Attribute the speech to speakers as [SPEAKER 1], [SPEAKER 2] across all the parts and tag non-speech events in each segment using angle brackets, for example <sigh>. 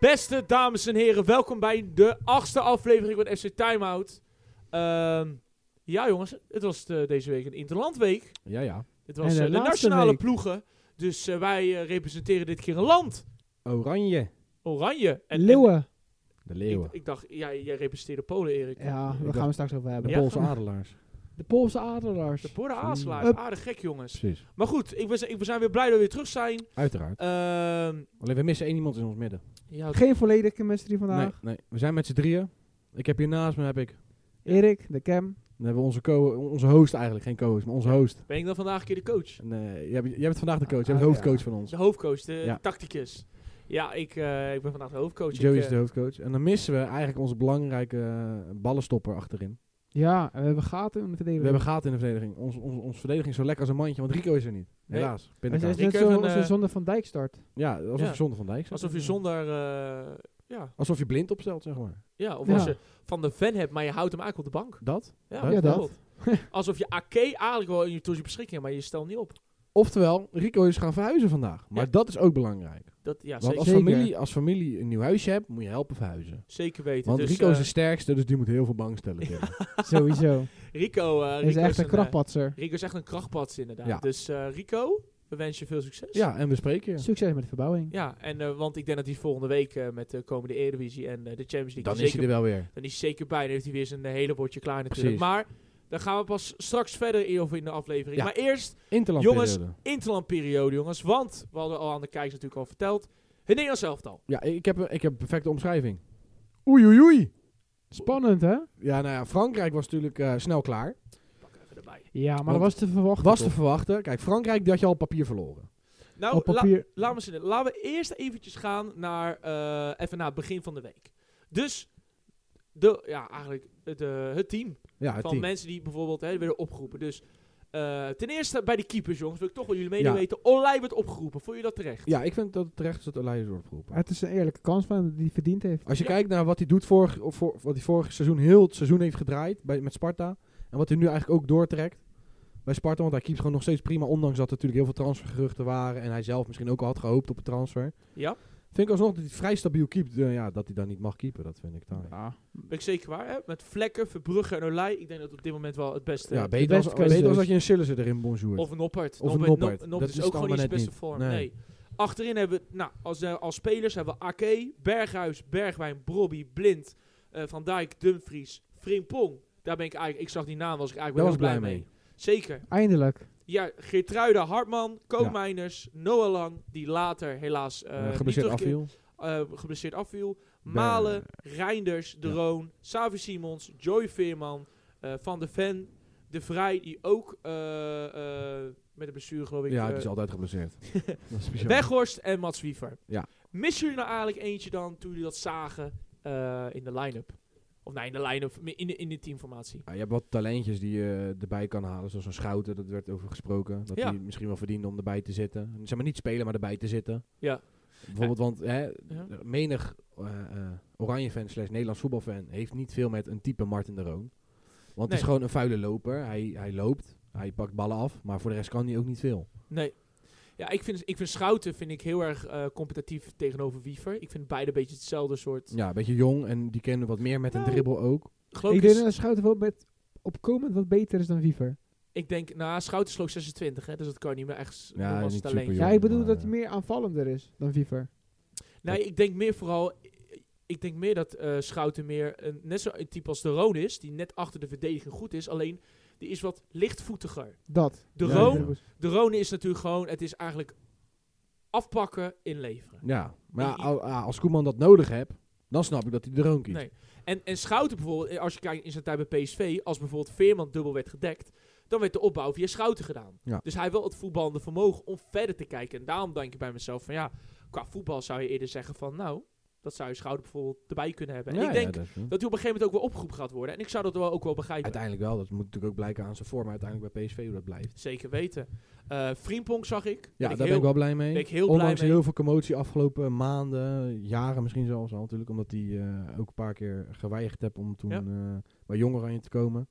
[SPEAKER 1] Beste dames en heren, welkom bij de achtste aflevering van FC Timeout. Ehm ja jongens, het was eh, deze week een interlandweek.
[SPEAKER 2] Ja, ja.
[SPEAKER 1] Het was
[SPEAKER 2] En de
[SPEAKER 1] eh, de,
[SPEAKER 2] laatste
[SPEAKER 1] nationale
[SPEAKER 2] week.
[SPEAKER 1] ploegen. Dus eh, wij eh, representeren dit keer een land.
[SPEAKER 2] Oranje.
[SPEAKER 1] Oranje. En- En,
[SPEAKER 3] Leeuwen.
[SPEAKER 2] De
[SPEAKER 1] ik,
[SPEAKER 2] leeuwen.
[SPEAKER 1] ik dacht, jij, jij representeerde Polen, Erik.
[SPEAKER 3] Ja, daar
[SPEAKER 2] dacht-
[SPEAKER 3] gaan we straks over
[SPEAKER 2] De
[SPEAKER 3] hebben.
[SPEAKER 1] Ja.
[SPEAKER 2] Poolse
[SPEAKER 1] <laughs>
[SPEAKER 2] adelaars.
[SPEAKER 3] De Poolse adelaars.
[SPEAKER 1] De Borden Aaslaar.
[SPEAKER 3] Hup.
[SPEAKER 1] Aardig gek jongens.
[SPEAKER 2] Precies.
[SPEAKER 1] Maar goed, ik ben, ik, we zijn weer blij dat we weer terug zijn.
[SPEAKER 2] Uiteraard.
[SPEAKER 1] Ehm,
[SPEAKER 2] Alleen we missen één iemand in ons midden.
[SPEAKER 1] ja,
[SPEAKER 3] Geen volledige chemistry
[SPEAKER 2] Nee,
[SPEAKER 3] vandaag.
[SPEAKER 2] nee. We zijn met z'n drieën. Ik heb hier naast me heb ik.
[SPEAKER 3] Erik, de Cam.
[SPEAKER 2] Dan hebben we onze, co onze host eigenlijk. Geen co-host, maar onze host.
[SPEAKER 1] ben ik dan vandaag een keer de coach?
[SPEAKER 2] En, eh, jij, bent, jij bent vandaag de coach. Jij bent
[SPEAKER 3] Ah, ja.
[SPEAKER 2] hoofdcoach van ons.
[SPEAKER 1] De hoofdcoach, de
[SPEAKER 2] Ja.
[SPEAKER 1] tacticus. Ja, ik, eh, ik ben vandaag de hoofdcoach.
[SPEAKER 2] Joey
[SPEAKER 1] ik, eh,
[SPEAKER 2] is de hoofdcoach. En dan missen we eigenlijk onze belangrijke eh, ballenstopper achterin.
[SPEAKER 3] Ja, en we hebben gaten in de
[SPEAKER 2] We
[SPEAKER 3] verdediging.
[SPEAKER 2] hebben gaten in de verdediging. Ons, ons, ons verdediging is zo lekker als een mandje, want Rico is er niet.
[SPEAKER 1] Nee.
[SPEAKER 2] Helaas.
[SPEAKER 3] het
[SPEAKER 2] Pindakaas.
[SPEAKER 3] is
[SPEAKER 1] Ik
[SPEAKER 3] net
[SPEAKER 1] even
[SPEAKER 3] zo
[SPEAKER 1] een,
[SPEAKER 3] als een
[SPEAKER 1] eh,
[SPEAKER 3] zonde van
[SPEAKER 2] <laughs>
[SPEAKER 3] Dijk start.
[SPEAKER 2] Ja, alsof
[SPEAKER 1] Ja.
[SPEAKER 2] je zonder van Dijk staat.
[SPEAKER 1] alsof je zonder... eh, ja,
[SPEAKER 2] Alsof je blind opstelt, zeg maar.
[SPEAKER 1] ja, of
[SPEAKER 3] Ja.
[SPEAKER 1] als je van de fan hebt, maar je houdt hem eigenlijk op de bank.
[SPEAKER 2] Dat?
[SPEAKER 1] Ja,
[SPEAKER 2] Ja,
[SPEAKER 3] dat.
[SPEAKER 1] bijvoorbeeld. <laughs> Alsof je AK eigenlijk wel in je, tot je beschikking hebt, maar je stelt niet op.
[SPEAKER 2] Oftewel, Rico is gaan verhuizen vandaag. Maar
[SPEAKER 1] Ja.
[SPEAKER 2] dat is ook belangrijk.
[SPEAKER 1] Dat, ja,
[SPEAKER 2] Want
[SPEAKER 1] zeker,
[SPEAKER 2] als
[SPEAKER 3] Zeker.
[SPEAKER 2] familie, als familie een nieuw huisje hebt, moet je helpen verhuizen.
[SPEAKER 1] zeker weten.
[SPEAKER 2] Want
[SPEAKER 1] dus,
[SPEAKER 2] Rico is
[SPEAKER 1] eh,
[SPEAKER 2] de sterkste, dus die moet heel veel
[SPEAKER 1] <laughs>
[SPEAKER 2] bang stellen. tegen.
[SPEAKER 3] Sowieso.
[SPEAKER 1] Rico, eh,
[SPEAKER 3] Hij
[SPEAKER 1] Rico
[SPEAKER 3] is echt een
[SPEAKER 1] eh,
[SPEAKER 3] krachtpatser.
[SPEAKER 1] Rico is echt een krachtpats inderdaad.
[SPEAKER 2] Ja.
[SPEAKER 1] Dus eh, Rico, we wensen je veel succes.
[SPEAKER 2] ja, en we spreken je.
[SPEAKER 3] Succes met de verbouwing.
[SPEAKER 1] Ja, en, eh, want ik denk dat hij volgende week eh, met de komende Eredivisie en eh, de Champions League
[SPEAKER 2] Dan
[SPEAKER 1] zeker
[SPEAKER 2] is hij er wel weer.
[SPEAKER 1] Dan is hij zeker bij. Dan heeft hij weer zijn eh, hele bordje klaar natuurlijk.
[SPEAKER 2] Precies.
[SPEAKER 1] Maar daar gaan we pas straks verder in, over in de aflevering.
[SPEAKER 2] Ja.
[SPEAKER 1] Maar eerst
[SPEAKER 2] Interland
[SPEAKER 1] Jongens. interlandperiode, jongens. Want we hadden al aan de kijkers natuurlijk al verteld. Het Nederlands elftal.
[SPEAKER 2] Ja, ik heb, een- ik heb een perfecte omschrijving. Oei, oei, oei.
[SPEAKER 3] Spannend, hè?
[SPEAKER 2] Ja, nou ja, Frankrijk was natuurlijk eh, snel klaar.
[SPEAKER 1] Pak even erbij.
[SPEAKER 3] Ja, maar
[SPEAKER 2] Want-
[SPEAKER 3] dat was te verwachten.
[SPEAKER 2] Was te
[SPEAKER 3] toch?
[SPEAKER 2] verwachten. Kijk, Frankrijk, die had je al op papier verloren.
[SPEAKER 1] Nou,
[SPEAKER 3] Op
[SPEAKER 1] la-
[SPEAKER 3] papier.
[SPEAKER 1] laat me zitten. Laten we eerst eventjes gaan naar, eh, even naar het begin van de week. Dus, de, ja, eigenlijk het, eh, het team
[SPEAKER 2] Ja, het
[SPEAKER 1] van
[SPEAKER 2] team.
[SPEAKER 1] mensen die bijvoorbeeld hè, werden opgeroepen. Dus eh, ten eerste bij de keepers, jongens. Wil ik toch wel jullie mening
[SPEAKER 2] Ja.
[SPEAKER 1] weten. Olij werd opgeroepen. Vond je dat terecht?
[SPEAKER 2] Ja, ik vind dat het terecht is dat Olij wordt geroepen.
[SPEAKER 3] Het is een eerlijke kans van hem die hij verdiend heeft.
[SPEAKER 2] Als je
[SPEAKER 1] Ja.
[SPEAKER 2] kijkt naar wat hij doet vorig, of voor, wat hij vorig seizoen heel het seizoen heeft gedraaid bij, met Sparta. En wat hij nu eigenlijk ook doortrekt bij Sparta. Want hij keept gewoon nog steeds prima. Ondanks dat er natuurlijk heel veel transfergeruchten waren. En hij zelf misschien ook al had gehoopt op een transfer.
[SPEAKER 1] Ja.
[SPEAKER 2] Vind ik alsnog dat hij vrij stabiel keept. Eh, ja, dat hij dan niet mag keepen. Dat vind ik taai.
[SPEAKER 3] Ja.
[SPEAKER 1] Ben ik zeker waar, hè? Met Vlekken, Verbrugge en Olij. Ik denk dat op dit moment wel het beste...
[SPEAKER 2] Ja, beter, als,
[SPEAKER 3] beste keuze
[SPEAKER 2] beter als
[SPEAKER 3] dus.
[SPEAKER 2] dat je een Sillissen erin bonjour.
[SPEAKER 1] of een Noppert.
[SPEAKER 2] Of een
[SPEAKER 1] Noppert-
[SPEAKER 2] Noppert.
[SPEAKER 1] Nop- Noppert
[SPEAKER 2] Dat
[SPEAKER 1] is
[SPEAKER 2] is
[SPEAKER 1] ook gewoon
[SPEAKER 2] allemaal
[SPEAKER 1] niet zijn
[SPEAKER 2] net
[SPEAKER 1] beste vorm.
[SPEAKER 2] niet.
[SPEAKER 1] Nee.
[SPEAKER 2] Nee.
[SPEAKER 1] Achterin hebben we, nou, als, eh, als spelers hebben we Ake, Berghuis, Bergwijn, Brobby, Blind, eh, Van Dijk, Dumfries, Frimpong. Daar ben ik eigenlijk, ik zag die naam, was ik
[SPEAKER 2] Daar
[SPEAKER 1] eigenlijk
[SPEAKER 2] was ik
[SPEAKER 1] wel heel
[SPEAKER 2] blij mee.
[SPEAKER 1] Zeker.
[SPEAKER 3] Eindelijk.
[SPEAKER 1] Ja, Geertruida, Hartman, Koopmeiners, Noah Lang, die later helaas eh,
[SPEAKER 2] Eh,
[SPEAKER 1] niet
[SPEAKER 2] geblesseerd
[SPEAKER 1] terugkeer-
[SPEAKER 2] afviel.
[SPEAKER 1] eh, geblesseerd afviel. Malen, Reinders, De
[SPEAKER 2] Ja.
[SPEAKER 1] Roon, Savi Simons, Joy Veerman, eh, Van de Ven, De Vrij, die ook eh, eh, met een blessure geloof ik...
[SPEAKER 2] Ja,
[SPEAKER 1] eh,
[SPEAKER 2] die is altijd geblesseerd. dat is speciaal.
[SPEAKER 1] Weghorst en Mats Wiever.
[SPEAKER 2] Ja.
[SPEAKER 1] Missen jullie nou eigenlijk eentje dan toen jullie dat zagen eh, in de line-up? Of nee, in de line-up, in de, in de teamformatie.
[SPEAKER 2] Ja, je hebt wat talentjes die je erbij kan halen. Zoals een Schouten, dat werd over gesproken. Dat
[SPEAKER 1] Ja.
[SPEAKER 2] hij misschien wel verdiende om erbij te zitten. Zeg maar niet spelen, maar erbij te zitten.
[SPEAKER 1] Ja.
[SPEAKER 2] Bijvoorbeeld, want hè,
[SPEAKER 1] Ja.
[SPEAKER 2] menig eh, Oranje-fan slash Nederlands voetbalfan heeft niet veel met een type Martin de Roon. Want het
[SPEAKER 1] Nee.
[SPEAKER 2] is gewoon een vuile loper. Hij, hij loopt, hij pakt ballen af, maar voor de rest kan hij ook niet veel.
[SPEAKER 1] Nee. Ja, ik vind, ik vind Schouten vind ik heel erg eh, competitief tegenover Wiever. Ik vind beide een beetje hetzelfde soort.
[SPEAKER 2] Ja, een beetje jong en die kennen wat meer met een
[SPEAKER 1] Nou.
[SPEAKER 2] dribbel ook.
[SPEAKER 1] Geloof
[SPEAKER 3] ik
[SPEAKER 1] ik,
[SPEAKER 3] denk
[SPEAKER 1] is-
[SPEAKER 3] dat Schouten wel met opkomend wat beter is dan Wiever.
[SPEAKER 1] ik denk, nou, Schouten sloot 26, hè, dus dat kan je niet meer echt
[SPEAKER 2] Ja,
[SPEAKER 1] ja, als
[SPEAKER 2] niet
[SPEAKER 1] talent.
[SPEAKER 2] superjong.
[SPEAKER 3] Ja, ik bedoel
[SPEAKER 2] maar,
[SPEAKER 3] dat
[SPEAKER 2] eh,
[SPEAKER 3] hij meer aanvallender is dan Wiever.
[SPEAKER 1] Nee, Nou, ik denk meer vooral. Ik denk meer dat eh, Schouten meer een, net zo een type als de Roon is, die net achter de verdediging goed is. Alleen die is wat lichtvoetiger.
[SPEAKER 3] Dat.
[SPEAKER 1] De
[SPEAKER 2] Ja,
[SPEAKER 1] Roon
[SPEAKER 2] ja.
[SPEAKER 1] De Rone is natuurlijk gewoon, het is eigenlijk afpakken, inleveren.
[SPEAKER 2] Ja, maar ja,
[SPEAKER 1] Ik-
[SPEAKER 2] al- ja, als Koeman dat nodig hebt, dan snap ik dat hij de Roon kiest.
[SPEAKER 1] Nee. En, en Schouten bijvoorbeeld, eh, als je kijkt in zijn tijd bij PSV, als bijvoorbeeld Veerman dubbel werd gedekt, dan werd de opbouw via Schouten gedaan.
[SPEAKER 2] Ja.
[SPEAKER 1] Dus hij heeft wel het voetballende vermogen om verder te kijken. En daarom denk ik bij mezelf van ja, qua voetbal zou je eerder zeggen van nou, dat zou je Schouten bijvoorbeeld erbij kunnen hebben. En
[SPEAKER 2] Ja,
[SPEAKER 1] ik
[SPEAKER 2] ja,
[SPEAKER 1] denk
[SPEAKER 2] dat is-
[SPEAKER 1] dat hij op een gegeven moment ook wel opgeroepen gaat worden. En ik zou dat wel ook wel begrijpen.
[SPEAKER 2] Uiteindelijk wel, dat moet natuurlijk ook blijken aan zijn vorm uiteindelijk bij PSV hoe dat blijft.
[SPEAKER 1] Zeker weten. Eh Frimpong zag ik. Ben
[SPEAKER 2] Ja,
[SPEAKER 1] ik
[SPEAKER 2] daar ben
[SPEAKER 1] heel-
[SPEAKER 2] ik wel blij mee.
[SPEAKER 1] ben ik heel blij
[SPEAKER 2] Ondanks
[SPEAKER 1] mee.
[SPEAKER 2] heel veel commotie afgelopen maanden, jaren misschien zelfs al natuurlijk, omdat hij eh, ook een paar keer geweigerd heeft om toen
[SPEAKER 1] Ja.
[SPEAKER 2] eh, bij Jong Oranje te komen.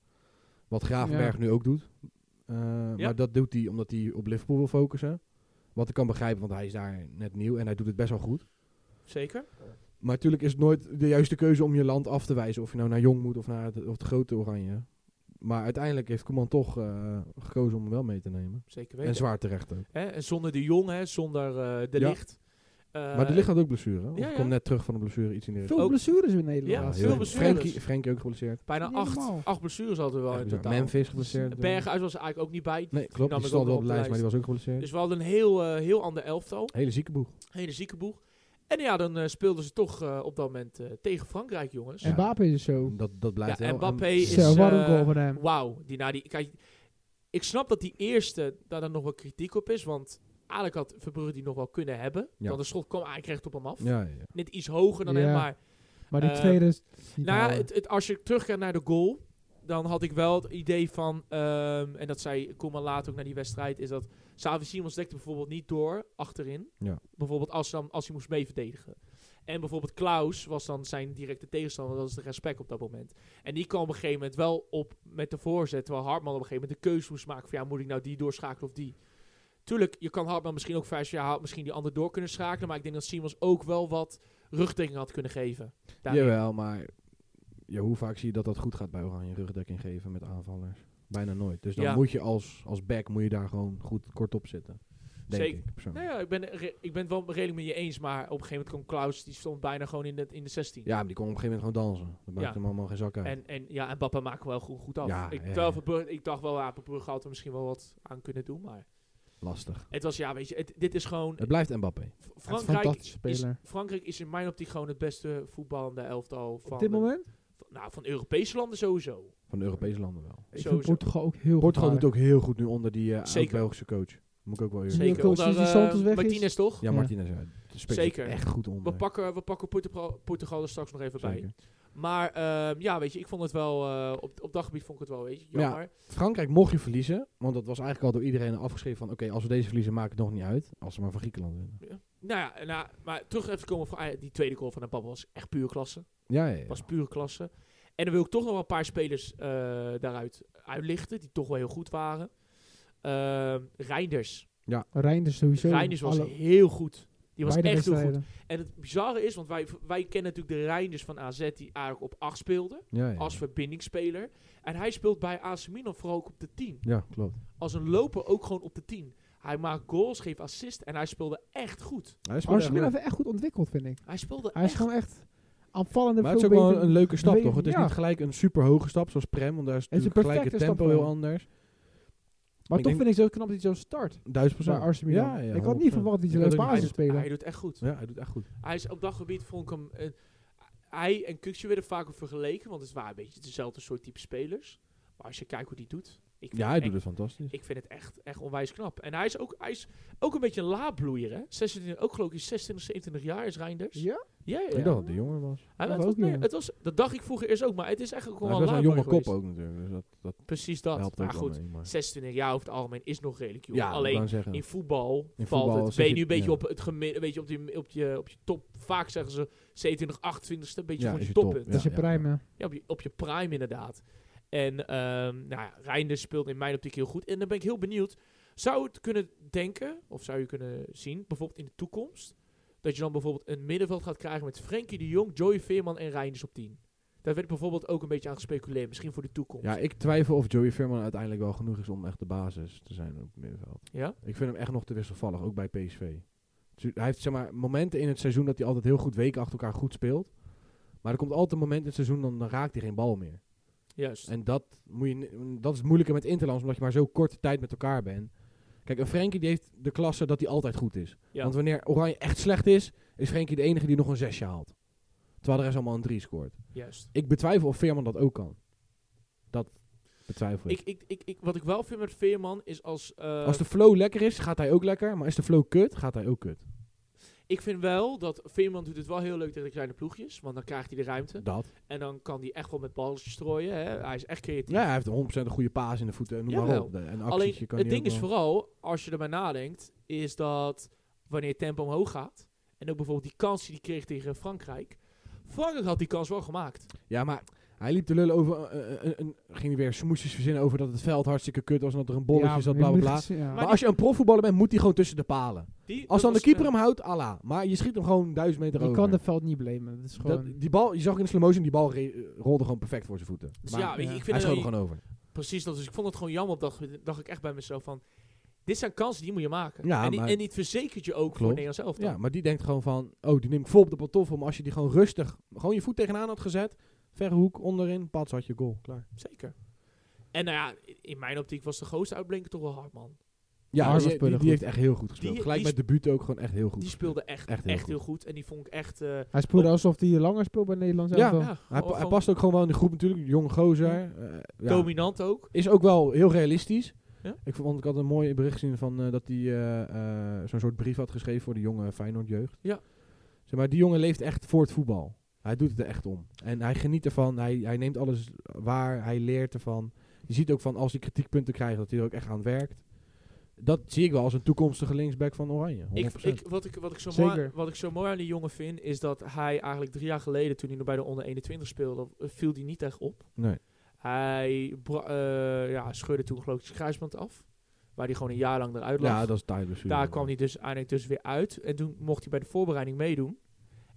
[SPEAKER 2] Wat Gravenberg
[SPEAKER 3] Ja.
[SPEAKER 2] nu ook doet. Eh,
[SPEAKER 1] Ja.
[SPEAKER 2] Maar dat doet hij omdat hij op Liverpool wil focussen. Wat ik kan begrijpen, want hij is daar net nieuw en hij doet het best wel goed.
[SPEAKER 1] Zeker.
[SPEAKER 2] Maar natuurlijk is het nooit de juiste keuze om je land af te wijzen. Of je nou naar Jong moet of naar het, of de grote Oranje. Maar uiteindelijk heeft Koeman toch eh, gekozen om hem wel mee te nemen.
[SPEAKER 1] Zeker
[SPEAKER 2] En
[SPEAKER 1] weten.
[SPEAKER 2] zwaar terecht ook.
[SPEAKER 1] Hè? En zonder de Jong, hè? zonder eh de
[SPEAKER 2] Ja.
[SPEAKER 1] licht.
[SPEAKER 2] maar de licht had ook blessure. hè? Of
[SPEAKER 1] Eh, ja, ja.
[SPEAKER 2] komt net terug van een blessure iets in de richting.
[SPEAKER 3] Veel
[SPEAKER 1] Ook-
[SPEAKER 3] blessures in
[SPEAKER 1] Ja,
[SPEAKER 3] Nederland.
[SPEAKER 1] veel
[SPEAKER 2] heel-
[SPEAKER 1] blessures.
[SPEAKER 2] Frenkie, Frenkie ook geblesseerd.
[SPEAKER 1] Bijna
[SPEAKER 3] Niet normaal.
[SPEAKER 1] acht, acht blessures hadden we wel
[SPEAKER 2] Echt
[SPEAKER 1] in
[SPEAKER 2] bizar.
[SPEAKER 1] totaal. Nou,
[SPEAKER 2] Memphis geblesseerd.
[SPEAKER 1] Berghuis was er eigenlijk ook niet bij.
[SPEAKER 2] Nee, klopt.
[SPEAKER 1] nam
[SPEAKER 2] Die
[SPEAKER 1] ik
[SPEAKER 2] stond
[SPEAKER 1] ook
[SPEAKER 2] wel
[SPEAKER 1] nog
[SPEAKER 2] op de lijst, maar die was ook geblesseerd.
[SPEAKER 1] Dus we hadden een heel, eh, heel ander elftal.
[SPEAKER 2] Hele zieke boeg.
[SPEAKER 1] Hele zieke boeg. En ja, dan eh, speelden ze toch eh, op dat moment eh, tegen Frankrijk, jongens.
[SPEAKER 3] En
[SPEAKER 1] Ja,
[SPEAKER 2] Ja.
[SPEAKER 3] Mbappé is zo.
[SPEAKER 2] Dat, dat blijft
[SPEAKER 1] en
[SPEAKER 2] wel.
[SPEAKER 1] Mbappé
[SPEAKER 2] en-
[SPEAKER 1] is...
[SPEAKER 3] Zo, wat een
[SPEAKER 1] eh,
[SPEAKER 3] goal van hem.
[SPEAKER 1] Wauw. Die, nou, die, kijk, ik snap dat die eerste, daar dan nog wel kritiek op is. Want eigenlijk had Verbrugge die nog wel kunnen hebben.
[SPEAKER 2] Ja.
[SPEAKER 1] Want de schot kwam eigenlijk recht op hem af.
[SPEAKER 2] Ja, ja, ja.
[SPEAKER 1] Net iets hoger dan
[SPEAKER 3] Ja.
[SPEAKER 1] hem, maar...
[SPEAKER 3] Maar die
[SPEAKER 1] eh,
[SPEAKER 3] tweede is niet te
[SPEAKER 1] Nou ja,
[SPEAKER 3] houden.
[SPEAKER 1] het, het, als je teruggaat naar de goal, dan had ik wel het idee van, ehm, en dat zei Koeman later ook naar die wedstrijd, is dat Savi Simons dekte bijvoorbeeld niet door achterin.
[SPEAKER 2] Ja.
[SPEAKER 1] Bijvoorbeeld als, dan, als hij moest mee verdedigen. En bijvoorbeeld Klaus was dan zijn directe tegenstander, dat is de respect op dat moment. En die kwam op een gegeven moment wel op met de voorzet, terwijl Hartman op een gegeven moment de keuze moest maken van ja, moet ik nou die doorschakelen of die? Tuurlijk, je kan Hartman misschien ook vijf jaar had misschien die ander door kunnen schakelen, maar ik denk dat Simons ook wel wat rugdekking had kunnen geven. daarin.
[SPEAKER 2] Jawel, maar ja, hoe vaak zie je dat dat goed gaat bij Oranje rugdekking geven met aanvallers? Bijna nooit. Dus dan
[SPEAKER 1] Ja.
[SPEAKER 2] moet je als, als back moet je daar gewoon goed kort op zitten. Denk
[SPEAKER 1] Zeker.
[SPEAKER 2] ik persoonlijk.
[SPEAKER 1] Nou ja, ik ben, re- ik ben het wel redelijk met je eens, maar op een gegeven moment kwam Klaus, die stond bijna gewoon in de, in de 16.
[SPEAKER 2] Ja, maar die kon op een gegeven moment gewoon dansen. Dat maakt
[SPEAKER 1] Ja.
[SPEAKER 2] hem allemaal geen zak uit.
[SPEAKER 1] En, en, ja, en Papa maakte wel goed, goed af.
[SPEAKER 2] Ja,
[SPEAKER 1] ik,
[SPEAKER 2] ja,
[SPEAKER 1] terwijl
[SPEAKER 2] ja.
[SPEAKER 1] Verbrugge- ik dacht wel, ja, Verbrugge had er misschien wel wat aan kunnen doen, maar
[SPEAKER 2] Lastig.
[SPEAKER 1] het was, ja, weet je, het- dit is gewoon...
[SPEAKER 2] Het blijft Mbappé.
[SPEAKER 1] F-
[SPEAKER 3] een
[SPEAKER 1] Frankrijk
[SPEAKER 3] fantastische
[SPEAKER 1] is,
[SPEAKER 3] speler.
[SPEAKER 1] Frankrijk is in mijn optiek gewoon het beste voetballende elftal van,
[SPEAKER 3] Op dit
[SPEAKER 1] de-
[SPEAKER 3] moment?
[SPEAKER 1] van- nou, van Europese landen sowieso.
[SPEAKER 2] Van de Europese landen wel.
[SPEAKER 3] Ik vind
[SPEAKER 1] sowieso.
[SPEAKER 3] Portugal ook heel
[SPEAKER 2] Portugal
[SPEAKER 3] gevaarlijk.
[SPEAKER 2] doet ook heel goed nu onder die eh,
[SPEAKER 1] Zeker.
[SPEAKER 2] Belgische coach. Moet ik ook wel eerlijk
[SPEAKER 1] Zeker.
[SPEAKER 3] coach
[SPEAKER 1] Onder,
[SPEAKER 3] die
[SPEAKER 1] eh,
[SPEAKER 3] Santos weg is?
[SPEAKER 1] Martinez toch?
[SPEAKER 2] Ja,
[SPEAKER 3] Ja.
[SPEAKER 2] Martinez. Ja. Zeker.
[SPEAKER 1] Zeker.
[SPEAKER 2] Echt goed onder.
[SPEAKER 1] We pakken, we pakken Portugal, Portugal er straks nog even bij.
[SPEAKER 2] Zeker.
[SPEAKER 1] Maar ehm, ja, weet je, ik vond het wel, eh, op, op dat gebied vond ik het wel, weet je,
[SPEAKER 2] Ja.
[SPEAKER 1] jammer.
[SPEAKER 2] Frankrijk mocht je verliezen, want dat was eigenlijk al door iedereen afgeschreven van oké, als we deze verliezen maakt het nog niet uit, als ze maar van Griekenland winnen.
[SPEAKER 1] Nou ja, nou, maar terug even te komen van ah die tweede goal van Mbappé was echt pure klasse.
[SPEAKER 2] Ja, ja, ja.
[SPEAKER 1] Was pure klasse. En dan wil ik toch nog wel een paar spelers eh, daaruit uitlichten die toch wel heel goed waren. Ehm Reinders.
[SPEAKER 3] Reinders sowieso.
[SPEAKER 1] Reinders was
[SPEAKER 3] Alle-
[SPEAKER 1] heel goed. Die was
[SPEAKER 3] beide
[SPEAKER 1] echt heel goed.
[SPEAKER 3] wedstrijden.
[SPEAKER 1] En het bizarre is, want wij, wij kennen natuurlijk de Reinders van AZ die eigenlijk op 8 speelde.
[SPEAKER 2] ja, ja.
[SPEAKER 1] Als verbindingsspeler. En hij speelt bij AC Milan vooral ook op de 10.
[SPEAKER 2] ja klopt.
[SPEAKER 1] Als een loper ook gewoon op de 10. Hij maakt goals, geeft assist en hij speelde echt goed.
[SPEAKER 2] Hij
[SPEAKER 3] Maar Arsenal heeft echt goed ontwikkeld, vind ik.
[SPEAKER 1] Hij speelde
[SPEAKER 3] Hij is
[SPEAKER 1] echt
[SPEAKER 3] gewoon echt aanvallende
[SPEAKER 2] Maar het is ook
[SPEAKER 3] veel
[SPEAKER 2] wel
[SPEAKER 3] beter.
[SPEAKER 2] een, een leuke stap,
[SPEAKER 3] beweging,
[SPEAKER 2] toch? Het is
[SPEAKER 3] ja.
[SPEAKER 2] niet gelijk een super hoge stap zoals Prem, want daar is
[SPEAKER 3] Het is
[SPEAKER 2] natuurlijk
[SPEAKER 3] een
[SPEAKER 2] gelijk het
[SPEAKER 3] perfecte
[SPEAKER 2] tempo
[SPEAKER 3] stap
[SPEAKER 2] heel
[SPEAKER 3] voor hem.
[SPEAKER 2] anders.
[SPEAKER 3] Maar
[SPEAKER 2] ik
[SPEAKER 3] toch
[SPEAKER 2] denk-
[SPEAKER 3] vind ik het zo knap dat hij zo start.
[SPEAKER 2] Duizend
[SPEAKER 3] Bij
[SPEAKER 2] procent.
[SPEAKER 3] Arsenal Milan.
[SPEAKER 2] Ja, ja,
[SPEAKER 3] ik had
[SPEAKER 2] 100%.
[SPEAKER 3] niet verwacht dat hij
[SPEAKER 2] Ik
[SPEAKER 3] zo'n
[SPEAKER 2] had ook
[SPEAKER 1] hij,
[SPEAKER 2] niet
[SPEAKER 3] basis
[SPEAKER 1] doet-
[SPEAKER 3] spelen.
[SPEAKER 1] hij doet echt goed.
[SPEAKER 2] Ja, hij doet echt goed.
[SPEAKER 1] Hij is op dat gebied vond ik hem. eh, hij en Kukje werden vaak vergeleken, want het waren een beetje dezelfde soort type spelers. Maar als je kijkt hoe die doet, ik vind,
[SPEAKER 2] Ja, hij
[SPEAKER 1] het,
[SPEAKER 2] doet
[SPEAKER 1] echt,
[SPEAKER 2] het fantastisch.
[SPEAKER 1] ik vind het echt, echt onwijs knap. En hij is ook, hij is ook een beetje een laadbloeier, hè? 26, ook geloof ik 26, 27 jaar is Reinders.
[SPEAKER 3] Ja?
[SPEAKER 1] Ja, ja, ja.
[SPEAKER 2] Ik dacht dat hij jonger was.
[SPEAKER 1] Hij,
[SPEAKER 3] dat
[SPEAKER 1] het
[SPEAKER 3] was
[SPEAKER 1] was,
[SPEAKER 3] ook
[SPEAKER 1] nee,
[SPEAKER 3] niet.
[SPEAKER 1] het was, dat dacht ik vroeger eerst ook, maar het is eigenlijk
[SPEAKER 2] Hij
[SPEAKER 1] gewoon
[SPEAKER 2] was
[SPEAKER 1] een
[SPEAKER 2] wel een jonge
[SPEAKER 1] laadbloeier
[SPEAKER 2] kop
[SPEAKER 1] geweest.
[SPEAKER 2] ook natuurlijk, dus dat, dat
[SPEAKER 1] Precies dat.
[SPEAKER 2] helpt
[SPEAKER 1] maar
[SPEAKER 2] ook wel
[SPEAKER 1] goed,
[SPEAKER 2] mee. Maar.
[SPEAKER 1] 26 jaar over het algemeen is nog redelijk jong.
[SPEAKER 2] Ja, ik
[SPEAKER 1] Alleen
[SPEAKER 2] wou zeggen.
[SPEAKER 1] in voetbal
[SPEAKER 2] In
[SPEAKER 1] valt
[SPEAKER 2] voetbal
[SPEAKER 1] het. Ben
[SPEAKER 2] zeg
[SPEAKER 1] je
[SPEAKER 2] je-
[SPEAKER 1] nu een beetje
[SPEAKER 2] ja.
[SPEAKER 1] op het gemiddelde, weet je, op, die, op, je, op je top. Vaak zeggen ze 27, 28ste, een beetje
[SPEAKER 2] Ja,
[SPEAKER 1] van je
[SPEAKER 2] is je top,
[SPEAKER 1] toppunt.
[SPEAKER 3] Dat is
[SPEAKER 1] Ja.
[SPEAKER 3] je
[SPEAKER 2] Ja, ja,
[SPEAKER 3] prime. hè.
[SPEAKER 1] op, je, op je prime inderdaad. En ehm nou ja, Reinders speelt in mijn optiek heel goed. En dan ben ik heel benieuwd. Zou het kunnen denken, of zou je kunnen zien, bijvoorbeeld in de toekomst, dat je dan bijvoorbeeld een middenveld gaat krijgen met Frenkie de Jong, Joey Veerman en Reinders op 10? Daar werd bijvoorbeeld ook een beetje aan gespeculeerd, misschien voor de toekomst.
[SPEAKER 2] Ja, ik twijfel of Joey Veerman uiteindelijk wel genoeg is om echt de basis te zijn op het middenveld.
[SPEAKER 1] Ja?
[SPEAKER 2] Ik vind hem echt nog te wisselvallig, ook bij PSV. Tu- Hij heeft zeg maar, momenten in het seizoen dat hij altijd heel goed weken achter elkaar goed speelt. Maar er komt altijd een moment in het seizoen, dan, dan raakt hij geen bal meer.
[SPEAKER 1] Juist.
[SPEAKER 2] En dat, moet je, ni- dat is moeilijker met Interlands, omdat je maar zo korte tijd met elkaar bent. Kijk, een Frenkie die heeft de klasse dat hij altijd goed is.
[SPEAKER 1] Ja.
[SPEAKER 2] Want wanneer Oranje echt slecht is, is Frenkie de enige die nog een zesje haalt. Terwijl de rest allemaal een drie scoort.
[SPEAKER 1] Juist.
[SPEAKER 2] Ik betwijfel of Veerman dat ook kan. Dat betwijfel ik.
[SPEAKER 1] Ik, ik, ik, ik, wat ik wel vind met Veerman is als. eh,
[SPEAKER 2] Als de flow lekker is, gaat hij ook lekker. Maar is de flow kut, gaat hij ook kut.
[SPEAKER 1] Ik vind wel dat Veerman doet het wel heel leuk tegen de kleine ploegjes, want dan krijgt hij de ruimte.
[SPEAKER 2] Dat.
[SPEAKER 1] En dan kan hij echt wel met balletjes strooien. Hè. Hij is echt creatief.
[SPEAKER 2] Ja, hij heeft 100% een goede paas in de voeten. Noem maar
[SPEAKER 1] Jawel.
[SPEAKER 2] op. De- en
[SPEAKER 1] Alleen
[SPEAKER 2] actietje kan
[SPEAKER 1] het
[SPEAKER 2] hij
[SPEAKER 1] ding
[SPEAKER 2] ook
[SPEAKER 1] is
[SPEAKER 2] wel.
[SPEAKER 1] vooral, als je erbij nadenkt, is dat wanneer het tempo omhoog gaat. En ook bijvoorbeeld die kans die hij kreeg tegen Frankrijk. Frankrijk had die kans wel gemaakt.
[SPEAKER 2] Ja, maar Hij liep de lullen over, eh, eh, een- een- ging hij weer smoesjes verzinnen over dat het veld hartstikke kut was en dat er een bolletje
[SPEAKER 3] Ja,
[SPEAKER 2] zat,
[SPEAKER 3] je
[SPEAKER 2] bla bla
[SPEAKER 3] moet
[SPEAKER 2] bla. Maar,
[SPEAKER 3] het zien, ja.
[SPEAKER 1] Maar-
[SPEAKER 2] als je een profvoetballer bent, moet hij gewoon tussen de palen.
[SPEAKER 1] Die- dat
[SPEAKER 2] Als dan de
[SPEAKER 1] was,
[SPEAKER 2] keeper
[SPEAKER 1] eh,
[SPEAKER 2] hem houdt, ala. Maar je schiet hem gewoon duizend meter
[SPEAKER 3] Je
[SPEAKER 2] over.
[SPEAKER 3] kan het veld niet blamen. Dat is
[SPEAKER 2] Dat-
[SPEAKER 3] gewoon...
[SPEAKER 2] die bal, je zag in de slow motion, die bal re- rolde gewoon perfect voor zijn voeten.
[SPEAKER 1] dus
[SPEAKER 2] Maar
[SPEAKER 1] ja, weet je,
[SPEAKER 3] ja.
[SPEAKER 1] ik vind
[SPEAKER 2] hij
[SPEAKER 1] het
[SPEAKER 2] schoot
[SPEAKER 1] wel-
[SPEAKER 2] er gewoon over.
[SPEAKER 1] precies dat. Dus ik vond het gewoon jammer. op Dat dacht ik echt bij mezelf van, dit zijn kansen die moet je maken.
[SPEAKER 2] Ja,
[SPEAKER 1] en, die,
[SPEAKER 2] maar-
[SPEAKER 1] en die verzekert je ook voor
[SPEAKER 2] Klopt.
[SPEAKER 1] Nederlands elftal.
[SPEAKER 2] Ja, maar die denkt gewoon van, oh, die neem ik vol op de pantoffel. Maar als je die gewoon rustig, gewoon je voet tegenaan had gezet, verre hoek, onderin, pats, had je goal. Klaar.
[SPEAKER 1] Zeker. En nou ja, in mijn optiek was de grootste uitblinker toch wel Hartman.
[SPEAKER 2] Ja,
[SPEAKER 3] Arsenal
[SPEAKER 2] die, die-
[SPEAKER 3] spelen
[SPEAKER 2] die
[SPEAKER 3] goed.
[SPEAKER 2] heeft echt heel goed gespeeld.
[SPEAKER 1] Die-
[SPEAKER 2] Gelijk
[SPEAKER 1] die
[SPEAKER 2] met de buurt ook gewoon echt heel goed.
[SPEAKER 1] Die
[SPEAKER 2] gespeeld.
[SPEAKER 1] speelde echt,
[SPEAKER 2] Echt
[SPEAKER 1] echt,
[SPEAKER 2] heel
[SPEAKER 1] heel, goed. En die vond ik echt... eh,
[SPEAKER 3] Hij speelde alsof hij langer speelt bij Nederland.
[SPEAKER 2] Ja.
[SPEAKER 1] ja,
[SPEAKER 2] Hij,
[SPEAKER 1] gewoon-
[SPEAKER 2] pa- hij past ook gewoon wel in de groep natuurlijk. Jonge gozer. eh, ja.
[SPEAKER 1] dominant ook.
[SPEAKER 2] Is ook wel heel realistisch.
[SPEAKER 1] Ja?
[SPEAKER 2] Ik vond ik had een mooi bericht gezien van eh, dat hij eh, eh, zo'n soort brief had geschreven voor de jonge Feyenoord jeugd.
[SPEAKER 1] Ja.
[SPEAKER 2] Zeg maar, die jongen leeft echt voor het voetbal. Hij doet het er echt om. En hij geniet ervan. Hij, hij neemt alles waar. Hij leert ervan. Je ziet ook van als hij kritiekpunten krijgt dat hij er ook echt aan werkt. Dat zie ik wel als een toekomstige linksback van Oranje. 100%.
[SPEAKER 1] Ik, ik, wat, ik, wat, ik zo mooi,
[SPEAKER 3] Zeker.
[SPEAKER 1] wat ik zo mooi aan die jongen vind, is dat hij eigenlijk drie jaar geleden, toen hij nog bij de onder 21 speelde, eh, viel hij niet echt op.
[SPEAKER 2] nee.
[SPEAKER 1] Hij bra- eh, ja, scheurde toen geloof ik zijn kruisband af, waar hij gewoon een jaar lang eruit lag.
[SPEAKER 2] Ja, dat is tijdens.
[SPEAKER 1] Daar kwam hij dus uiteindelijk dus weer uit. En toen mocht hij bij de voorbereiding meedoen.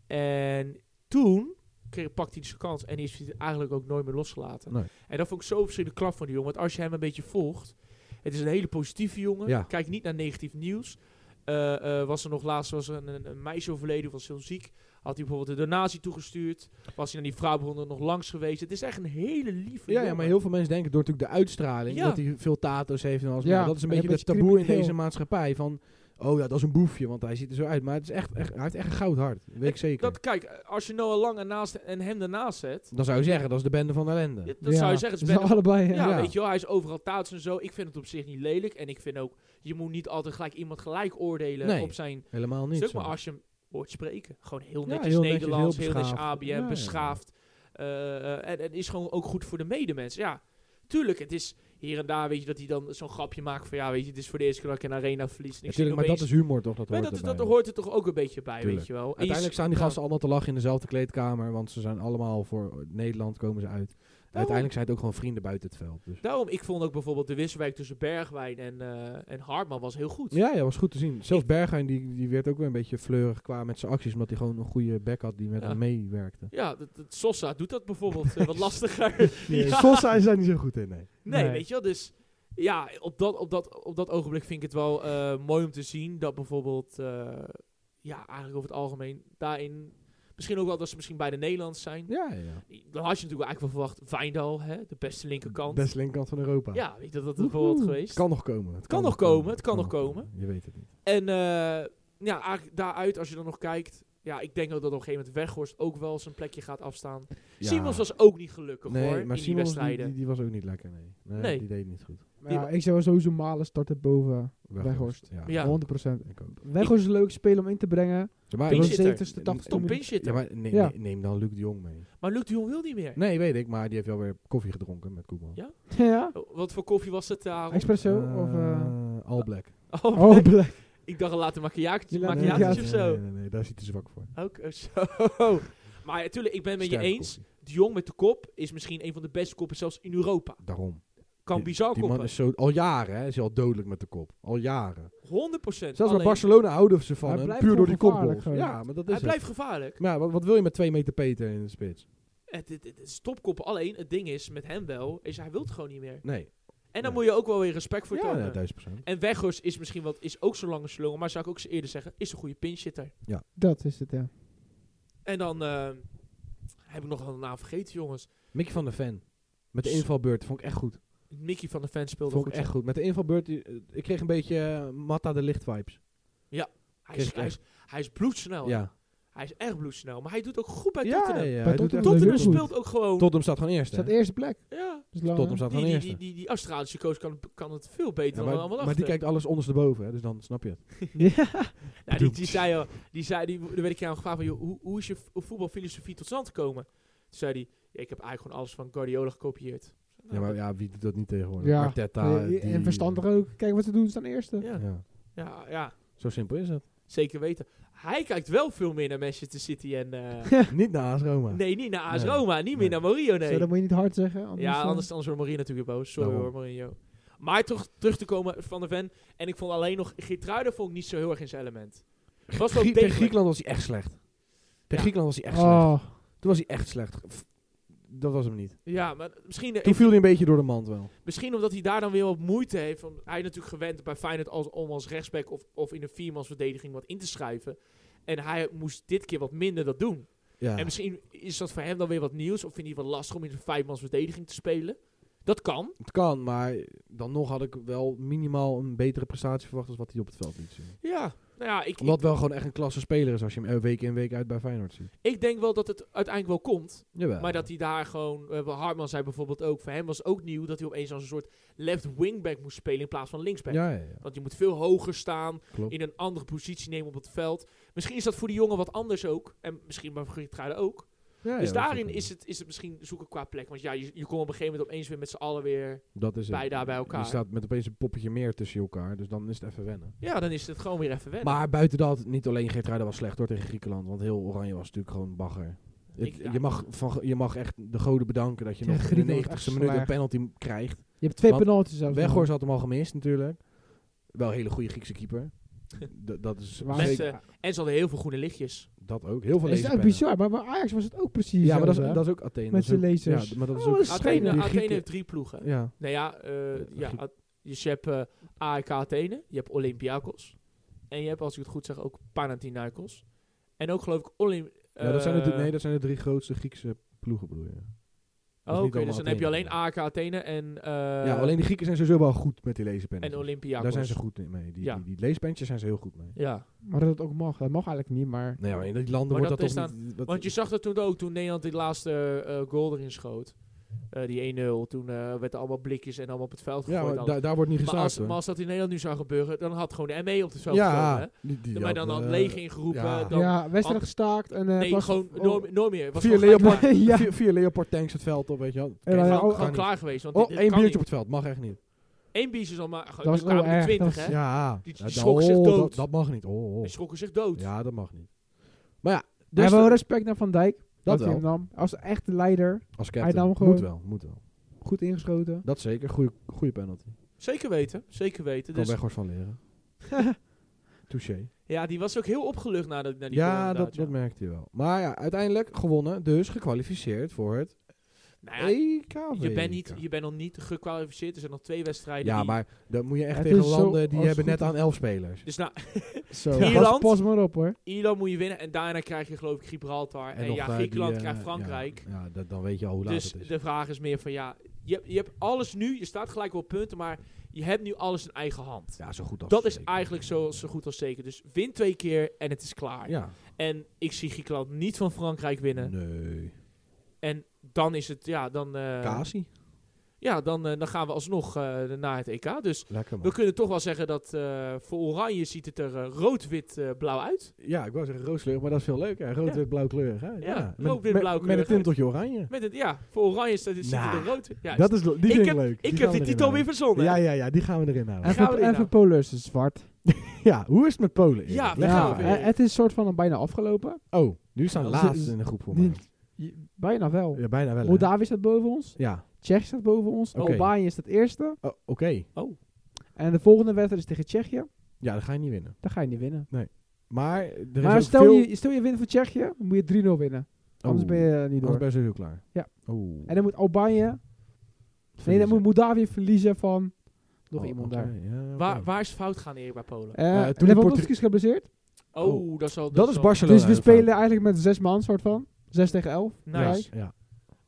[SPEAKER 1] En toen kreeg, pakte hij zijn kans en is hij eigenlijk ook nooit meer losgelaten.
[SPEAKER 2] Nee.
[SPEAKER 1] En dat vond ik zo verschillende klap van die jongen. Want als je hem een beetje volgt, het is een hele positieve jongen.
[SPEAKER 2] Ja.
[SPEAKER 1] Kijk niet naar negatief nieuws. Eh, eh, was er nog laatst was er een, een, een meisje overleden, was heel ziek. Had hij bijvoorbeeld een donatie toegestuurd. Was hij naar die vrouwenbronnen nog langs geweest. Het is echt een hele lieve
[SPEAKER 2] Ja, ja,
[SPEAKER 1] jongen.
[SPEAKER 2] maar heel veel mensen denken door natuurlijk de uitstraling
[SPEAKER 1] Ja.
[SPEAKER 2] dat hij veel tato's heeft en alles.
[SPEAKER 3] Ja,
[SPEAKER 2] maar dat is een
[SPEAKER 3] en een
[SPEAKER 2] beetje het
[SPEAKER 3] beetje
[SPEAKER 2] taboe in
[SPEAKER 3] crimineel.
[SPEAKER 2] deze maatschappij van oh ja, dat is een boefje, want hij ziet er zo uit, maar het is echt, echt hij heeft echt een goud hart. Weet ik
[SPEAKER 1] Ik-
[SPEAKER 2] zeker.
[SPEAKER 1] Dat, kijk, als je Noah Lang ernaast en hem daarnaast zet,
[SPEAKER 2] dan zou je zeggen dat is de bende van ellende.
[SPEAKER 1] dat zou je zeggen, het is
[SPEAKER 3] zijn
[SPEAKER 1] bijna-
[SPEAKER 3] allebei.
[SPEAKER 1] Ja,
[SPEAKER 3] Ja.
[SPEAKER 2] ja.
[SPEAKER 1] weet je wel, hij is overal taats en zo. Ik vind het op zich niet lelijk. En ik vind ook, je moet niet altijd gelijk iemand gelijk oordelen
[SPEAKER 2] Nee,
[SPEAKER 1] op zijn
[SPEAKER 2] Helemaal niet.
[SPEAKER 1] stuk.
[SPEAKER 2] zo.
[SPEAKER 1] Maar als je hem hoort spreken, gewoon heel
[SPEAKER 2] Ja,
[SPEAKER 1] netjes
[SPEAKER 2] heel netjes,
[SPEAKER 1] Nederlands,
[SPEAKER 2] heel
[SPEAKER 1] heel netjes
[SPEAKER 2] beschaafd.
[SPEAKER 1] ABN,
[SPEAKER 2] Ja, ja, ja.
[SPEAKER 1] beschaafd. eh, eh, en, en is gewoon ook goed voor de medemens. Ja, tuurlijk, het is hier en daar, weet je, dat hij dan zo'n grapje maakt van, ja, weet je, het is voor de eerste keer dat ik een arena verlies. En ik zie
[SPEAKER 2] Natuurlijk, maar dat
[SPEAKER 1] opeens-
[SPEAKER 2] is humor toch dat
[SPEAKER 1] Maar
[SPEAKER 2] hoort
[SPEAKER 1] dat, is-
[SPEAKER 2] erbij.
[SPEAKER 1] dat hoort er toch ook een beetje bij,
[SPEAKER 2] Tuurlijk.
[SPEAKER 1] weet je wel. En je
[SPEAKER 2] Uiteindelijk
[SPEAKER 1] s-
[SPEAKER 2] staan die
[SPEAKER 1] ja.
[SPEAKER 2] gasten allemaal te lachen in dezelfde kleedkamer, want ze zijn allemaal voor Nederland komen ze uit.
[SPEAKER 1] Nou.
[SPEAKER 2] Uiteindelijk zijn het ook gewoon vrienden buiten het veld. Dus.
[SPEAKER 1] Daarom, ik vond ook bijvoorbeeld de wisselwerk tussen Bergwijn en, eh en Hartman was heel goed.
[SPEAKER 2] Ja, ja, was goed te zien. Zelfs Berghuis die, die werd ook weer een beetje fleurig qua met zijn acties, omdat hij gewoon een goede back had die met
[SPEAKER 1] Ja.
[SPEAKER 2] hem meewerkte.
[SPEAKER 1] Ja, dat, dat Sosa doet dat bijvoorbeeld
[SPEAKER 2] <laughs>
[SPEAKER 1] eh, wat lastiger. <laughs> Ja.
[SPEAKER 2] Sosa is daar niet zo goed in, nee.
[SPEAKER 1] Nee,
[SPEAKER 3] Nee.
[SPEAKER 1] weet je wel. Dus ja, op dat, op dat, op dat ogenblik vind ik het wel eh, mooi om te zien dat bijvoorbeeld, eh, ja, eigenlijk over het algemeen daarin, misschien ook wel dat ze misschien bij de Nederlands zijn.
[SPEAKER 2] Ja, ja.
[SPEAKER 1] Dan had je natuurlijk eigenlijk wel verwacht, Wijndal, hè, de beste linkerkant.
[SPEAKER 2] Best linkerkant van Europa.
[SPEAKER 1] Ja, weet je dat dat het bijvoorbeeld
[SPEAKER 3] Woehoe.
[SPEAKER 1] geweest.
[SPEAKER 2] Kan nog komen. Het
[SPEAKER 1] Kan nog komen, het kan nog
[SPEAKER 2] Je weet het niet.
[SPEAKER 1] En eh, ja, eigenlijk daaruit, als je dan nog kijkt, ja, ik denk ook dat op een gegeven moment Weghorst ook wel zijn plekje gaat afstaan.
[SPEAKER 2] Ja.
[SPEAKER 1] Simons was ook niet gelukkig
[SPEAKER 2] nee,
[SPEAKER 1] hoor,
[SPEAKER 2] maar
[SPEAKER 1] in die
[SPEAKER 2] Simons
[SPEAKER 1] wedstrijden.
[SPEAKER 2] Die, die was ook niet lekker, nee. Nee,
[SPEAKER 1] Nee.
[SPEAKER 2] Die deed het niet goed.
[SPEAKER 3] Maar ja, ik zou wel sowieso Malen starten boven. Weghorst.
[SPEAKER 2] Ja.
[SPEAKER 1] Ja.
[SPEAKER 3] 100%.
[SPEAKER 2] Ik ook.
[SPEAKER 3] Weghorst is een leuk spelen om in te brengen.
[SPEAKER 2] Ja, maar,
[SPEAKER 1] Pinch
[SPEAKER 2] was-
[SPEAKER 1] zit-
[SPEAKER 3] 70ste, 80ste
[SPEAKER 1] Stop
[SPEAKER 3] minuut.
[SPEAKER 1] pinchhitter.
[SPEAKER 2] ja, maar neem,
[SPEAKER 3] Ja.
[SPEAKER 2] neem dan Luc de Jong mee.
[SPEAKER 1] Maar Luc de Jong wil niet meer.
[SPEAKER 2] Nee, weet ik, maar die heeft wel weer koffie gedronken met Koeman.
[SPEAKER 1] Ja.
[SPEAKER 3] <laughs> Ja,
[SPEAKER 1] Oh, Wat voor koffie was het daar?
[SPEAKER 3] Espresso
[SPEAKER 2] Eh,
[SPEAKER 3] of... eh,
[SPEAKER 2] All Black.
[SPEAKER 1] Oh,
[SPEAKER 3] Oh, Black.
[SPEAKER 1] Ik dacht later macchiaatje
[SPEAKER 3] Die laat-
[SPEAKER 2] nee,
[SPEAKER 3] Macchiato's
[SPEAKER 1] macchiaatje of zo.
[SPEAKER 2] Nee, nee, nee, daar zit hij zwak voor.
[SPEAKER 1] Ook eh, zo. <laughs> Maar natuurlijk, ik ben met je
[SPEAKER 2] Sterke
[SPEAKER 1] eens.
[SPEAKER 2] koffie.
[SPEAKER 1] De Jong met de kop is misschien een van de beste koppen zelfs in Europa.
[SPEAKER 2] Daarom.
[SPEAKER 1] Kan
[SPEAKER 2] Die-
[SPEAKER 1] bizar
[SPEAKER 2] Die man
[SPEAKER 1] Oh, koppen. 100%.
[SPEAKER 2] is zo, al jaren hè, is hij al dodelijk met de kop. Al jaren. Zelfs
[SPEAKER 1] Alleen,
[SPEAKER 2] bij Barcelona houden ze van
[SPEAKER 3] Hij
[SPEAKER 2] hem,
[SPEAKER 3] blijft
[SPEAKER 2] puur door die
[SPEAKER 3] gewoon
[SPEAKER 2] kopgoals.
[SPEAKER 3] gevaarlijk gewoon.
[SPEAKER 2] Ja, maar dat is
[SPEAKER 1] Hij
[SPEAKER 2] het.
[SPEAKER 1] blijft gevaarlijk.
[SPEAKER 2] Maar ja, wat, wat wil je met twee meter Peter in de spits?
[SPEAKER 1] Het, het, het is topkoppen. Alleen, het ding is met hem wel, is hij wil het gewoon niet meer.
[SPEAKER 2] Nee.
[SPEAKER 1] En dan
[SPEAKER 2] Nee.
[SPEAKER 1] moet je ook wel weer respect voor
[SPEAKER 2] Ja,
[SPEAKER 1] tonen.
[SPEAKER 2] nee, duizend procent.
[SPEAKER 1] en Weghorst is misschien wat, is ook zo lang een slungel, maar zou ik ook eens eerder zeggen, is een goede pinchitter.
[SPEAKER 3] Dat is het, ja.
[SPEAKER 1] En dan eh, heb ik nog een naam vergeten, jongens.
[SPEAKER 2] Mickey van de Fan. Met de
[SPEAKER 1] Zo.
[SPEAKER 2] invalbeurt. Vond ik echt goed.
[SPEAKER 1] Mickey van de Fan speelde
[SPEAKER 2] Vond ik
[SPEAKER 1] goed.
[SPEAKER 2] echt goed. Met de invalbeurt. eh, Ik kreeg een beetje eh, Matta de Licht vibes.
[SPEAKER 1] Hij is,
[SPEAKER 2] Kreeg ik
[SPEAKER 1] hij, is, hij is bloedsnel. hè.
[SPEAKER 2] Oh, Ja.
[SPEAKER 1] Hij is echt bloedsnel. Maar hij doet ook goed bij
[SPEAKER 2] Ja,
[SPEAKER 1] Tottenham.
[SPEAKER 2] ja,
[SPEAKER 3] Bij
[SPEAKER 2] hij doet echt
[SPEAKER 3] Tottenham
[SPEAKER 2] leuk.
[SPEAKER 1] Tottenham
[SPEAKER 3] doet goed.
[SPEAKER 1] speelt ook gewoon...
[SPEAKER 2] Tottenham staat gewoon
[SPEAKER 3] Het
[SPEAKER 2] eerst. hè?
[SPEAKER 3] staat eerste plek.
[SPEAKER 1] ja.
[SPEAKER 3] Dus lang,
[SPEAKER 2] Tottenham
[SPEAKER 3] hè?
[SPEAKER 2] staat
[SPEAKER 1] Die,
[SPEAKER 2] gewoon
[SPEAKER 1] die,
[SPEAKER 2] eerst.
[SPEAKER 1] die, die, die Australische coach kan, kan het veel beter
[SPEAKER 2] Ja,
[SPEAKER 1] dan
[SPEAKER 2] maar,
[SPEAKER 1] allemaal
[SPEAKER 2] maar die
[SPEAKER 1] achter.
[SPEAKER 2] kijkt alles ondersteboven, hè, dus dan snap je het.
[SPEAKER 1] Nou, die, die zei al, die zei, die, daar werd ik aan gevraagd van, joh, hoe, hoe is je v- voetbalfilosofie tot stand gekomen? Toen zei hij, ja, ik heb eigenlijk gewoon alles van Guardiola gekopieerd. nou,
[SPEAKER 2] Ja, maar ja, wie doet dat niet tegenwoordig?
[SPEAKER 3] Ja. Eh,
[SPEAKER 2] Arteta.
[SPEAKER 3] Nee,
[SPEAKER 2] die-
[SPEAKER 3] en verstandig ook. Kijk wat ze doen, ze staan eerste.
[SPEAKER 1] ja,
[SPEAKER 2] Ja.
[SPEAKER 1] ja, ja,
[SPEAKER 2] Zo simpel is het.
[SPEAKER 1] zeker weten. Hij kijkt wel veel meer naar Manchester City en...
[SPEAKER 2] <laughs>
[SPEAKER 1] eh,
[SPEAKER 2] <laughs> Niet naar AS Roma.
[SPEAKER 1] nee, niet naar AS
[SPEAKER 2] Nee.
[SPEAKER 1] Roma. Niet meer
[SPEAKER 2] Nee.
[SPEAKER 1] naar Mourinho, nee.
[SPEAKER 3] Zo, dat moet je niet hard zeggen. Anders eh,
[SPEAKER 1] ja,
[SPEAKER 3] dan-
[SPEAKER 1] anders, anders wordt Mourinho natuurlijk weer boos. Sorry
[SPEAKER 2] eh, Daarom.
[SPEAKER 1] hoor, Mourinho. Maar terug, terug te komen van de fan. En ik vond alleen nog... Geertruiden vond ik niet zo heel erg in zijn element. Was wel
[SPEAKER 2] Grie- tegen
[SPEAKER 1] degelijk.
[SPEAKER 2] Griekenland was hij echt slecht. Tegen
[SPEAKER 1] Ja.
[SPEAKER 2] Griekenland was hij echt slecht.
[SPEAKER 3] Oh,
[SPEAKER 2] Toen was hij echt slecht. F- Dat was hem niet.
[SPEAKER 1] Ja, maar misschien... eh,
[SPEAKER 2] Toen viel hij een beetje door de mand wel.
[SPEAKER 1] Misschien omdat hij daar dan weer wat moeite heeft. Want hij is natuurlijk gewend bij Feyenoord als, om als rechtsback of, of in een viermansverdediging wat in te schuiven. En hij moest dit keer wat minder dat doen.
[SPEAKER 2] Ja.
[SPEAKER 1] En misschien is dat voor hem dan weer wat nieuws. Of vindt hij het wat lastig om in een vijfmansverdediging te spelen. Dat kan.
[SPEAKER 2] Het kan, maar dan nog had ik wel minimaal een betere prestatie verwacht als wat hij op het veld liet zien.
[SPEAKER 1] Ja. Nou ja, ik,
[SPEAKER 2] Omdat
[SPEAKER 1] ik,
[SPEAKER 2] het wel gewoon echt een klasse speler is als je hem eh, week in week uit bij Feyenoord ziet.
[SPEAKER 1] ik denk wel dat het uiteindelijk wel komt.
[SPEAKER 2] Jawel.
[SPEAKER 1] Maar dat hij daar gewoon... eh, wat Hartman zei bijvoorbeeld ook. Voor hem was het ook nieuw dat hij opeens als een soort left wingback moest spelen in plaats van linksback.
[SPEAKER 2] Ja, ja, ja,
[SPEAKER 1] Want je moet veel hoger staan.
[SPEAKER 2] klopt.
[SPEAKER 1] in een andere positie nemen op het veld. Misschien is dat voor die jongen wat anders ook. En misschien bij Gertruiden ook.
[SPEAKER 2] Ja, ja,
[SPEAKER 1] dus
[SPEAKER 2] dat
[SPEAKER 1] daarin
[SPEAKER 2] ook-
[SPEAKER 1] is het, is het misschien zoeken qua plek. Want ja, je, je komt op een gegeven moment opeens weer met z'n allen weer
[SPEAKER 2] dat is het.
[SPEAKER 1] bij daar bij elkaar.
[SPEAKER 2] Je staat met opeens een poppetje meer tussen elkaar, dus dan is het even wennen.
[SPEAKER 1] Ja, dan is het gewoon weer <laughs> even wennen.
[SPEAKER 2] Maar buiten dat, niet alleen Geertruiden was slecht hoor tegen Griekenland, want heel Oranje was natuurlijk gewoon bagger. Het-
[SPEAKER 1] Ik- ja.
[SPEAKER 2] je, mag van, je mag echt de goden bedanken dat je
[SPEAKER 3] Ja,
[SPEAKER 2] nog in de
[SPEAKER 3] Griekenland was
[SPEAKER 2] 90ste
[SPEAKER 3] echt
[SPEAKER 2] minuut een
[SPEAKER 3] slecht.
[SPEAKER 2] penalty krijgt.
[SPEAKER 3] je hebt twee
[SPEAKER 2] Want
[SPEAKER 3] penalties zelfs.
[SPEAKER 2] Weghorst had hem al gemist natuurlijk. Wel een hele goede Griekse keeper. D- dat is
[SPEAKER 3] Waar-
[SPEAKER 1] Met,
[SPEAKER 2] zeker-
[SPEAKER 1] eh, en ze hadden heel veel groene lichtjes.
[SPEAKER 2] dat ook. Heel veel
[SPEAKER 3] is
[SPEAKER 2] lezen
[SPEAKER 3] echt bizar, maar bij Ajax was het ook precies.
[SPEAKER 2] Ja, maar dat
[SPEAKER 3] zo,
[SPEAKER 2] is,
[SPEAKER 3] hè?
[SPEAKER 2] dat is ook Athene.
[SPEAKER 3] Met
[SPEAKER 2] dat is
[SPEAKER 3] zijn
[SPEAKER 2] ook-
[SPEAKER 3] lasers.
[SPEAKER 2] Ja, maar dat is
[SPEAKER 3] Oh,
[SPEAKER 2] ook...
[SPEAKER 3] dat is
[SPEAKER 2] Athene-
[SPEAKER 1] Athene,
[SPEAKER 3] die
[SPEAKER 1] Athene
[SPEAKER 2] Grieken-
[SPEAKER 1] heeft drie ploegen.
[SPEAKER 2] Ja,
[SPEAKER 1] Nou ja, eh,
[SPEAKER 2] Ja,
[SPEAKER 1] ja,
[SPEAKER 2] Griek-
[SPEAKER 1] At- dus je hebt eh, AEK Athene, je hebt Olympiakos. En je hebt, als ik het goed zeg, ook Panathinaikos. En ook geloof ik eh, Olymp...
[SPEAKER 2] ja dat zijn de, nee, dat zijn de drie grootste Griekse ploegen bedoel je.
[SPEAKER 1] Oké,
[SPEAKER 2] niet
[SPEAKER 1] dus
[SPEAKER 2] allemaal
[SPEAKER 1] dan heb je alleen
[SPEAKER 2] Athene.
[SPEAKER 1] AEK Athene en... eh,
[SPEAKER 2] ja, alleen de Grieken zijn sowieso wel goed met die lezenpennen.
[SPEAKER 1] En Olympiakos.
[SPEAKER 2] Daar zijn ze goed mee. Die,
[SPEAKER 1] Ja.
[SPEAKER 2] die, die leespentjes zijn ze heel goed mee.
[SPEAKER 1] Ja.
[SPEAKER 3] Maar dat het ook mag. Dat mag eigenlijk niet, maar...
[SPEAKER 2] Nee, Nou maar in die landen
[SPEAKER 1] Maar
[SPEAKER 2] wordt
[SPEAKER 1] dat
[SPEAKER 2] dat,
[SPEAKER 1] is
[SPEAKER 2] toch niet... wat-
[SPEAKER 1] Want je zag dat toen ook, toen Nederland die laatste eh, goal erin schoot. eh, die 1-0. Toen eh werden allemaal blikjes en allemaal op het veld
[SPEAKER 2] ja,
[SPEAKER 1] gegooid.
[SPEAKER 2] maar
[SPEAKER 1] alles.
[SPEAKER 2] daar- daar wordt niet
[SPEAKER 1] maar, als,
[SPEAKER 2] gestaakt
[SPEAKER 1] maar
[SPEAKER 2] hoor.
[SPEAKER 1] als dat in Nederland nu zou gebeuren, dan had gewoon de ME op het veld gestaan, hè?
[SPEAKER 2] Ja, die- die
[SPEAKER 1] Maar dan
[SPEAKER 2] had,
[SPEAKER 1] had
[SPEAKER 2] eh,
[SPEAKER 1] leeg ingeroepen.
[SPEAKER 2] ja.
[SPEAKER 1] Dan,
[SPEAKER 3] ja, wedstrijd
[SPEAKER 1] want-
[SPEAKER 3] gestaakt en... eh, het
[SPEAKER 1] nee,
[SPEAKER 3] was-
[SPEAKER 1] gewoon
[SPEAKER 3] oh,
[SPEAKER 1] nooit nooit meer. Het Was
[SPEAKER 2] Vier
[SPEAKER 1] gewoon gelijk-
[SPEAKER 2] Leopard,
[SPEAKER 3] <laughs>
[SPEAKER 1] <laughs>
[SPEAKER 3] Ja.
[SPEAKER 2] vier, vier Leopard tanks het veld op, weet je wel.
[SPEAKER 3] Ja, ja,
[SPEAKER 1] gewoon,
[SPEAKER 3] oh,
[SPEAKER 1] gewoon
[SPEAKER 2] kan
[SPEAKER 1] klaar geweest. Want
[SPEAKER 2] Oh,
[SPEAKER 1] dit- dit
[SPEAKER 2] één
[SPEAKER 1] kan
[SPEAKER 2] biertje op
[SPEAKER 1] niet.
[SPEAKER 2] het veld, mag echt niet.
[SPEAKER 1] Eén biertje is al maar...
[SPEAKER 3] was
[SPEAKER 1] Dat kwamen
[SPEAKER 3] wel
[SPEAKER 1] er
[SPEAKER 3] erg,
[SPEAKER 1] twintig,
[SPEAKER 3] dat
[SPEAKER 1] hè?
[SPEAKER 3] was-
[SPEAKER 2] Ja.
[SPEAKER 1] Die- die
[SPEAKER 2] Ja,
[SPEAKER 1] schrokken zich
[SPEAKER 2] oh,
[SPEAKER 1] dood.
[SPEAKER 2] Dat, dat mag niet. Oh, oh.
[SPEAKER 1] Die schrokken zich dood.
[SPEAKER 2] Ja, dat mag niet. Maar ja,
[SPEAKER 3] We
[SPEAKER 2] dus
[SPEAKER 3] hebben wel
[SPEAKER 2] de-
[SPEAKER 3] respect naar Van Dijk.
[SPEAKER 2] dat
[SPEAKER 3] hij hem
[SPEAKER 2] wel.
[SPEAKER 3] nam. Als echte leider.
[SPEAKER 2] Als
[SPEAKER 3] Hij nam
[SPEAKER 2] captain.
[SPEAKER 3] gewoon-
[SPEAKER 2] Moet wel, moet wel.
[SPEAKER 3] Goed ingeschoten.
[SPEAKER 2] Dat zeker. Goeie, goeie penalty.
[SPEAKER 1] Zeker weten, zeker weten.
[SPEAKER 2] Kan
[SPEAKER 1] Dus,
[SPEAKER 2] Weghorst van
[SPEAKER 1] <laughs>
[SPEAKER 2] leren. Touché.
[SPEAKER 1] ja, die was ook heel opgelucht na, de, na die goal
[SPEAKER 2] Ja,
[SPEAKER 1] inderdaad,
[SPEAKER 2] dat, dat merkte je wel. Maar ja, uiteindelijk gewonnen. Dus gekwalificeerd voor het E
[SPEAKER 1] Nou ja,
[SPEAKER 2] EK.
[SPEAKER 1] je bent, niet, je bent nog niet gekwalificeerd. Er zijn nog twee wedstrijden
[SPEAKER 2] Ja,
[SPEAKER 1] die-
[SPEAKER 2] maar dan moet je echt
[SPEAKER 3] Het
[SPEAKER 2] tegen
[SPEAKER 3] is zo-
[SPEAKER 2] landen die
[SPEAKER 3] als
[SPEAKER 2] hebben
[SPEAKER 3] het
[SPEAKER 2] net
[SPEAKER 3] goed
[SPEAKER 2] aan elf spelers.
[SPEAKER 1] Dus nou, <laughs>
[SPEAKER 3] Zo.
[SPEAKER 1] Ierland?
[SPEAKER 3] Pas, pas maar op hoor.
[SPEAKER 1] Ierland moet je winnen en daarna krijg je geloof ik Gibraltar. En,
[SPEAKER 2] nog
[SPEAKER 1] ja,
[SPEAKER 2] daar
[SPEAKER 1] Griekenland
[SPEAKER 2] die, eh,
[SPEAKER 1] krijgt Frankrijk.
[SPEAKER 2] Ja, ja, dat, dan weet je al hoe laat
[SPEAKER 1] dus
[SPEAKER 2] het is.
[SPEAKER 1] de vraag is meer van ja, je, je hebt alles nu, je staat gelijk wel op punten, maar je hebt nu alles in eigen hand.
[SPEAKER 2] ja, zo goed als
[SPEAKER 1] Dat is
[SPEAKER 2] zeker.
[SPEAKER 1] eigenlijk zo, zo goed als zeker. Dus win twee keer en het is klaar.
[SPEAKER 2] Ja.
[SPEAKER 1] En ik zie Griekenland niet van Frankrijk winnen.
[SPEAKER 2] Nee.
[SPEAKER 1] En dan is het, ja, dan, eh,
[SPEAKER 2] Kasi.
[SPEAKER 1] ja, dan, eh, dan gaan we alsnog eh, naar het EK. Dus
[SPEAKER 2] Lekker man.
[SPEAKER 1] we kunnen toch wel zeggen dat eh, voor Oranje ziet het er eh, rood-wit-blauw uit.
[SPEAKER 2] Ja, ik wou zeggen rooskleurig, maar dat is veel leuker. Rood,
[SPEAKER 1] Ja.
[SPEAKER 2] wit, blauw kleurig. Hè? Ja, Met-
[SPEAKER 1] rood, wit,
[SPEAKER 2] met-
[SPEAKER 1] blauw
[SPEAKER 2] Met
[SPEAKER 1] kleurig.
[SPEAKER 2] een tinteltje oranje.
[SPEAKER 1] Met het, ja, voor Oranje staat het, ziet het
[SPEAKER 2] Nou,
[SPEAKER 1] er rood. Ja,
[SPEAKER 2] Dat is, lo- die
[SPEAKER 1] Ik
[SPEAKER 2] vind ik
[SPEAKER 1] heb-
[SPEAKER 2] leuk.
[SPEAKER 1] Ik
[SPEAKER 2] Die
[SPEAKER 1] heb
[SPEAKER 2] gaan
[SPEAKER 1] die
[SPEAKER 2] we erin
[SPEAKER 1] titel weer
[SPEAKER 2] houden.
[SPEAKER 1] verzonnen.
[SPEAKER 2] Ja,
[SPEAKER 1] Ja,
[SPEAKER 2] ja, ja, die gaan we erin
[SPEAKER 3] En
[SPEAKER 2] houden.
[SPEAKER 1] gaan we
[SPEAKER 3] voor-
[SPEAKER 1] erin
[SPEAKER 3] En voor
[SPEAKER 1] nou?
[SPEAKER 3] Polen is het zwart.
[SPEAKER 2] Ja, hoe is het met Polen? Erik?
[SPEAKER 1] Ja, we
[SPEAKER 2] Leg
[SPEAKER 1] gaan
[SPEAKER 2] maar
[SPEAKER 1] weer.
[SPEAKER 2] uit.
[SPEAKER 3] eh, het is soort van een bijna afgelopen.
[SPEAKER 2] Oh, nu staan
[SPEAKER 3] Ja,
[SPEAKER 2] laatst
[SPEAKER 3] ze- ze-
[SPEAKER 2] in de groep voor
[SPEAKER 3] die-
[SPEAKER 2] mij.
[SPEAKER 3] Je- Bijna wel.
[SPEAKER 2] Ja, bijna wel. hè?
[SPEAKER 3] Moldavië staat boven ons.
[SPEAKER 2] Ja,
[SPEAKER 3] Tsjechië staat boven ons.
[SPEAKER 2] Oké.
[SPEAKER 3] Albanië is het eerste.
[SPEAKER 2] Oh, oké.
[SPEAKER 3] En de volgende wedstrijd is tegen Tsjechië.
[SPEAKER 2] Ja, dan ga je niet winnen.
[SPEAKER 3] Dan ga je niet winnen.
[SPEAKER 2] Maar eh, er is
[SPEAKER 3] maar
[SPEAKER 2] ook
[SPEAKER 3] stel,
[SPEAKER 2] veel...
[SPEAKER 3] je, stel je wint voor Tsjechië, dan moet je 3-0 winnen. Anders
[SPEAKER 2] Oh,
[SPEAKER 3] ben je eh, niet door.
[SPEAKER 2] Anders ben je sowieso klaar.
[SPEAKER 3] Ja.
[SPEAKER 2] Oh.
[SPEAKER 3] En dan moet Albanië... Nee, dan moet Moldavië verliezen van... Nog
[SPEAKER 2] Oh,
[SPEAKER 3] iemand
[SPEAKER 2] oké,
[SPEAKER 3] daar.
[SPEAKER 2] ja, oké.
[SPEAKER 1] Waar, waar is het fout gaan eerder bij Polen?
[SPEAKER 3] Eh
[SPEAKER 2] Eh, toen
[SPEAKER 3] Lewandowski is geblesseerd.
[SPEAKER 1] oh,
[SPEAKER 2] oh.
[SPEAKER 1] dat is al.
[SPEAKER 2] Dat is
[SPEAKER 1] al-
[SPEAKER 2] Barcelona.
[SPEAKER 3] Dus we
[SPEAKER 2] fout.
[SPEAKER 3] spelen eigenlijk met zes man, soort van. Zes tegen elf.
[SPEAKER 1] Nice.
[SPEAKER 3] gelijk.
[SPEAKER 2] Ja.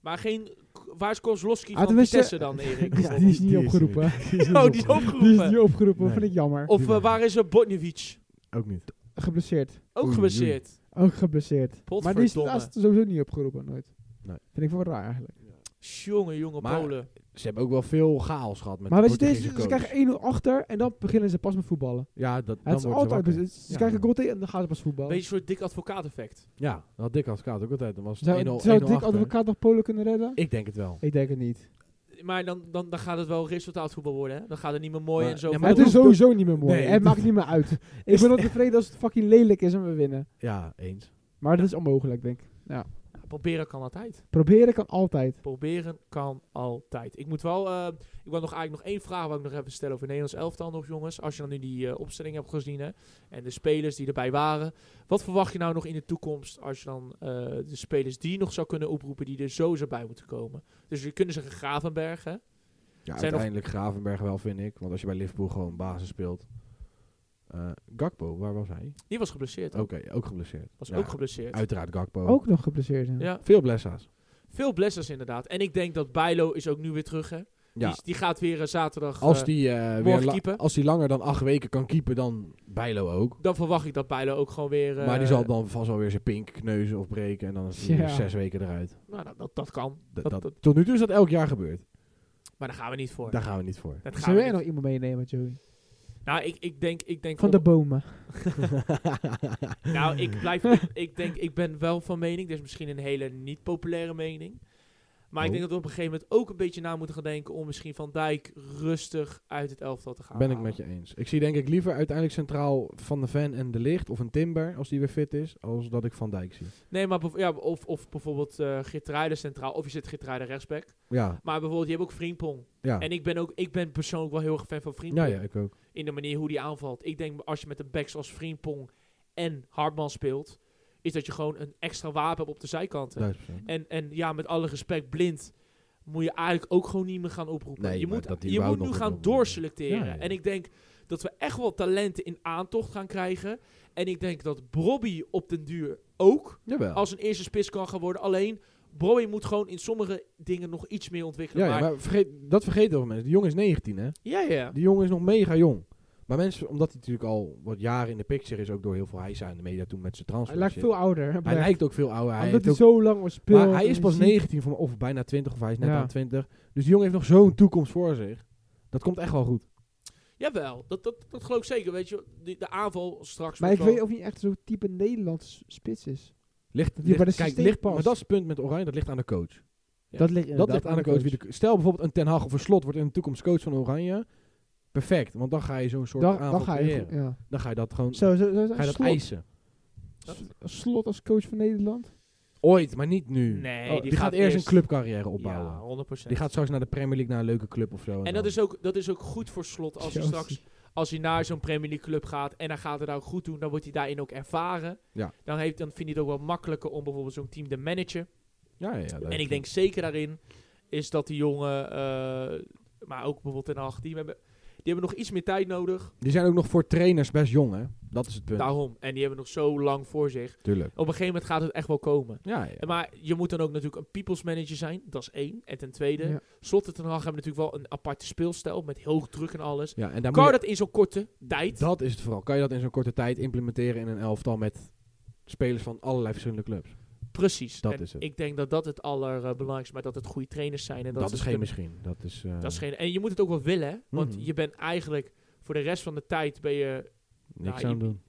[SPEAKER 1] Maar geen. Waar is Kozlowski
[SPEAKER 3] Ah,
[SPEAKER 1] van
[SPEAKER 3] tenminste-
[SPEAKER 1] Vitesse dan,
[SPEAKER 2] <laughs>
[SPEAKER 1] Erik?
[SPEAKER 3] Die is niet
[SPEAKER 2] Die is
[SPEAKER 3] opgeroepen.
[SPEAKER 2] er niet.
[SPEAKER 1] oh, die is
[SPEAKER 3] Die is
[SPEAKER 1] opgeroepen.
[SPEAKER 3] niet opgeroepen,
[SPEAKER 2] Nee.
[SPEAKER 3] vind ik jammer.
[SPEAKER 1] Of
[SPEAKER 2] Die
[SPEAKER 1] eh,
[SPEAKER 2] mag.
[SPEAKER 1] waar is er Botnjevic?
[SPEAKER 2] Ook niet.
[SPEAKER 3] Geblesseerd.
[SPEAKER 1] Ook
[SPEAKER 2] Oei,
[SPEAKER 1] geblesseerd.
[SPEAKER 3] Ook geblesseerd. Maar die is
[SPEAKER 1] Potverdomme.
[SPEAKER 3] laatst sowieso niet opgeroepen, nooit.
[SPEAKER 2] Nee.
[SPEAKER 3] Vind ik wel raar eigenlijk.
[SPEAKER 1] Jonge, jonge
[SPEAKER 2] Maar-
[SPEAKER 1] Polen.
[SPEAKER 2] Ze hebben ook wel veel chaos gehad met
[SPEAKER 3] maar
[SPEAKER 2] de
[SPEAKER 3] weet je,
[SPEAKER 2] Portugese
[SPEAKER 3] deze, ze
[SPEAKER 2] coach.
[SPEAKER 3] krijgen 1-0 achter en dan beginnen ze pas met voetballen.
[SPEAKER 2] Ja, dat, dan
[SPEAKER 3] Het is
[SPEAKER 2] worden ze
[SPEAKER 3] altijd,
[SPEAKER 2] wakker.
[SPEAKER 3] ze- ze
[SPEAKER 2] Ja.
[SPEAKER 3] krijgen een goal tegen en dan gaan ze pas voetballen.
[SPEAKER 1] Beetje een soort dik advocaat effect.
[SPEAKER 2] Ja, dat had Dick als kaart ook altijd. Dan was het 1-0,
[SPEAKER 3] Zou, zou
[SPEAKER 2] 1-0
[SPEAKER 3] Dick
[SPEAKER 2] achter.
[SPEAKER 3] Advocaat nog Polen kunnen redden?
[SPEAKER 2] Ik denk het wel.
[SPEAKER 3] Ik denk het niet.
[SPEAKER 1] maar dan, dan, dan gaat het wel resultaatvoetbal worden. Hè? Dan gaat het niet meer mooi
[SPEAKER 2] Maar-
[SPEAKER 1] en zo.
[SPEAKER 2] ja, maar
[SPEAKER 1] voetbal.
[SPEAKER 3] het is
[SPEAKER 2] dat hoeft
[SPEAKER 3] sowieso niet meer mooi.
[SPEAKER 2] Nee,
[SPEAKER 3] het
[SPEAKER 2] dat-
[SPEAKER 3] maakt niet meer
[SPEAKER 2] <laughs>
[SPEAKER 3] uit. ik ben ook tevreden als het fucking lelijk is en we winnen.
[SPEAKER 2] Ja, eens.
[SPEAKER 3] Maar dat is onmogelijk, denk ik.
[SPEAKER 1] Ja, proberen kan altijd.
[SPEAKER 3] Proberen kan altijd.
[SPEAKER 1] Proberen kan altijd. Ik moet wel. eh, ik wil nog eigenlijk nog één vraag wat ik nog even stellen over Nederlands elftal nog, jongens. Als je dan nu die eh, opstelling hebt gezien hè, en de spelers die erbij waren. Wat verwacht je nou nog in de toekomst als je dan eh, de spelers die nog zou kunnen oproepen die er zo zou bij moeten komen? Dus je kunnen zeggen Gravenberg, hè?
[SPEAKER 2] Ja,
[SPEAKER 1] nog-
[SPEAKER 2] uiteindelijk Gravenberg wel, vind ik. Want als je bij Liverpool gewoon basis speelt. Eh, Gakpo, waar was hij?
[SPEAKER 1] Die was geblesseerd.
[SPEAKER 2] Oké,
[SPEAKER 1] hè?
[SPEAKER 2] ook geblesseerd.
[SPEAKER 1] Was
[SPEAKER 2] Ja,
[SPEAKER 1] ook geblesseerd.
[SPEAKER 2] Uiteraard Gakpo.
[SPEAKER 3] Ook nog geblesseerd. Ja.
[SPEAKER 1] Ja,
[SPEAKER 2] Veel blessers.
[SPEAKER 1] veel blessers inderdaad. En ik denk dat Bijlo is ook nu weer terug, hè?
[SPEAKER 2] Ja.
[SPEAKER 1] Die, die gaat weer eh, zaterdag.
[SPEAKER 2] als
[SPEAKER 1] eh,
[SPEAKER 2] die, eh, weer
[SPEAKER 1] morgen
[SPEAKER 2] la-
[SPEAKER 1] keeper.
[SPEAKER 2] als die langer dan acht weken kan keepen, dan Bijlo ook.
[SPEAKER 1] dan verwacht ik dat Bijlo ook gewoon weer. eh,
[SPEAKER 2] maar die zal dan vast wel weer zijn pink kneuzen of breken. En dan is hij
[SPEAKER 3] Ja.
[SPEAKER 2] weer zes weken eruit.
[SPEAKER 1] Nou, dat, dat, dat kan.
[SPEAKER 2] Dat-
[SPEAKER 1] Dat-
[SPEAKER 2] dat-
[SPEAKER 1] dat-
[SPEAKER 2] tot nu toe is dat elk jaar gebeurd.
[SPEAKER 1] maar daar gaan we niet voor.
[SPEAKER 2] Daar gaan we niet voor.
[SPEAKER 1] dat gaan
[SPEAKER 3] Zou
[SPEAKER 1] we
[SPEAKER 3] jij
[SPEAKER 1] niet-
[SPEAKER 3] nog iemand meenemen, Joey?
[SPEAKER 1] Nou, ik, ik denk. Ik denk
[SPEAKER 3] Van de bomen.
[SPEAKER 1] Nou, ik blijf.
[SPEAKER 3] <laughs>
[SPEAKER 1] ik, ik denk, ik ben wel van mening. Dit is misschien een hele niet populaire mening. Maar ik
[SPEAKER 2] Oh.
[SPEAKER 1] denk dat we op een gegeven moment ook een beetje na moeten gaan denken. om misschien Van Dijk rustig uit het elftal te gaan.
[SPEAKER 2] Ben ik
[SPEAKER 1] halen.
[SPEAKER 2] met je eens. Ik zie denk ik liever uiteindelijk centraal Van de Ven en De Licht of een Timber, als die weer fit is, als dat ik Van Dijk zie.
[SPEAKER 1] Nee, maar bijv- ja, of, of bijvoorbeeld eh Geert centraal. of je zit Geert rechtsback.
[SPEAKER 2] Ja,
[SPEAKER 1] Maar bijvoorbeeld, je hebt ook Vriendpong.
[SPEAKER 2] ja.
[SPEAKER 1] En ik ben, ook, ik ben persoonlijk wel heel erg fan van
[SPEAKER 2] Ja,
[SPEAKER 1] Vriendpong.
[SPEAKER 2] ja, ik ook.
[SPEAKER 1] in de manier hoe die aanvalt. Ik denk als je met de backs als Frimpong en Hartman speelt, is dat je gewoon een extra wapen hebt op de zijkanten.
[SPEAKER 2] 1000%.
[SPEAKER 1] En, en ja, met alle respect, blind moet je eigenlijk ook gewoon niet meer gaan oproepen.
[SPEAKER 2] Nee,
[SPEAKER 1] je
[SPEAKER 2] maar
[SPEAKER 1] moet,
[SPEAKER 2] dat die
[SPEAKER 1] je
[SPEAKER 2] überhaupt
[SPEAKER 1] moet nu
[SPEAKER 2] nog
[SPEAKER 1] gaan
[SPEAKER 2] moet oproepen.
[SPEAKER 1] doorselecteren.
[SPEAKER 2] Ja, ja.
[SPEAKER 1] En ik denk dat we echt wel talenten in aantocht gaan krijgen. En ik denk dat Bobby op den duur ook
[SPEAKER 2] Jawel.
[SPEAKER 1] als een eerste spits kan gaan worden. Alleen Bobby moet gewoon in sommige dingen nog iets meer ontwikkelen.
[SPEAKER 2] ja, ja,
[SPEAKER 1] maar,
[SPEAKER 2] maar vergeet, dat vergeten heel veel mensen. Die jongen is 19, hè?
[SPEAKER 1] ja, ja.
[SPEAKER 2] Die jongen is nog mega jong. Maar mensen, omdat hij natuurlijk al wat jaren in de picture is, ook door heel veel hijsa in de media toen met zijn transfer.
[SPEAKER 3] Hij lijkt
[SPEAKER 2] shit.
[SPEAKER 3] veel ouder.
[SPEAKER 2] hij lijkt ook veel ouder. Hij,
[SPEAKER 3] Omdat
[SPEAKER 2] heeft
[SPEAKER 3] hij
[SPEAKER 2] ook-
[SPEAKER 3] zo lang al speelt.
[SPEAKER 2] maar hij is
[SPEAKER 3] en
[SPEAKER 2] pas
[SPEAKER 3] ziet-
[SPEAKER 2] 19, voor me, of bijna 20, of hij is net
[SPEAKER 3] Ja.
[SPEAKER 2] aan 20. Dus die jongen heeft nog zo'n toekomst voor zich. Dat komt echt wel goed.
[SPEAKER 1] Jawel, dat, dat, dat geloof ik zeker. Weet je, die- de aanval straks.
[SPEAKER 3] Maar ik
[SPEAKER 1] wordt wel-
[SPEAKER 3] weet of hij echt zo'n type Nederlands spits is.
[SPEAKER 2] Ligt,
[SPEAKER 3] Ja, maar dat
[SPEAKER 2] ligt,
[SPEAKER 3] is
[SPEAKER 2] kijk,
[SPEAKER 3] systeem
[SPEAKER 2] ligt,
[SPEAKER 3] pas.
[SPEAKER 2] maar dat is het punt met Oranje, dat ligt aan de coach.
[SPEAKER 1] Ja.
[SPEAKER 3] Dat ligt,
[SPEAKER 2] dat ligt aan de coach. Wie de- stel bijvoorbeeld een Ten Hag of een Slot wordt in de toekomst coach van Oranje. Perfect, want dan ga je zo'n soort
[SPEAKER 3] Dan,
[SPEAKER 2] aanval
[SPEAKER 3] dan ga je.
[SPEAKER 2] creëren.
[SPEAKER 3] Ja.
[SPEAKER 2] Dan ga je dat gewoon
[SPEAKER 3] Zo, zo, zo, zo,
[SPEAKER 2] ga je dat
[SPEAKER 3] slot,
[SPEAKER 2] eisen.
[SPEAKER 3] slot als coach van Nederland.
[SPEAKER 2] Ooit, maar niet nu.
[SPEAKER 1] Nee,
[SPEAKER 2] Oh,
[SPEAKER 1] die
[SPEAKER 2] gaat,
[SPEAKER 1] gaat
[SPEAKER 2] eerst een
[SPEAKER 1] eerst-
[SPEAKER 2] clubcarrière
[SPEAKER 1] Ja,
[SPEAKER 2] opbouwen.
[SPEAKER 1] 100%.
[SPEAKER 2] die gaat straks naar de Premier League naar een leuke club of zo.
[SPEAKER 1] en dat is, ook, dat is ook goed voor slot als hij
[SPEAKER 3] Chelsea.
[SPEAKER 1] straks. Als hij naar zo'n Premier League club gaat en hij gaat het daar ook goed doen, dan wordt hij daarin ook ervaren.
[SPEAKER 2] Ja.
[SPEAKER 1] Dan, heeft, dan vindt hij het ook wel makkelijker om bijvoorbeeld zo'n team te managen.
[SPEAKER 2] Ja, ja, ja, dat-
[SPEAKER 1] En ik denk zeker daarin is dat die jongen, eh, maar ook bijvoorbeeld Ten Hag, die hebben, die hebben nog iets meer tijd nodig.
[SPEAKER 2] Die zijn ook nog voor trainers best jong, hè? Dat is het punt.
[SPEAKER 1] Daarom. En die hebben nog zo lang voor zich.
[SPEAKER 2] Tuurlijk.
[SPEAKER 1] Op een gegeven moment gaat het echt wel komen.
[SPEAKER 2] Ja, ja.
[SPEAKER 1] Ja, Maar je moet dan ook natuurlijk een people's manager zijn. Dat is één. En ten tweede,
[SPEAKER 3] Ja.
[SPEAKER 1] Slot en Ten Hag hebben natuurlijk wel een aparte speelstijl. Met heel druk en alles.
[SPEAKER 2] ja en
[SPEAKER 1] kan
[SPEAKER 2] daar moet
[SPEAKER 1] je
[SPEAKER 2] je-
[SPEAKER 1] dat in zo'n korte tijd?
[SPEAKER 2] dat is het vooral. Kan je dat in zo'n korte tijd implementeren in een elftal met spelers van allerlei verschillende clubs?
[SPEAKER 1] Precies.
[SPEAKER 2] dat
[SPEAKER 1] En
[SPEAKER 2] is het.
[SPEAKER 1] Ik denk dat dat het allerbelangrijkste is. Maar dat het goede trainers zijn. En
[SPEAKER 2] Dat,
[SPEAKER 1] dat, ze
[SPEAKER 2] is
[SPEAKER 1] het
[SPEAKER 2] geen
[SPEAKER 1] kunnen-
[SPEAKER 2] misschien. Dat is, eh,
[SPEAKER 1] dat is geen... En je moet het ook wel willen. hè? Want
[SPEAKER 2] Mhm.
[SPEAKER 1] je bent eigenlijk voor de rest van de tijd ben je...
[SPEAKER 2] niks
[SPEAKER 1] Ja,
[SPEAKER 2] aan
[SPEAKER 1] je-
[SPEAKER 2] doen.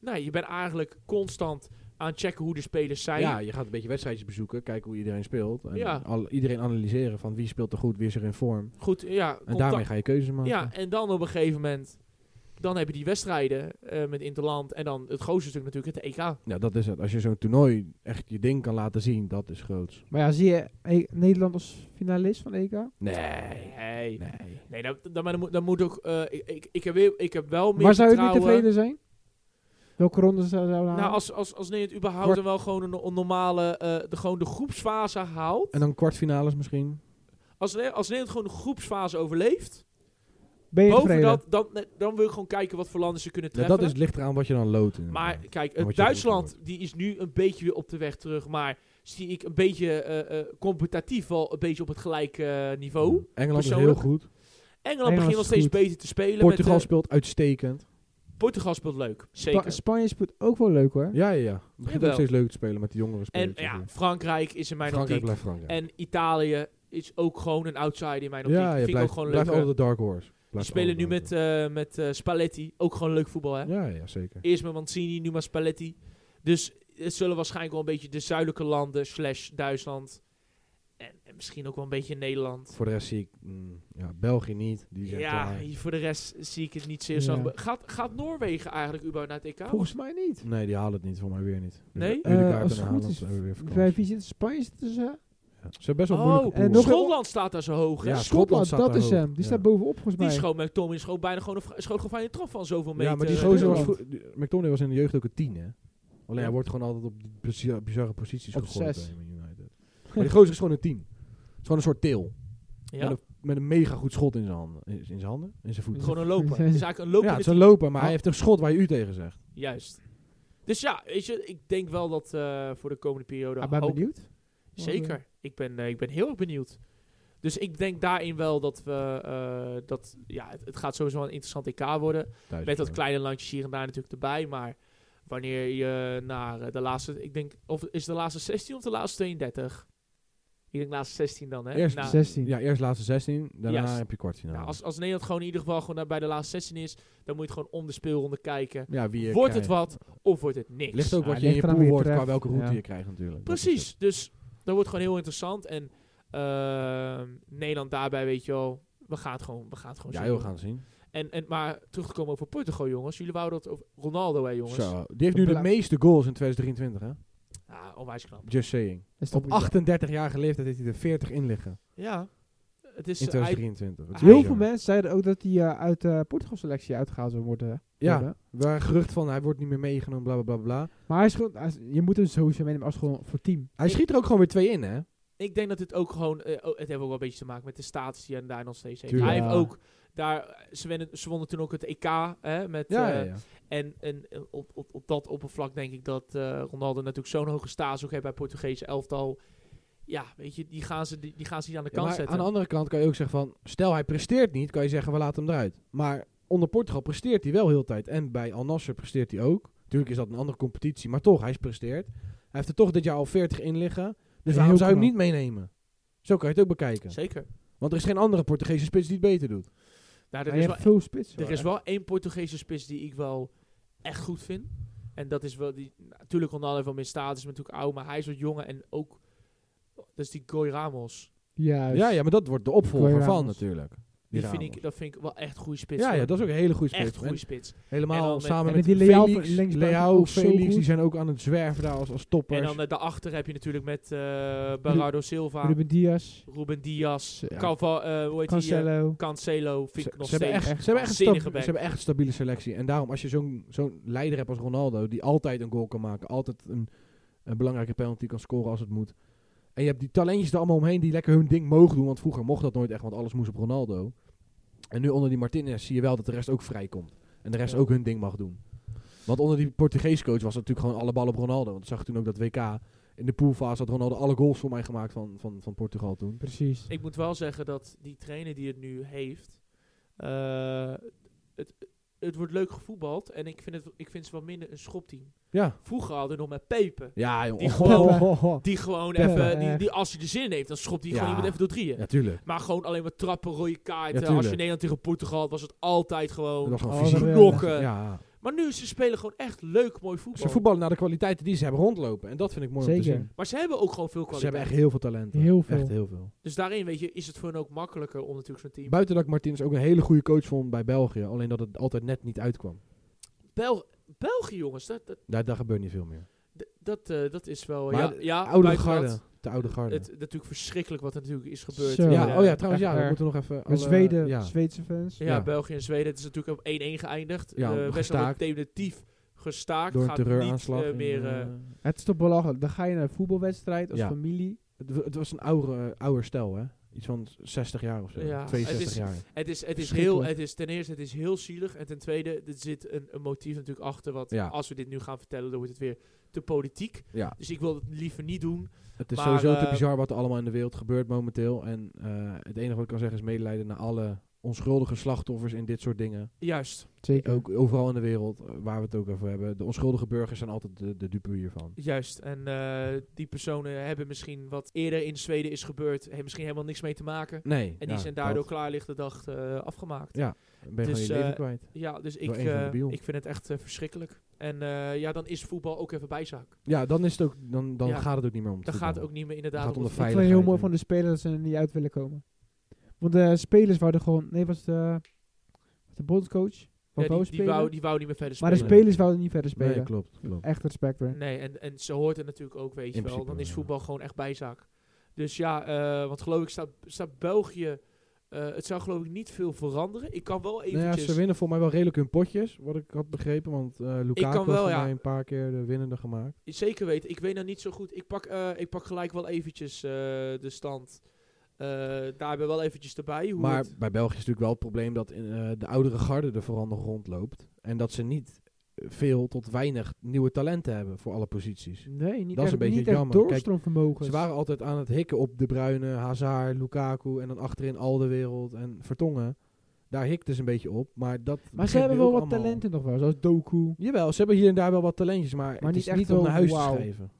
[SPEAKER 1] Nou, je bent eigenlijk constant aan het checken hoe de spelers zijn.
[SPEAKER 2] Ja, je gaat een beetje wedstrijdjes bezoeken, kijken hoe iedereen speelt. En
[SPEAKER 1] nou, Ja.
[SPEAKER 2] al- iedereen analyseren van wie speelt er goed, wie is er in vorm.
[SPEAKER 1] Goed, ja.
[SPEAKER 2] En
[SPEAKER 1] contact-
[SPEAKER 2] daarmee ga je keuzes maken.
[SPEAKER 1] Ja, en dan op een gegeven moment... Dan heb je die wedstrijden eh, met Interland. En dan het grootste stuk natuurlijk het EK.
[SPEAKER 2] Ja, dat is het. Als je zo'n toernooi echt je ding kan laten zien, dat is groots.
[SPEAKER 3] Maar ja, zie je eh, Nederland als finalist van EK?
[SPEAKER 2] Nee.
[SPEAKER 1] Nee.
[SPEAKER 2] Nee.
[SPEAKER 1] Nee, dat, dat, maar dat moet, dat moet ook. eh, ik, ik, ik, heb weer, ik heb wel meer.
[SPEAKER 3] Maar zou je niet
[SPEAKER 1] vertrouwen-
[SPEAKER 3] tevreden zijn? Welke ronde zou zou halen?
[SPEAKER 1] Nou, als, als, als Nederland überhaupt
[SPEAKER 2] Kort-
[SPEAKER 1] dan wel gewoon een, een normale. eh, de, gewoon de groepsfase haalt.
[SPEAKER 2] En dan kwartfinales misschien.
[SPEAKER 1] Als, Ne- als Nederland gewoon de groepsfase overleeft.
[SPEAKER 3] ben je
[SPEAKER 1] Boven
[SPEAKER 3] tevreden?
[SPEAKER 1] dat, dan, nee, dan wil ik gewoon kijken wat voor landen ze kunnen
[SPEAKER 2] Ja,
[SPEAKER 1] treffen.
[SPEAKER 2] dat is ligt eraan wat je dan loopt. inderdaad.
[SPEAKER 1] maar kijk,
[SPEAKER 2] Dan
[SPEAKER 1] eh,
[SPEAKER 2] word je
[SPEAKER 1] Duitsland die is nu een beetje weer op de weg terug. Maar zie ik een beetje eh, eh, competitief wel een beetje op het gelijke eh, niveau. Engeland,
[SPEAKER 2] Engeland is heel
[SPEAKER 1] persoonlijk-
[SPEAKER 2] goed.
[SPEAKER 3] is
[SPEAKER 1] begint nog steeds
[SPEAKER 3] goed.
[SPEAKER 1] beter te spelen.
[SPEAKER 2] Portugal
[SPEAKER 1] met, eh,
[SPEAKER 2] speelt uitstekend.
[SPEAKER 1] Portugal speelt leuk.
[SPEAKER 3] Spa-
[SPEAKER 1] Zeker.
[SPEAKER 3] Spanje speelt ook wel leuk hoor.
[SPEAKER 2] Ja, ja, ja. Het begint
[SPEAKER 1] Jawel.
[SPEAKER 2] ook steeds leuk te spelen met de jongere
[SPEAKER 1] En
[SPEAKER 2] spelers.
[SPEAKER 1] ja,
[SPEAKER 2] natuurlijk.
[SPEAKER 1] Frankrijk is in mijn
[SPEAKER 2] Frankrijk
[SPEAKER 1] optiek
[SPEAKER 2] blijft Frankrijk.
[SPEAKER 1] En Italië is ook gewoon een outsider in mijn optiek.
[SPEAKER 2] ja, je
[SPEAKER 1] Vind ik ook
[SPEAKER 2] blijft,
[SPEAKER 1] gewoon
[SPEAKER 2] blijft
[SPEAKER 1] leuk.
[SPEAKER 2] altijd
[SPEAKER 1] Die
[SPEAKER 2] de dark horse. Blijft
[SPEAKER 1] spelen nu
[SPEAKER 2] altijd
[SPEAKER 1] met, eh, met eh, Spalletti. Ook gewoon leuk voetbal, hè?
[SPEAKER 2] dark horse. Ja, ja, zeker.
[SPEAKER 1] Eerst met Mancini, nu maar Spalletti. Dus het zullen waarschijnlijk wel een beetje de zuidelijke landen slash Duitsland En, en misschien ook wel een beetje Nederland.
[SPEAKER 2] Voor de rest zie ik mm, ja, België niet. Die zijn
[SPEAKER 1] Ja,
[SPEAKER 2] klaar.
[SPEAKER 1] voor de rest zie ik het niet zeer
[SPEAKER 3] Ja.
[SPEAKER 1] zo. Gaat, gaat Noorwegen eigenlijk überhaupt naar het E EK?
[SPEAKER 3] Volgens mij niet.
[SPEAKER 2] Nee, die halen het niet. Voor mij weer niet.
[SPEAKER 1] Nee?
[SPEAKER 2] Jullie
[SPEAKER 3] Eh,
[SPEAKER 2] kaarten
[SPEAKER 3] als het
[SPEAKER 2] naar
[SPEAKER 3] goed
[SPEAKER 2] Haaland,
[SPEAKER 3] is,
[SPEAKER 2] dan hebben we weer
[SPEAKER 3] Bij
[SPEAKER 2] vakantie.
[SPEAKER 3] wie zit Spanje zit tussen?
[SPEAKER 2] Ja. Ze hebben best wel
[SPEAKER 1] Oh,
[SPEAKER 2] moeilijk.
[SPEAKER 3] en nog-
[SPEAKER 1] Schotland staat daar zo hoog. hè?
[SPEAKER 2] Ja, Schotland
[SPEAKER 3] Schotland,
[SPEAKER 2] staat
[SPEAKER 3] dat
[SPEAKER 2] daar
[SPEAKER 3] is
[SPEAKER 2] ook.
[SPEAKER 3] hem. Die
[SPEAKER 2] Ja.
[SPEAKER 3] staat bovenop volgens
[SPEAKER 1] Die
[SPEAKER 3] mij.
[SPEAKER 1] schoot met Tom in schoot bijna gewoon een, vri- schoot gewoon vrij een trap van zoveel meter.
[SPEAKER 2] Ja, maar die
[SPEAKER 1] eh,
[SPEAKER 2] gozer was...
[SPEAKER 1] door.
[SPEAKER 3] Nederland.
[SPEAKER 2] vroeg- die- McTominay was in de jeugd ook een tien, hè? Alleen
[SPEAKER 1] Ja.
[SPEAKER 2] hij wordt gewoon altijd op die bizarre, bizarre posities
[SPEAKER 3] Op
[SPEAKER 2] gegooid
[SPEAKER 3] zes.
[SPEAKER 2] bij Man United. Maar
[SPEAKER 1] <laughs>
[SPEAKER 2] die gozer is gewoon een tien. Het is gewoon een soort til.
[SPEAKER 1] Ja?
[SPEAKER 2] Met, een, met een mega goed schot in zijn handen. In in zijn handen? In zijn voeten.
[SPEAKER 1] Gewoon een loper. Het is eigenlijk een loper. Oh.
[SPEAKER 2] ja, het is een loper, maar hij heeft een schot waar je u tegen zegt.
[SPEAKER 1] Juist. Dus ja, weet je, ik denk wel dat eh, voor de komende periode...
[SPEAKER 3] Ah, ben
[SPEAKER 1] hoop-
[SPEAKER 3] benieuwd.
[SPEAKER 1] Zeker. Ik ben, eh, ik ben heel erg benieuwd. Dus ik denk daarin wel dat we... eh, dat, ja, het, het gaat sowieso een interessant EK worden.
[SPEAKER 2] Thuis
[SPEAKER 1] Met dat
[SPEAKER 2] gewoon.
[SPEAKER 1] kleine landje hier en daar natuurlijk erbij. Maar wanneer je naar eh, de laatste... Ik denk, of is het de laatste 16 of de laatste 32? Ik denk laatste 16 dan, hè?
[SPEAKER 2] Eerst
[SPEAKER 1] Na-
[SPEAKER 3] 16.
[SPEAKER 2] Ja, eerst laatste 16, daarna
[SPEAKER 1] Juist.
[SPEAKER 2] heb je kwartfinale.
[SPEAKER 1] nou, als, als Nederland gewoon in ieder geval gewoon naar- bij de laatste 16 is... dan moet je het gewoon om de speelronde kijken.
[SPEAKER 2] ja, wie je
[SPEAKER 1] Wordt het
[SPEAKER 2] krijgt.
[SPEAKER 1] wat of wordt het niks?
[SPEAKER 2] Ligt ook
[SPEAKER 3] Ja,
[SPEAKER 2] wat je in
[SPEAKER 3] ligt
[SPEAKER 2] je
[SPEAKER 3] eraan
[SPEAKER 2] pool
[SPEAKER 3] wie je
[SPEAKER 2] wordt, qua
[SPEAKER 3] treft.
[SPEAKER 2] welke route
[SPEAKER 3] Ja.
[SPEAKER 2] je krijgt natuurlijk. Dat is het.
[SPEAKER 1] Precies. Dus dat wordt gewoon heel interessant. En ehm, Nederland daarbij, weet je wel... We gaan het gewoon, we gaan het gewoon
[SPEAKER 2] Ja,
[SPEAKER 1] zien.
[SPEAKER 2] heel gaan zien.
[SPEAKER 1] En, en, maar terug te komen over Portugal, jongens. Jullie wouden dat over Ronaldo, hè, jongens.
[SPEAKER 2] Zo, die heeft nu de
[SPEAKER 3] Bla-
[SPEAKER 2] meeste goals in 2023, hè?
[SPEAKER 1] Ja, onwijs knap.
[SPEAKER 2] Just saying.
[SPEAKER 3] Is toch
[SPEAKER 2] Op 38-jarige leeftijd heeft hij er 40 in liggen.
[SPEAKER 1] Ja. Het is,
[SPEAKER 2] In
[SPEAKER 1] eh, hij-
[SPEAKER 2] 2023. Dat is
[SPEAKER 3] Heel
[SPEAKER 2] bizar.
[SPEAKER 3] veel mensen zeiden ook dat hij eh, uit de Portugal-selectie uitgehaald zou worden.
[SPEAKER 2] Ja,
[SPEAKER 3] worden.
[SPEAKER 2] we waren gerucht van hij wordt niet meer meegenomen, bla bla bla bla.
[SPEAKER 3] Maar hij is gewoon, hij is- je moet hem sowieso meenemen als gewoon voor team.
[SPEAKER 2] Hij
[SPEAKER 1] Ik-
[SPEAKER 2] schiet er ook gewoon weer twee in, hè?
[SPEAKER 1] ik denk dat het ook gewoon... eh, oh, het heeft ook wel een beetje te maken met de status die hij daar nog steeds heeft.
[SPEAKER 2] Tuurlijk.
[SPEAKER 1] Hij heeft
[SPEAKER 3] Ja.
[SPEAKER 1] ook... Daar, ze, winnen, ze wonnen toen ook het EK. Hè, met,
[SPEAKER 2] Ja,
[SPEAKER 1] eh,
[SPEAKER 2] ja, ja.
[SPEAKER 1] En, en eh, op, op, op dat oppervlak denk ik dat eh, Ronaldo natuurlijk zo'n hoge status ook heeft bij het Portugese elftal. Ja, weet je, die gaan ze, die, die gaan ze niet aan de
[SPEAKER 2] Ja,
[SPEAKER 1] kant
[SPEAKER 2] maar
[SPEAKER 1] zetten.
[SPEAKER 2] aan de andere kant kan je ook zeggen van, stel hij presteert niet, kan je zeggen we laten hem eruit. Maar onder Portugal presteert hij wel heel de tijd. En bij Al Nassr presteert hij ook. Tuurlijk is dat een andere competitie, maar toch, hij presteert. Hij heeft er toch dit jaar al 40 in liggen. Dus
[SPEAKER 3] Heel
[SPEAKER 2] waarom zou je hem
[SPEAKER 3] knap.
[SPEAKER 2] niet meenemen? Zo kan je het ook bekijken.
[SPEAKER 1] Zeker.
[SPEAKER 2] Want er is geen andere Portugese spits die het beter doet.
[SPEAKER 1] Nou, er
[SPEAKER 3] Hij
[SPEAKER 1] is
[SPEAKER 3] heeft
[SPEAKER 1] wel
[SPEAKER 3] veel spits.
[SPEAKER 1] Er is wel één Portugese spits die ik wel echt goed vind. En dat is wel die. Natuurlijk, Ronaldo heeft wel meer status, is natuurlijk oud, maar hij is wat jonger en ook. Dat is die Goy Ramos.
[SPEAKER 3] Ja,
[SPEAKER 2] Ja, ja, maar dat wordt de opvolger
[SPEAKER 3] Goeie
[SPEAKER 2] van
[SPEAKER 3] Ramos.
[SPEAKER 2] natuurlijk.
[SPEAKER 1] Die
[SPEAKER 2] Ramos.
[SPEAKER 1] vind ik, dat vind ik wel echt goede spits.
[SPEAKER 2] ja, ja,
[SPEAKER 1] hoor.
[SPEAKER 2] dat is ook een hele goede spits.
[SPEAKER 1] echt goede
[SPEAKER 2] En
[SPEAKER 1] spits. En dan
[SPEAKER 2] Helemaal
[SPEAKER 1] met-
[SPEAKER 2] samen
[SPEAKER 3] en
[SPEAKER 2] met
[SPEAKER 3] die Leao
[SPEAKER 2] Felix,
[SPEAKER 3] links buiten
[SPEAKER 2] Leao,
[SPEAKER 3] ook zo
[SPEAKER 2] Felix, die
[SPEAKER 3] goed.
[SPEAKER 2] zijn ook aan het zwerven daar als, als toppers.
[SPEAKER 1] En dan eh, daarachter heb je natuurlijk met eh Barardo Silva, Ruben,
[SPEAKER 3] Ruben Diaz,
[SPEAKER 1] Diaz,
[SPEAKER 3] Ja.
[SPEAKER 1] Carva- eh, hoe heet die, eh,
[SPEAKER 3] Cancelo.
[SPEAKER 1] Cancelo. Vind
[SPEAKER 2] Ze,
[SPEAKER 1] ik nog
[SPEAKER 2] ze hebben
[SPEAKER 1] steeds.
[SPEAKER 2] echt, ze, hebben echt een
[SPEAKER 1] waanzinnige
[SPEAKER 2] stabi-
[SPEAKER 1] back.
[SPEAKER 2] ze hebben echt een stabiele selectie. En daarom, als je zo'n zo'n leider hebt als Ronaldo, die altijd een goal kan maken, altijd een, een belangrijke penalty kan scoren als het moet. En je hebt die talentjes er allemaal omheen die lekker hun ding mogen doen. Want vroeger mocht dat nooit echt, want alles moest op Ronaldo. En nu onder die Martinez zie je wel dat de rest ook vrijkomt. En de rest
[SPEAKER 1] Ja.
[SPEAKER 2] ook hun ding mag doen. Want onder die Portugees coach was het natuurlijk gewoon alle ballen op Ronaldo. Want ik zag toen ook dat WK. In de poolfase had Ronaldo alle goals voor mij gemaakt van, van, van Portugal toen.
[SPEAKER 3] Precies.
[SPEAKER 1] Ik moet wel zeggen dat die trainer die het nu heeft, eh, het, het wordt leuk gevoetbald. En ik vind, het, ik vind ze wat minder een schopteam.
[SPEAKER 2] Ja.
[SPEAKER 1] Vroeger hadden we nog met Pepe.
[SPEAKER 2] Ja, jongen.
[SPEAKER 1] Die gewoon-
[SPEAKER 3] Ho, ho, ho.
[SPEAKER 1] Die gewoon
[SPEAKER 3] Ja,
[SPEAKER 1] even, die,
[SPEAKER 3] echt.
[SPEAKER 1] die, als hij de zin heeft, dan schopt hij
[SPEAKER 2] Ja.
[SPEAKER 1] gewoon iemand even door drieën.
[SPEAKER 2] Ja, tuurlijk.
[SPEAKER 1] Maar gewoon alleen maar trappen, rode
[SPEAKER 2] Ja,
[SPEAKER 1] kaarten. als je
[SPEAKER 2] tuurlijk.
[SPEAKER 1] Nederland tegen Portugal had, was het altijd
[SPEAKER 2] Dat
[SPEAKER 1] gewoon...
[SPEAKER 2] was gewoon
[SPEAKER 3] Oh, dat
[SPEAKER 2] fysiek.
[SPEAKER 3] wil-
[SPEAKER 1] knokken.
[SPEAKER 2] Ja.
[SPEAKER 1] Maar nu, ze spelen gewoon echt leuk, mooi voetbal.
[SPEAKER 2] Ze voetballen naar de kwaliteiten die ze hebben rondlopen. En dat vind ik mooi om te
[SPEAKER 3] Zeker.
[SPEAKER 2] zien.
[SPEAKER 1] Maar ze hebben ook gewoon veel
[SPEAKER 2] Ze hebben
[SPEAKER 1] kwaliteit.
[SPEAKER 2] echt heel veel talent.
[SPEAKER 3] Heel veel.
[SPEAKER 2] Echt heel veel.
[SPEAKER 1] Dus daarin, weet je, is het voor hen ook makkelijker om natuurlijk zo'n team...
[SPEAKER 2] Buiten dat ik Martins ook een hele goede coach vond bij België. Alleen dat het altijd net niet uitkwam.
[SPEAKER 1] Bel België, jongens, dat, dat,
[SPEAKER 2] Daar, daar gebeurt niet veel meer.
[SPEAKER 1] dat, eh, dat is wel...
[SPEAKER 2] Maar
[SPEAKER 1] ja,
[SPEAKER 2] de
[SPEAKER 1] ja,
[SPEAKER 2] oude
[SPEAKER 1] Ah, buiten dat-
[SPEAKER 2] garde. De oude garde.
[SPEAKER 1] Het, natuurlijk verschrikkelijk wat er natuurlijk is gebeurd.
[SPEAKER 3] Zo.
[SPEAKER 2] ja,
[SPEAKER 3] Ja,
[SPEAKER 2] oh ja, trouwens, ja,
[SPEAKER 3] echt
[SPEAKER 2] we
[SPEAKER 3] erg.
[SPEAKER 2] moeten nog even... alle-
[SPEAKER 3] Met Zweden,
[SPEAKER 2] Ja,
[SPEAKER 3] Zweedse fans.
[SPEAKER 1] Ja,
[SPEAKER 2] Ja.
[SPEAKER 1] België en Zweden. Het is natuurlijk op 1-1 geëindigd.
[SPEAKER 2] Ja,
[SPEAKER 1] Eh, wedstrijd wordt
[SPEAKER 2] gestaakt.
[SPEAKER 1] definitief gestaakt.
[SPEAKER 2] door een
[SPEAKER 1] Gaat niet,
[SPEAKER 2] terreuraanslag.
[SPEAKER 1] eh,
[SPEAKER 2] in,
[SPEAKER 1] meer,
[SPEAKER 2] eh,
[SPEAKER 1] eh,
[SPEAKER 3] Het is toch belachelijk. Dan ga je naar een voetbalwedstrijd als
[SPEAKER 2] Ja.
[SPEAKER 3] familie.
[SPEAKER 2] het, wa- het was een oude, eh, ouder stel, hè? Iets van 60 jaar of zo.
[SPEAKER 1] Ja.
[SPEAKER 2] 62
[SPEAKER 1] Het is-
[SPEAKER 2] jaar.
[SPEAKER 1] Het is, het is heel,
[SPEAKER 3] Verschrikkelijk.
[SPEAKER 1] het is, ten eerste, het is heel zielig. En ten tweede, er zit een, een motief natuurlijk achter. Wat
[SPEAKER 2] Ja.
[SPEAKER 1] als we dit nu gaan vertellen, dan wordt het weer te politiek.
[SPEAKER 2] Ja.
[SPEAKER 1] Dus ik wil het liever niet doen.
[SPEAKER 2] Het is
[SPEAKER 1] Maar,
[SPEAKER 2] sowieso te
[SPEAKER 1] eh,
[SPEAKER 2] bizar wat er allemaal in de wereld gebeurt momenteel. En eh, het enige wat ik kan zeggen is medelijden naar alle onschuldige slachtoffers in dit soort dingen.
[SPEAKER 1] Juist,
[SPEAKER 3] Zeker.
[SPEAKER 2] Ook overal in de wereld eh, waar we het ook over hebben. De onschuldige burgers zijn altijd de, de dupe hiervan.
[SPEAKER 1] juist. En eh, die personen hebben misschien wat eerder in Zweden is gebeurd, heeft misschien helemaal niks mee te maken.
[SPEAKER 2] Nee.
[SPEAKER 1] En
[SPEAKER 2] ja,
[SPEAKER 1] die zijn daardoor
[SPEAKER 2] dat.
[SPEAKER 1] klaarlichte dag eh, afgemaakt.
[SPEAKER 2] Ja. Dan ben je
[SPEAKER 1] Dus,
[SPEAKER 2] gewoon je leven
[SPEAKER 1] eh,
[SPEAKER 2] kwijt.
[SPEAKER 1] Ja, dus ik,
[SPEAKER 2] Door een van de
[SPEAKER 1] eh,
[SPEAKER 2] biel.
[SPEAKER 1] ik vind het echt eh, verschrikkelijk. En eh, ja, dan is voetbal ook even bijzaak.
[SPEAKER 2] Ja, dan, is het ook, dan, dan
[SPEAKER 1] Ja.
[SPEAKER 2] gaat het ook niet meer om
[SPEAKER 1] Dan gaat het ook niet meer inderdaad
[SPEAKER 2] gaat
[SPEAKER 1] om
[SPEAKER 2] om
[SPEAKER 1] het
[SPEAKER 2] de
[SPEAKER 1] voetbal.
[SPEAKER 3] Ik vind het heel mooi
[SPEAKER 2] Veiligheid,
[SPEAKER 3] van de spelers dat ze er niet uit willen komen. Want de spelers waren gewoon... Nee, was de, was de bondscoach?
[SPEAKER 1] Ja,
[SPEAKER 3] Wou wou
[SPEAKER 1] die, die,
[SPEAKER 3] spelen?
[SPEAKER 1] wou, die wou niet meer verder
[SPEAKER 3] maar de
[SPEAKER 1] spelen.
[SPEAKER 2] spe-
[SPEAKER 3] spelers wouden niet verder
[SPEAKER 2] Nee,
[SPEAKER 3] spelen.
[SPEAKER 1] Eh,
[SPEAKER 2] klopt. klopt.
[SPEAKER 3] Echt respect weer.
[SPEAKER 1] nee, en, en ze hoort het natuurlijk ook, weet je wel.
[SPEAKER 2] In principe
[SPEAKER 1] Dan
[SPEAKER 2] wel,
[SPEAKER 1] is
[SPEAKER 2] ja.
[SPEAKER 1] voetbal gewoon echt bijzaak. Dus ja, eh, want geloof ik staat, staat België... eh, het zou geloof ik niet veel veranderen. Ik kan wel
[SPEAKER 2] Nou ja,
[SPEAKER 1] eventjes...
[SPEAKER 2] ze winnen voor mij wel redelijk hun potjes, wat ik had begrepen. Want eh Lukaku
[SPEAKER 1] kan
[SPEAKER 2] had
[SPEAKER 1] wel,
[SPEAKER 2] voor
[SPEAKER 1] ja.
[SPEAKER 2] mij een paar keer de winnende gemaakt.
[SPEAKER 1] Zeker weten. Ik weet nou niet zo goed. Ik pak, eh, ik pak gelijk wel eventjes eh, de stand. Eh, daar ben ik wel eventjes erbij. Hoe
[SPEAKER 2] Maar
[SPEAKER 1] het-
[SPEAKER 2] bij België is natuurlijk wel het probleem dat in, eh, de oudere garde er vooral nog rondloopt. En dat ze niet veel tot weinig nieuwe talenten hebben voor alle posities.
[SPEAKER 3] Nee, niet
[SPEAKER 2] Dat is
[SPEAKER 3] echt,
[SPEAKER 2] een beetje
[SPEAKER 3] niet echt
[SPEAKER 2] jammer. Kijk,
[SPEAKER 3] doorstroomvermogen.
[SPEAKER 2] Ze waren altijd aan het hikken op De Bruyne, Hazard, Lukaku en dan achterin Alderwereld en Vertongen. Daar hikten ze een beetje op, maar dat
[SPEAKER 3] maar ze
[SPEAKER 2] begint
[SPEAKER 3] hebben
[SPEAKER 2] nu
[SPEAKER 3] wel
[SPEAKER 2] ook
[SPEAKER 3] wat
[SPEAKER 2] allemaal-
[SPEAKER 3] talenten nog wel. Zoals Doku.
[SPEAKER 2] Jawel, ze hebben hier en daar wel wat talentjes, maar, het
[SPEAKER 3] niet
[SPEAKER 2] is
[SPEAKER 3] echt
[SPEAKER 2] niet
[SPEAKER 3] wel
[SPEAKER 2] om naar huis
[SPEAKER 3] wauw.
[SPEAKER 2] te schrijven.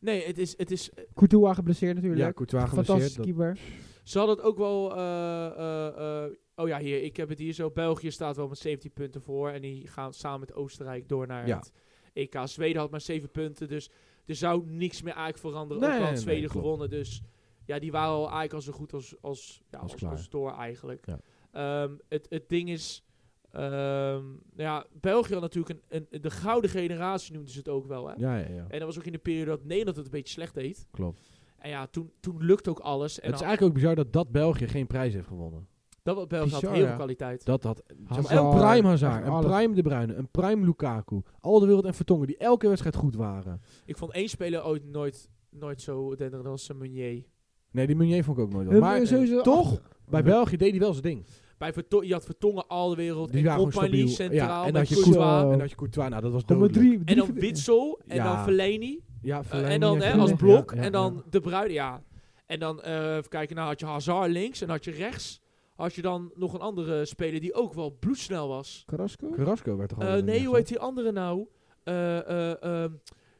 [SPEAKER 1] Nee, het is, het is,
[SPEAKER 3] Courtois geblesseerd natuurlijk.
[SPEAKER 2] Ja, Courtois geblesseerd.
[SPEAKER 3] Fantastisch
[SPEAKER 2] dat-
[SPEAKER 3] keeper.
[SPEAKER 1] Ze hadden het ook wel. eh, eh, eh, oh ja, hier, ik heb het hier zo. België staat wel met 17 punten voor. En die gaan samen met Oostenrijk door naar
[SPEAKER 2] Ja.
[SPEAKER 1] het EK. Zweden had maar 7 punten. Dus er zou niks meer eigenlijk veranderen.
[SPEAKER 2] Nee,
[SPEAKER 1] ook al had
[SPEAKER 2] nee,
[SPEAKER 1] Zweden
[SPEAKER 2] klopt.
[SPEAKER 1] gewonnen. Dus ja, die waren al eigenlijk al zo goed als, als, ja,
[SPEAKER 2] Als
[SPEAKER 1] als,
[SPEAKER 2] klaar.
[SPEAKER 1] als door eigenlijk.
[SPEAKER 2] Ja.
[SPEAKER 1] Ehm, het, het ding is. ehm, ja, België had natuurlijk een, een, de gouden generatie noemden ze het ook wel. Hè?
[SPEAKER 2] Ja, ja, ja,
[SPEAKER 1] En dat was ook in de periode dat Nederland het een beetje slecht deed.
[SPEAKER 2] klopt.
[SPEAKER 1] En ja, toen, toen lukte ook alles. En
[SPEAKER 2] het is eigenlijk ook bizar dat dat België geen prijs heeft gewonnen.
[SPEAKER 1] dat was België had
[SPEAKER 2] bizar,
[SPEAKER 1] heel veel
[SPEAKER 2] ja.
[SPEAKER 1] kwaliteit.
[SPEAKER 2] Dat had
[SPEAKER 3] Hazard,
[SPEAKER 2] een prime Hazard,
[SPEAKER 3] echt
[SPEAKER 2] een
[SPEAKER 3] alles.
[SPEAKER 2] prime De Bruyne, een prime Lukaku, Alderwereld en Vertongen die elke wedstrijd goed waren.
[SPEAKER 1] Ik vond één speler ooit nooit, nooit zo dender dan zijn Meunier.
[SPEAKER 2] Nee, die Meunier vond ik ook nooit.
[SPEAKER 3] Hun-
[SPEAKER 2] wat. Maar eh,
[SPEAKER 3] hun- sowieso
[SPEAKER 2] toch,
[SPEAKER 3] achter-
[SPEAKER 2] bij België deed hij wel zijn ding.
[SPEAKER 1] Bij Verto je had Vertongen al de wereld
[SPEAKER 2] Die
[SPEAKER 1] en
[SPEAKER 2] waren gewoon
[SPEAKER 1] Compagnie
[SPEAKER 2] stabiel. Ja,
[SPEAKER 1] centraal
[SPEAKER 2] en
[SPEAKER 1] met
[SPEAKER 2] dat je
[SPEAKER 1] Courtois.
[SPEAKER 3] Courtois. Oh.
[SPEAKER 2] En dat je Courtois, nou dat was
[SPEAKER 3] Gewoon maar
[SPEAKER 2] dodelijk.
[SPEAKER 3] drie,
[SPEAKER 1] En
[SPEAKER 3] drie
[SPEAKER 1] dan
[SPEAKER 3] verd-
[SPEAKER 1] Witsel en
[SPEAKER 2] Ja.
[SPEAKER 1] dan Fellaini.
[SPEAKER 2] Ja,
[SPEAKER 1] eh,
[SPEAKER 2] Fellaini
[SPEAKER 1] en dan
[SPEAKER 2] had je
[SPEAKER 1] hè,
[SPEAKER 2] ook
[SPEAKER 1] als
[SPEAKER 2] nog.
[SPEAKER 1] blok
[SPEAKER 2] Ja, ja,
[SPEAKER 1] en dan
[SPEAKER 2] ja.
[SPEAKER 1] De Bruyne, ja. En dan, eh, even kijken, nou had je Hazard links en had je rechts. Had je dan nog een andere speler die ook wel bloedsnel was.
[SPEAKER 3] Carrasco?
[SPEAKER 2] Carrasco werd toch
[SPEAKER 1] Eh, nee, hoe heet die andere nou? Eh, eh, eh,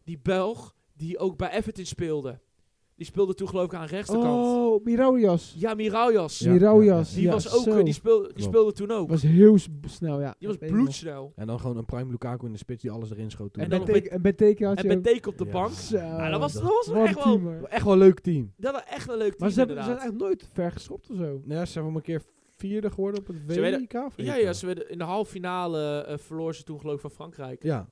[SPEAKER 1] die Belg die ook bij Everton speelde. Die speelde toen geloof ik aan de rechterkant.
[SPEAKER 3] Oh, Mirojas.
[SPEAKER 1] Ja, Miraujas.
[SPEAKER 2] Ja, ja, ja.
[SPEAKER 3] Mirojas.
[SPEAKER 1] Die
[SPEAKER 3] ja,
[SPEAKER 1] was ook,
[SPEAKER 3] zo.
[SPEAKER 1] eh, die, speelde, die
[SPEAKER 2] Klopt.
[SPEAKER 1] speelde toen ook.
[SPEAKER 3] was heel s- snel, ja.
[SPEAKER 1] die was
[SPEAKER 3] Dat weet ik nog.
[SPEAKER 1] bloedsnel.
[SPEAKER 2] En dan gewoon een prime Lukaku in de spits die alles erin schoot toen.
[SPEAKER 1] En dan-
[SPEAKER 3] En Benteke- En Benteke had
[SPEAKER 1] En
[SPEAKER 3] je
[SPEAKER 1] met
[SPEAKER 3] ook.
[SPEAKER 1] Deken op de
[SPEAKER 2] Ja.
[SPEAKER 1] bank.
[SPEAKER 3] Zo.
[SPEAKER 1] Ah, dat was, dat
[SPEAKER 2] dat-
[SPEAKER 1] was
[SPEAKER 3] Wat
[SPEAKER 1] echt
[SPEAKER 3] een
[SPEAKER 1] wel,
[SPEAKER 3] teamer.
[SPEAKER 2] echt wel een leuk team.
[SPEAKER 1] dat was echt een leuk team,
[SPEAKER 3] Maar ze, hebben, ze zijn
[SPEAKER 1] inderdaad.
[SPEAKER 3] echt nooit ver geschopt of zo.
[SPEAKER 2] Ja, ze zijn wel een keer vierde geworden op het
[SPEAKER 1] Ze werden-
[SPEAKER 2] WK. of
[SPEAKER 1] ja,
[SPEAKER 2] EK?
[SPEAKER 1] ja, ze werden, in de halve finale eh verloor ze toen geloof ik van Frankrijk.
[SPEAKER 2] Ja,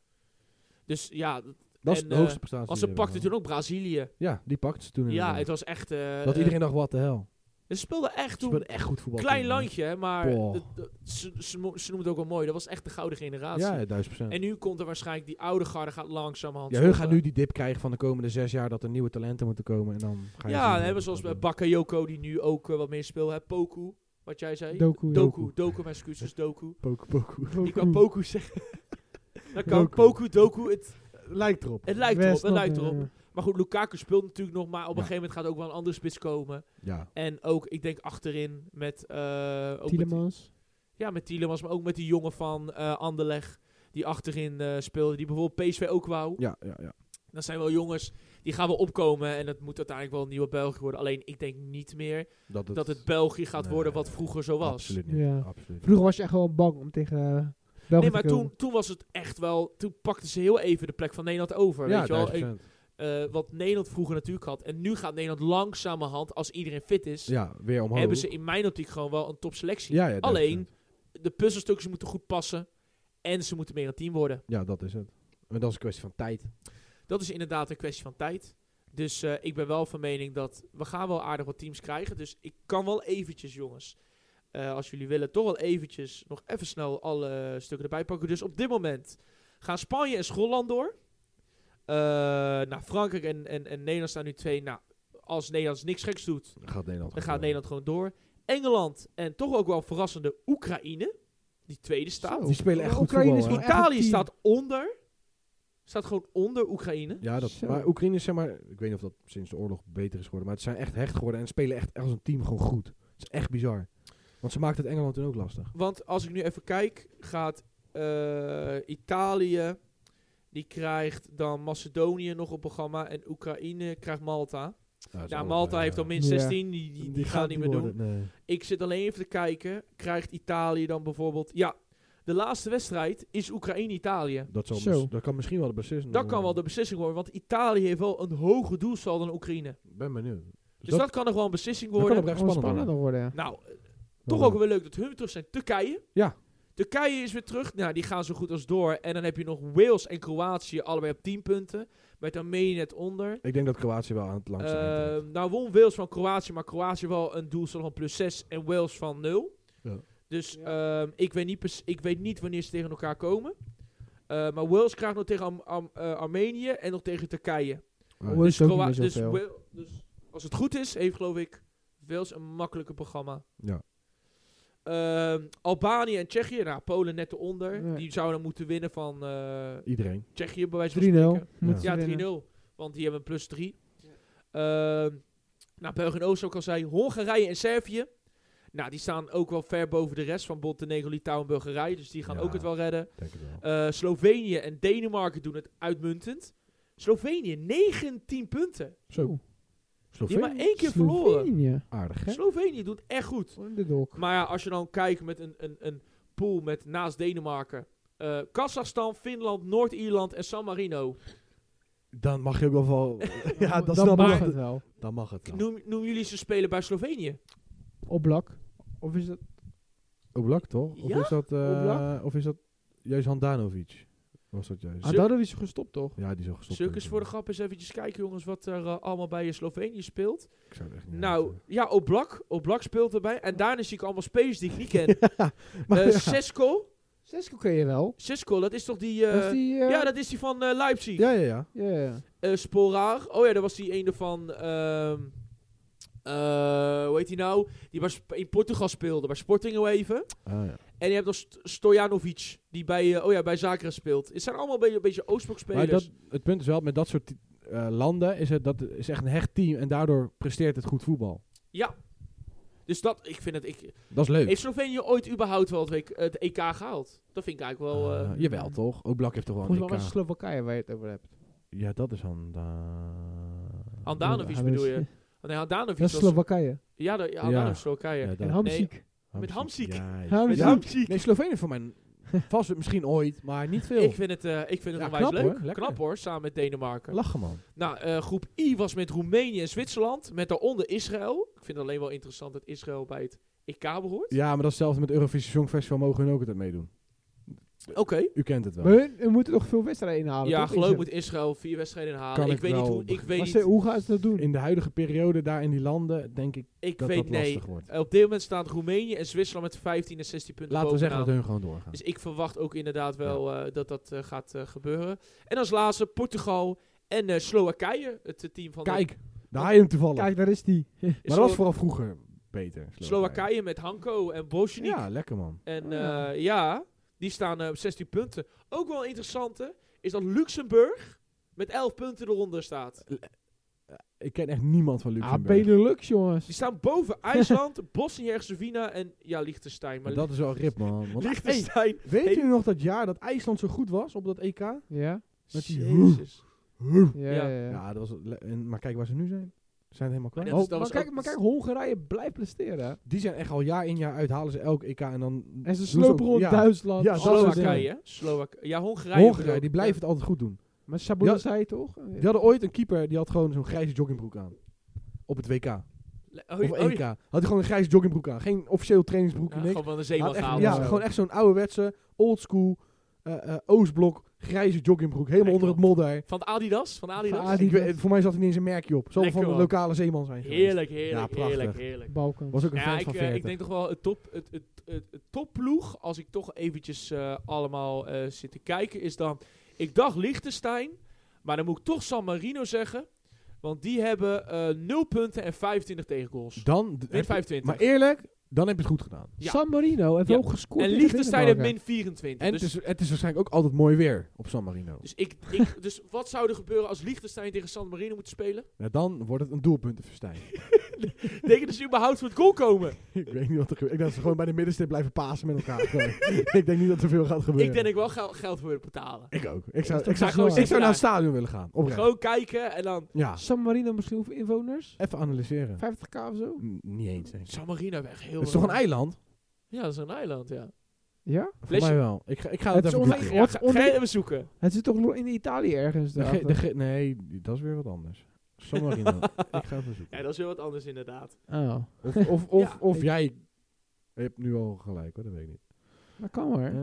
[SPEAKER 1] Dus ja, dat-
[SPEAKER 2] dat is
[SPEAKER 1] En,
[SPEAKER 2] de
[SPEAKER 1] eh,
[SPEAKER 2] hoogste prestatie.
[SPEAKER 1] als
[SPEAKER 2] die
[SPEAKER 1] ze
[SPEAKER 2] hebben
[SPEAKER 1] pakte
[SPEAKER 2] gehad.
[SPEAKER 1] toen ook Brazilië.
[SPEAKER 2] Ja, die pakte ze toen.
[SPEAKER 1] Ja,
[SPEAKER 2] inderdaad.
[SPEAKER 1] het was echt... eh,
[SPEAKER 2] dat
[SPEAKER 1] eh,
[SPEAKER 2] iedereen dacht, wat de hel.
[SPEAKER 1] Ze speelden echt
[SPEAKER 2] Ze
[SPEAKER 1] toen...
[SPEAKER 2] speelden echt goed voetbal.
[SPEAKER 1] Klein
[SPEAKER 2] toen, man.
[SPEAKER 1] landje, hè, maar
[SPEAKER 2] Boah.
[SPEAKER 1] dat- dat- ze, ze, mo- ze noemen het ook wel mooi. Dat was echt de gouden generatie.
[SPEAKER 2] Ja, ja, duizend procent.
[SPEAKER 1] En nu komt er waarschijnlijk die oude garde gaat langzamerhand
[SPEAKER 2] Ja, hun gaan
[SPEAKER 1] stoppen.
[SPEAKER 2] nu die dip krijgen van de komende zes jaar dat er nieuwe talenten moeten komen. En dan ga je
[SPEAKER 1] Ja, dan
[SPEAKER 2] zien
[SPEAKER 1] hebben
[SPEAKER 2] wat
[SPEAKER 1] we zoals
[SPEAKER 2] dat
[SPEAKER 1] bij
[SPEAKER 2] wordt.
[SPEAKER 1] Bakayoko, die nu ook eh, wat meer speelt. Hè? Poku, wat jij zei.
[SPEAKER 3] Doku.
[SPEAKER 1] Doku, Doku, mijn excuses, Doku.
[SPEAKER 2] Poku, poku.
[SPEAKER 1] Ik kan Poku <laughs> zeggen. Dan kan
[SPEAKER 2] Doku.
[SPEAKER 1] Poku, Doku, het,
[SPEAKER 2] Lijkt erop.
[SPEAKER 1] het lijkt erop,
[SPEAKER 3] West,
[SPEAKER 1] het
[SPEAKER 3] dat,
[SPEAKER 1] lijkt
[SPEAKER 3] eh,
[SPEAKER 1] erop. Maar goed, Lukaku speelt natuurlijk nog, maar op een
[SPEAKER 2] Ja.
[SPEAKER 1] gegeven moment gaat ook wel een andere spits komen.
[SPEAKER 2] Ja.
[SPEAKER 1] En ook, ik denk achterin met... eh ook met
[SPEAKER 3] Tielemans.
[SPEAKER 1] ja, met Tielemans, maar ook met die jongen van eh Anderleg, die achterin eh, speelde, die bijvoorbeeld PSV ook wou.
[SPEAKER 2] Ja, ja, ja.
[SPEAKER 1] Dat zijn wel jongens, die gaan wel opkomen en dat moet uiteindelijk wel een nieuwe België worden. Alleen, ik denk niet meer
[SPEAKER 2] Dat het,
[SPEAKER 1] dat het België gaat
[SPEAKER 2] Nee,
[SPEAKER 1] worden wat vroeger zo was.
[SPEAKER 2] Absoluut niet.
[SPEAKER 3] Ja.
[SPEAKER 2] Absoluut.
[SPEAKER 3] Vroeger was je echt gewoon bang om tegen eh, België
[SPEAKER 1] Nee, maar
[SPEAKER 3] te komen.
[SPEAKER 1] toen, toen was het echt wel. Toen pakten ze heel even de plek van Nederland over.
[SPEAKER 2] Ja,
[SPEAKER 1] weet je wel?
[SPEAKER 2] duizend procent.
[SPEAKER 1] Eh, wat Nederland vroeger natuurlijk had. En nu gaat Nederland langzamerhand, als iedereen fit is,
[SPEAKER 2] Ja, weer omhoog.
[SPEAKER 1] hebben ze in mijn optiek gewoon wel een topselectie.
[SPEAKER 2] ja, ja, duizend
[SPEAKER 1] Alleen-
[SPEAKER 2] procent.
[SPEAKER 1] De puzzelstukjes moeten goed passen. En ze moeten meer een team worden.
[SPEAKER 2] Ja, dat is het. Maar dat is een kwestie van tijd.
[SPEAKER 1] Dat is inderdaad een kwestie van tijd. Dus eh, ik ben wel van mening dat we gaan wel aardig wat teams krijgen. Dus ik kan wel eventjes, jongens, eh, als jullie willen, toch wel eventjes nog even snel alle stukken erbij pakken. Dus op dit moment gaan Spanje en Schotland door. Eh nou, Frankrijk en, en, en Nederland staan nu twee. Nou, als Nederland niks geks doet,
[SPEAKER 2] Dan gaat Nederland
[SPEAKER 1] dan
[SPEAKER 2] gewoon
[SPEAKER 1] gaat Nederland gewoon door. Engeland en toch ook wel verrassende Oekraïne, die tweede staat. Dus
[SPEAKER 2] door. Die spelen echt
[SPEAKER 3] Maar
[SPEAKER 2] goed
[SPEAKER 3] Oekraïne
[SPEAKER 2] voetbal.
[SPEAKER 3] is
[SPEAKER 2] hè?
[SPEAKER 3] wel echt een
[SPEAKER 1] Italië
[SPEAKER 3] team.
[SPEAKER 1] staat onder. Staat gewoon onder Oekraïne.
[SPEAKER 2] Ja, dat,
[SPEAKER 3] Zo.
[SPEAKER 2] maar Oekraïne is zeg maar... Ik weet niet of dat sinds de oorlog beter is geworden. Maar het zijn echt hecht geworden. En spelen echt als een team gewoon goed. Het is echt bizar. Want ze maakt het Engeland toen ook lastig.
[SPEAKER 1] Want als ik nu even kijk, gaat eh, Italië, die krijgt dan Macedonië nog op programma en Oekraïne krijgt Malta. Ja, Malta
[SPEAKER 2] eh,
[SPEAKER 1] heeft al min
[SPEAKER 3] Ja.
[SPEAKER 1] 16, die, die, die, gaan niet meer doen.
[SPEAKER 2] Nee.
[SPEAKER 1] Ik zit alleen even te kijken, krijgt Italië dan bijvoorbeeld... Ja, de laatste wedstrijd is Oekraïne-Italië.
[SPEAKER 2] Dat, zal
[SPEAKER 3] Zo.
[SPEAKER 2] mis- dat kan misschien wel de beslissing
[SPEAKER 1] Dat kan wel de beslissing worden, want Italië heeft wel een hoger doelstal dan Oekraïne.
[SPEAKER 2] Ik ben benieuwd.
[SPEAKER 1] Dus
[SPEAKER 2] dat-
[SPEAKER 1] dat, kan nog wel een beslissing
[SPEAKER 2] kan
[SPEAKER 1] worden.
[SPEAKER 2] oprecht
[SPEAKER 3] Gewoon
[SPEAKER 2] spannend
[SPEAKER 3] spannender worden. ja.
[SPEAKER 1] Nou, Toch ook wel leuk dat hun terug zijn. Turkije.
[SPEAKER 2] Ja.
[SPEAKER 1] Turkije is weer terug. Nou, die gaan zo goed als door. En dan heb je nog Wales en Kroatië allebei op 10 punten. Met Armenië net onder.
[SPEAKER 2] Ik denk dat Kroatië wel aan het langste eind
[SPEAKER 1] Ehm,
[SPEAKER 2] heeft.
[SPEAKER 1] nou won Wales van Kroatië, maar Kroatië wel een doelstel van plus 6 en Wales van 0.
[SPEAKER 2] Ja.
[SPEAKER 1] Dus ehm, ik, weet niet, pers- ik weet niet wanneer ze tegen elkaar komen. Eh, maar Wales krijgt nog tegen Am- Am- eh, Armenië en nog tegen Turkije.
[SPEAKER 2] Ja.
[SPEAKER 3] Wales ook niet
[SPEAKER 1] Kroa-
[SPEAKER 3] meer
[SPEAKER 1] dus,
[SPEAKER 3] zoveel.
[SPEAKER 1] Wa- dus als het goed is, heeft geloof ik Wales een makkelijker programma.
[SPEAKER 2] Ja.
[SPEAKER 1] Ehm, Albanië en Tsjechië, nou, Polen net eronder.
[SPEAKER 3] Nee.
[SPEAKER 1] Die zouden moeten winnen van eh,
[SPEAKER 2] Iedereen.
[SPEAKER 1] Tsjechië, bij wijze
[SPEAKER 3] 3-0.
[SPEAKER 1] van spreken.
[SPEAKER 3] moeten ze
[SPEAKER 1] Ja, 3-0.
[SPEAKER 3] winnen.
[SPEAKER 1] Want die hebben een plus 3. Ehm nou, België en Oost ook al zei. Hongarije en Servië. Nou, die staan ook wel ver boven de rest van Montenegro, Litouwen en Bulgarije. Dus die gaan
[SPEAKER 2] Ja.
[SPEAKER 1] ook het wel redden.
[SPEAKER 2] Denk het wel.
[SPEAKER 1] Eh, Slovenië en Denemarken doen het uitmuntend. Slovenië, 19 punten.
[SPEAKER 2] Zo.
[SPEAKER 3] Oeh.
[SPEAKER 1] Die hebben
[SPEAKER 2] Slovenië.
[SPEAKER 1] maar één keer verloren.
[SPEAKER 3] Slovenië.
[SPEAKER 2] Aardig, hè?
[SPEAKER 1] Slovenië doet echt goed.
[SPEAKER 3] Underdog.
[SPEAKER 1] Maar ja, als je dan kijkt met een, een, een pool met naast Denemarken. eh Kazachstan, Finland, Noord-Ierland en San Marino.
[SPEAKER 2] Dan mag je ook wel
[SPEAKER 1] <laughs>
[SPEAKER 2] wel... ja, dat
[SPEAKER 3] dan
[SPEAKER 2] snap
[SPEAKER 3] mag
[SPEAKER 2] ik.
[SPEAKER 3] het wel.
[SPEAKER 2] Dan mag het.
[SPEAKER 1] Noem, noem jullie ze spelen bij Slovenië?
[SPEAKER 3] Oblak. Ah, Of is dat...
[SPEAKER 2] Oblak, toch? Of
[SPEAKER 1] Ja?
[SPEAKER 2] is dat... eh,
[SPEAKER 3] Oblak? Ah,
[SPEAKER 2] Of is dat juist Handanovic? Was dat juist?
[SPEAKER 1] Zul-
[SPEAKER 3] Adadovic is gestopt, toch?
[SPEAKER 2] Ja, die is al gestopt.
[SPEAKER 1] Zullen we eens voor de
[SPEAKER 2] natuurlijk.
[SPEAKER 1] grap eens eventjes kijken, jongens, wat er eh, allemaal bij eh, Slovenië speelt?
[SPEAKER 2] Ik zou het echt niet
[SPEAKER 1] Nou,
[SPEAKER 2] weten.
[SPEAKER 1] ja, Oblak. Oblak speelt erbij. En daarna zie ik allemaal spelers die ik niet ken.
[SPEAKER 2] Maar
[SPEAKER 1] Eh,
[SPEAKER 2] <laughs> ja.
[SPEAKER 1] Sesko.
[SPEAKER 3] Zesco ken je wel.
[SPEAKER 1] Sesko, dat is toch die... eh,
[SPEAKER 3] Dat is die... eh,
[SPEAKER 1] ja, dat is die van eh, Leipzig.
[SPEAKER 2] Ja, ja, ja.
[SPEAKER 3] ja, ja.
[SPEAKER 1] Eh, Sporar. Oh ja, dat was die ene van. ehm, eh, hoe heet die nou? Die was in Portugal speelde, bij Sporting heel even.
[SPEAKER 2] Ah, ja.
[SPEAKER 1] En je hebt nog St- Stojanovic, die bij, eh, oh ja, bij Zagreb speelt. Het zijn allemaal een beetje, een beetje
[SPEAKER 2] Maar
[SPEAKER 1] Oostblok-spelers.
[SPEAKER 2] dat, het punt is wel, met dat soort eh, landen is het dat is echt een hecht team en daardoor presteert het goed voetbal.
[SPEAKER 1] Ja. Dus dat, ik vind het. Ik,
[SPEAKER 2] Dat is leuk.
[SPEAKER 1] heeft Slovenië ooit überhaupt wel het, WK het EK gehaald? Dat vind ik eigenlijk wel. eh,
[SPEAKER 2] Ah, jawel, toch? Ook Blak heeft toch wel
[SPEAKER 3] Volgens
[SPEAKER 2] een
[SPEAKER 3] mij was het
[SPEAKER 2] EK.
[SPEAKER 3] Slowakije waar je het over hebt.
[SPEAKER 2] Ja, dat is Handa...
[SPEAKER 1] Handanovic
[SPEAKER 3] Ja, dat is-
[SPEAKER 1] bedoel
[SPEAKER 2] <laughs>
[SPEAKER 1] je? Nee, Handanovic
[SPEAKER 3] Dat is
[SPEAKER 1] was.
[SPEAKER 3] Slowakije.
[SPEAKER 1] ja, dat- ja, Handanovic Slowakije.
[SPEAKER 2] Ja,
[SPEAKER 3] En
[SPEAKER 2] dat-
[SPEAKER 3] Hamziek.
[SPEAKER 1] Met Hamsik.
[SPEAKER 2] Ja, ja.
[SPEAKER 3] Hamsik.
[SPEAKER 1] Met
[SPEAKER 3] Ja.
[SPEAKER 1] Hamsik.
[SPEAKER 2] Nee, Slovenië voor mij vast misschien ooit, maar niet veel.
[SPEAKER 1] Ik vind het, eh, ik vind het
[SPEAKER 2] Ja,
[SPEAKER 1] onwijs
[SPEAKER 2] knap,
[SPEAKER 1] leuk.
[SPEAKER 2] hoor. Lekker.
[SPEAKER 1] Knap hoor, samen met Denemarken.
[SPEAKER 2] Lachen, man.
[SPEAKER 1] Nou, eh, groep I was met Roemenië en Zwitserland. Met daaronder Israël. Ik vind het alleen wel interessant dat Israël bij het EK behoort.
[SPEAKER 2] Ja, maar dat is hetzelfde met Eurovisie Songfestival mogen hun ook altijd meedoen.
[SPEAKER 1] Oké.
[SPEAKER 2] U kent het wel.
[SPEAKER 3] Maar hun, hun moeten nog veel wedstrijden inhalen.
[SPEAKER 1] Ja,
[SPEAKER 3] toch?
[SPEAKER 1] geloof
[SPEAKER 3] Is
[SPEAKER 1] ik
[SPEAKER 3] het-
[SPEAKER 1] moet Israël vier wedstrijden halen.
[SPEAKER 2] Kan
[SPEAKER 1] Ik
[SPEAKER 2] ik
[SPEAKER 1] weet niet
[SPEAKER 2] wel
[SPEAKER 1] hoe. Ik weet
[SPEAKER 3] Maar ze-
[SPEAKER 1] niet.
[SPEAKER 3] hoe gaan ze dat doen?
[SPEAKER 2] In de huidige periode daar in die landen denk ik
[SPEAKER 1] Ik
[SPEAKER 2] dat
[SPEAKER 1] weet
[SPEAKER 2] dat
[SPEAKER 1] nee.
[SPEAKER 2] lastig wordt.
[SPEAKER 1] Op dit moment staat Roemenië en Zwitserland met 15 en 16 punten
[SPEAKER 2] Laten we zeggen
[SPEAKER 1] bovenaan.
[SPEAKER 2] dat hun gewoon doorgaan.
[SPEAKER 1] Dus ik verwacht ook inderdaad wel eh, dat dat eh, gaat eh, gebeuren. En als laatste Portugal en eh, Slowakije. Het eh, team van de-
[SPEAKER 2] Kijk, daar heb je hem toevallig.
[SPEAKER 3] Kijk, daar is die.
[SPEAKER 2] maar dat was vooral vroeger beter.
[SPEAKER 1] Slowakije met Hanko en Bosnië.
[SPEAKER 2] Ja, lekker man.
[SPEAKER 1] En
[SPEAKER 3] Ah, ja.
[SPEAKER 1] eh, ja, die staan eh, op 16 punten. Ook wel interessant hè, is dat Luxemburg met 11 punten eronder staat.
[SPEAKER 2] Ik ken echt niemand van
[SPEAKER 3] Ah,
[SPEAKER 2] Luxemburg.
[SPEAKER 3] Benelux, jongens.
[SPEAKER 1] Die staan
[SPEAKER 2] <laughs>
[SPEAKER 1] boven IJsland, Bosnië-Herzegovina en ja, Liechtenstein.
[SPEAKER 2] maar
[SPEAKER 1] Maar
[SPEAKER 2] dat is wel rip man. Want, hey,
[SPEAKER 1] Liechtenstein.
[SPEAKER 2] weet
[SPEAKER 1] Hey.
[SPEAKER 2] je nog dat jaar dat IJsland zo goed was op dat EK? Ja,
[SPEAKER 3] Ja?
[SPEAKER 2] Met die-
[SPEAKER 1] Jezus.
[SPEAKER 3] Ja,
[SPEAKER 1] Ja.
[SPEAKER 3] ja, ja.
[SPEAKER 2] dat was le- en, maar kijk waar ze nu zijn. Ze zijn helemaal
[SPEAKER 1] Maar
[SPEAKER 2] kwijt.
[SPEAKER 1] dus dat is-
[SPEAKER 3] Oh, maar,
[SPEAKER 1] was
[SPEAKER 3] kijk,
[SPEAKER 1] ook-
[SPEAKER 3] maar kijk, Hongarije blijft presteren. hè.
[SPEAKER 2] Die zijn echt al jaar in jaar uit halen ze elk EK en dan
[SPEAKER 3] En ze
[SPEAKER 2] doen
[SPEAKER 3] slopen
[SPEAKER 2] ook-
[SPEAKER 3] rond
[SPEAKER 2] ja.
[SPEAKER 3] Duitsland.
[SPEAKER 2] Ja,
[SPEAKER 3] alles.
[SPEAKER 2] dat is het
[SPEAKER 1] Slowakije. hè? Slowak ja, Hongarije.
[SPEAKER 2] Hongarije,
[SPEAKER 1] bedoel
[SPEAKER 2] die
[SPEAKER 1] ik.
[SPEAKER 2] blijven het altijd goed doen.
[SPEAKER 3] Maar Sabonis
[SPEAKER 2] Ja.
[SPEAKER 3] zei toch?
[SPEAKER 2] Die hadden ooit een keeper die had gewoon zo'n grijze joggingbroek aan. Op het WK.
[SPEAKER 1] Le- Oh,
[SPEAKER 2] Of
[SPEAKER 1] oh,
[SPEAKER 2] EK. Had hij gewoon een grijze joggingbroek aan. Geen officieel
[SPEAKER 1] ja,
[SPEAKER 2] trainingsbroekje, niks.
[SPEAKER 1] gewoon van de
[SPEAKER 2] Hij
[SPEAKER 1] zeeman
[SPEAKER 2] had echt-
[SPEAKER 1] gehaald.
[SPEAKER 2] ja,
[SPEAKER 1] of zo.
[SPEAKER 2] gewoon echt zo'n ouderwetse, oldschool, eh eh Oostblok, grijze joggingbroek. Helemaal
[SPEAKER 1] Lekker
[SPEAKER 2] onder het modder.
[SPEAKER 1] Van Adidas? Van Adidas?
[SPEAKER 3] Van
[SPEAKER 2] Ik
[SPEAKER 3] Adidas.
[SPEAKER 2] weet- voor mij zat er niet eens een merkje op. Zal
[SPEAKER 1] Lekker,
[SPEAKER 2] van een
[SPEAKER 1] man.
[SPEAKER 2] lokale zeeman zijn geweest.
[SPEAKER 1] Heerlijk,
[SPEAKER 2] Ja,
[SPEAKER 1] heerlijk,
[SPEAKER 2] prachtig.
[SPEAKER 1] heerlijk, heerlijk.
[SPEAKER 3] Balkan.
[SPEAKER 2] Was ook een
[SPEAKER 1] Ja,
[SPEAKER 2] fan
[SPEAKER 1] ik,
[SPEAKER 2] van
[SPEAKER 1] eh,
[SPEAKER 2] Verte.
[SPEAKER 1] ik denk toch wel het, top, het, het, het, het topploeg, als ik toch eventjes eh, allemaal eh, zit te kijken, is dan... Ik dacht Liechtenstein, maar dan moet ik toch San Marino zeggen. Want die hebben eh 0 punten en 25 tegengoals.
[SPEAKER 2] Dan... d-
[SPEAKER 1] Nee,
[SPEAKER 2] heb je-
[SPEAKER 1] 25.
[SPEAKER 2] Maar eerlijk, dan heb je het goed gedaan.
[SPEAKER 1] Ja.
[SPEAKER 3] San Marino heeft
[SPEAKER 1] Ja.
[SPEAKER 3] ook gescoord.
[SPEAKER 1] En
[SPEAKER 3] tegen
[SPEAKER 1] Liechtenstein heeft
[SPEAKER 3] Denemarken.
[SPEAKER 1] min 24.
[SPEAKER 2] En
[SPEAKER 1] dus,
[SPEAKER 2] het, is, het is waarschijnlijk ook altijd mooi weer op San Marino.
[SPEAKER 1] dus, ik, ik, <laughs> dus wat zou er gebeuren als Liechtenstein tegen San Marino moet spelen? <laughs>
[SPEAKER 2] Nou, dan wordt het een doelpuntenfestijn.
[SPEAKER 1] Denk je dat ze überhaupt voor het goal komen?
[SPEAKER 2] <laughs> ik weet niet wat er gebeurt. Ik denk dat ze gewoon bij de middenstip blijven pasen met elkaar. Gewoon. <laughs> ik denk niet dat er veel gaat gebeuren.
[SPEAKER 1] Ik denk ik wel gel- geld voor willen betalen.
[SPEAKER 2] Ik ook. Ik zou,
[SPEAKER 3] Dat
[SPEAKER 2] ik
[SPEAKER 3] is
[SPEAKER 2] zou,
[SPEAKER 1] gewoon
[SPEAKER 2] ik zou naar het
[SPEAKER 1] zitten
[SPEAKER 2] stadion willen gaan. Oprecht.
[SPEAKER 1] Gewoon kijken en dan...
[SPEAKER 2] Ja,
[SPEAKER 3] San Marino misschien hoeveel inwoners?
[SPEAKER 2] even analyseren.
[SPEAKER 3] 50k of zo?
[SPEAKER 2] N- niet eens. eens.
[SPEAKER 1] San Marino weg, heel
[SPEAKER 2] Het is toch een
[SPEAKER 1] raar.
[SPEAKER 2] eiland?
[SPEAKER 1] Ja, dat is een eiland, ja.
[SPEAKER 3] Ja?
[SPEAKER 2] Voor
[SPEAKER 1] Flesje-
[SPEAKER 2] mij wel. Ik ga, ik ga
[SPEAKER 3] Het
[SPEAKER 2] het, even
[SPEAKER 3] is onge-
[SPEAKER 2] googlen.
[SPEAKER 1] Ja,
[SPEAKER 3] Wat
[SPEAKER 1] ga,
[SPEAKER 3] onder-
[SPEAKER 1] ga je even zoeken.
[SPEAKER 3] Het zit toch lo- in Italië ergens?
[SPEAKER 2] De ge-
[SPEAKER 3] daarachter?
[SPEAKER 2] de ge- nee, dat is weer wat anders. San
[SPEAKER 3] <laughs>
[SPEAKER 2] Marino. ik ga even zoeken.
[SPEAKER 1] Ja, dat is heel wat anders inderdaad.
[SPEAKER 3] Oh,
[SPEAKER 2] Of, of, of,
[SPEAKER 1] Ja,
[SPEAKER 2] of
[SPEAKER 1] ik-
[SPEAKER 2] jij hebt nu al gelijk hoor, dat weet ik niet.
[SPEAKER 3] dat kan hoor.
[SPEAKER 2] Ehm,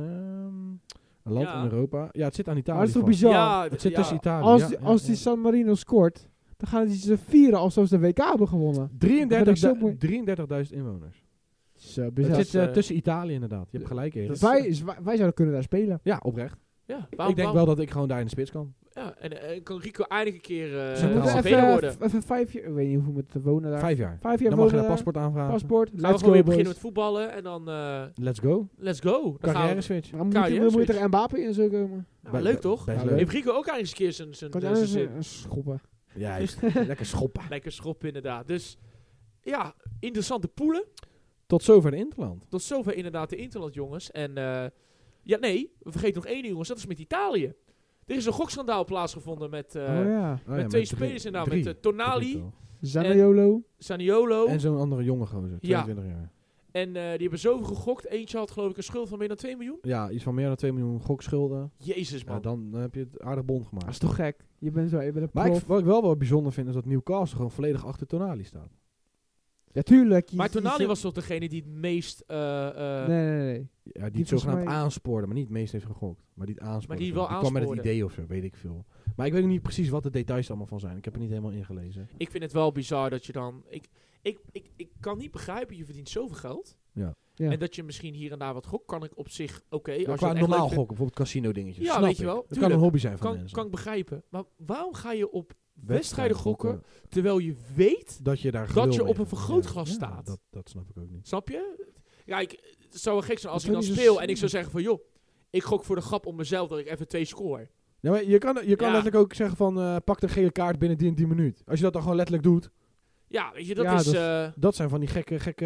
[SPEAKER 2] een land
[SPEAKER 1] Ja.
[SPEAKER 2] in Europa. Ja, het zit aan
[SPEAKER 3] maar het
[SPEAKER 2] Italië.
[SPEAKER 3] is toch
[SPEAKER 2] vast.
[SPEAKER 3] bizar?
[SPEAKER 1] ja, d-
[SPEAKER 2] Het zit
[SPEAKER 1] ja.
[SPEAKER 2] tussen Italië.
[SPEAKER 3] als,
[SPEAKER 2] ja,
[SPEAKER 3] die,
[SPEAKER 2] ja,
[SPEAKER 3] als
[SPEAKER 2] ja.
[SPEAKER 3] die San Marino scoort, dan gaan die ze vieren alsof ze de WK hebben gewonnen.
[SPEAKER 2] 33
[SPEAKER 3] Dat is zo mooi.
[SPEAKER 2] 33.000 inwoners.
[SPEAKER 3] Zo
[SPEAKER 2] Het
[SPEAKER 3] bizar.
[SPEAKER 2] zit eh,
[SPEAKER 1] eh,
[SPEAKER 2] tussen Italië inderdaad. Je hebt gelijk, Erik.
[SPEAKER 3] wij, z- wij wij zouden kunnen daar spelen.
[SPEAKER 2] Ja, oprecht.
[SPEAKER 1] Ja, waarom,
[SPEAKER 2] ik denk wel dat ik gewoon daar in de spits kan.
[SPEAKER 1] waarom- Ja, en, en kan Rico eindelijk een keer eh,
[SPEAKER 2] Ze
[SPEAKER 3] Ze moeten
[SPEAKER 1] Zweden
[SPEAKER 3] even,
[SPEAKER 1] worden.
[SPEAKER 3] even, vijf jaar, ik weet niet hoeveel moeten wonen daar.
[SPEAKER 2] Vijf jaar.
[SPEAKER 3] Vijf jaar
[SPEAKER 2] Dan mag je
[SPEAKER 3] wonen
[SPEAKER 2] een
[SPEAKER 1] eh,
[SPEAKER 3] daar.
[SPEAKER 2] paspoort aanvragen.
[SPEAKER 3] Paspoort.
[SPEAKER 1] Gaan we
[SPEAKER 3] Let's
[SPEAKER 1] gewoon
[SPEAKER 3] go,
[SPEAKER 1] weer beginnen met
[SPEAKER 3] boys.
[SPEAKER 1] voetballen en dan eh,
[SPEAKER 2] Let's go.
[SPEAKER 1] let's go. Dan gaan
[SPEAKER 2] Carrière
[SPEAKER 1] we,
[SPEAKER 2] switch.
[SPEAKER 3] Maar moet je,
[SPEAKER 1] Carrière
[SPEAKER 3] moet je er Mbappé in zo komen?
[SPEAKER 1] Ja, maar leuk toch?
[SPEAKER 2] Best
[SPEAKER 3] Ja,
[SPEAKER 2] leuk.
[SPEAKER 1] Heeft Rico ook eigenlijk eens een keer zijn- zijn
[SPEAKER 3] Kan je
[SPEAKER 1] zijn-
[SPEAKER 3] anders
[SPEAKER 1] zijn-
[SPEAKER 3] eh, schoppen?
[SPEAKER 2] Ja, juist. <laughs> lekker schoppen.
[SPEAKER 1] lekker schop inderdaad. Dus ja, interessante poelen.
[SPEAKER 2] Tot zover de Interland.
[SPEAKER 1] Tot zover inderdaad de Interland jongens. En eh, ja, nee, we vergeten nog één ding jongens. Dat is met Italië. Er is een gokschandaal plaatsgevonden met, eh,
[SPEAKER 3] oh ja.
[SPEAKER 2] Oh ja,
[SPEAKER 1] met
[SPEAKER 2] met
[SPEAKER 1] twee
[SPEAKER 2] drie-
[SPEAKER 1] spelers inderdaad.
[SPEAKER 2] drie.
[SPEAKER 1] Met eh, oh. Tonali,
[SPEAKER 2] Toch?
[SPEAKER 3] Zaniolo.
[SPEAKER 1] Saniolo
[SPEAKER 2] En
[SPEAKER 1] en,
[SPEAKER 2] zo'n andere jonge gozer, 22 jaar.
[SPEAKER 1] eh, die hebben zoveel gegokt. Eentje had geloof ik een schuld van meer dan 2 miljoen.
[SPEAKER 2] Ja, iets van meer dan 2 miljoen gokschulden.
[SPEAKER 1] Jezus man.
[SPEAKER 2] Ja, dan, dan heb je het aardig bond
[SPEAKER 3] Dat is
[SPEAKER 2] gemaakt.
[SPEAKER 3] toch gek? Je bent zo, je bent een
[SPEAKER 2] Maar ik,
[SPEAKER 3] prof.
[SPEAKER 2] wat ik wel wel bijzonder vind, is dat Newcastle gewoon volledig achter Tonali staat.
[SPEAKER 3] Ja, tuurlijk. je-
[SPEAKER 1] maar
[SPEAKER 3] je-
[SPEAKER 1] Tonali
[SPEAKER 3] je-
[SPEAKER 1] was toch degene die het meest... eh, eh,
[SPEAKER 3] Nee, nee, nee, nee.
[SPEAKER 2] Ja, die,
[SPEAKER 3] Die
[SPEAKER 2] het zogenaamd
[SPEAKER 3] volgens mij-
[SPEAKER 2] aanspoorde, maar niet het meest heeft gegokt. Maar die het aanspoorde.
[SPEAKER 1] Maar die wel
[SPEAKER 2] kwam met het
[SPEAKER 1] aanspoorde.
[SPEAKER 2] idee of zo, weet ik veel. Maar ik weet niet precies wat de details er allemaal van zijn. Ik heb er niet helemaal ingelezen.
[SPEAKER 1] Ik vind het wel bizar dat je dan... Ik, ik, ik, ik kan niet begrijpen, je verdient zoveel geld.
[SPEAKER 2] Ja.
[SPEAKER 3] Ja.
[SPEAKER 1] En dat je misschien hier en daar wat gokt, kan ik op zich... Oké,
[SPEAKER 2] Ja,
[SPEAKER 1] als je
[SPEAKER 2] qua
[SPEAKER 1] het echt
[SPEAKER 2] normaal
[SPEAKER 1] leuk vindt,
[SPEAKER 2] gokken, bijvoorbeeld casino dingetjes.
[SPEAKER 1] Ja,
[SPEAKER 2] snap
[SPEAKER 1] weet je
[SPEAKER 2] ik.
[SPEAKER 1] wel,
[SPEAKER 2] Het kan
[SPEAKER 1] tuurlijk.
[SPEAKER 2] een hobby zijn van
[SPEAKER 1] kan,
[SPEAKER 2] mensen.
[SPEAKER 1] kan ik begrijpen. Maar waarom ga je op wedstrijden gokken, terwijl je weet...
[SPEAKER 2] dat je daar
[SPEAKER 1] dat
[SPEAKER 2] gelul
[SPEAKER 1] je
[SPEAKER 2] mee
[SPEAKER 1] op een
[SPEAKER 2] hebt.
[SPEAKER 1] vergrootglas
[SPEAKER 2] Ja,
[SPEAKER 1] staat?
[SPEAKER 2] Dat, dat snap ik ook niet.
[SPEAKER 1] Snap je? Ja, ik, het zou wel gek zijn als
[SPEAKER 3] Dat
[SPEAKER 1] ik dan
[SPEAKER 3] vind ik zo
[SPEAKER 1] speel
[SPEAKER 3] slim.
[SPEAKER 1] en ik zou zeggen van... joh, ik gok voor de grap op mezelf dat ik even twee score.
[SPEAKER 2] Ja, maar je kan, je kan
[SPEAKER 1] Ja.
[SPEAKER 2] letterlijk ook zeggen van eh, pak de gele kaart binnen die en die minuut. Als je dat dan gewoon letterlijk doet,
[SPEAKER 1] Ja, weet je, dat
[SPEAKER 3] Ja,
[SPEAKER 1] is...
[SPEAKER 3] dat is-
[SPEAKER 1] eh,
[SPEAKER 2] dat zijn van die gekke, gekke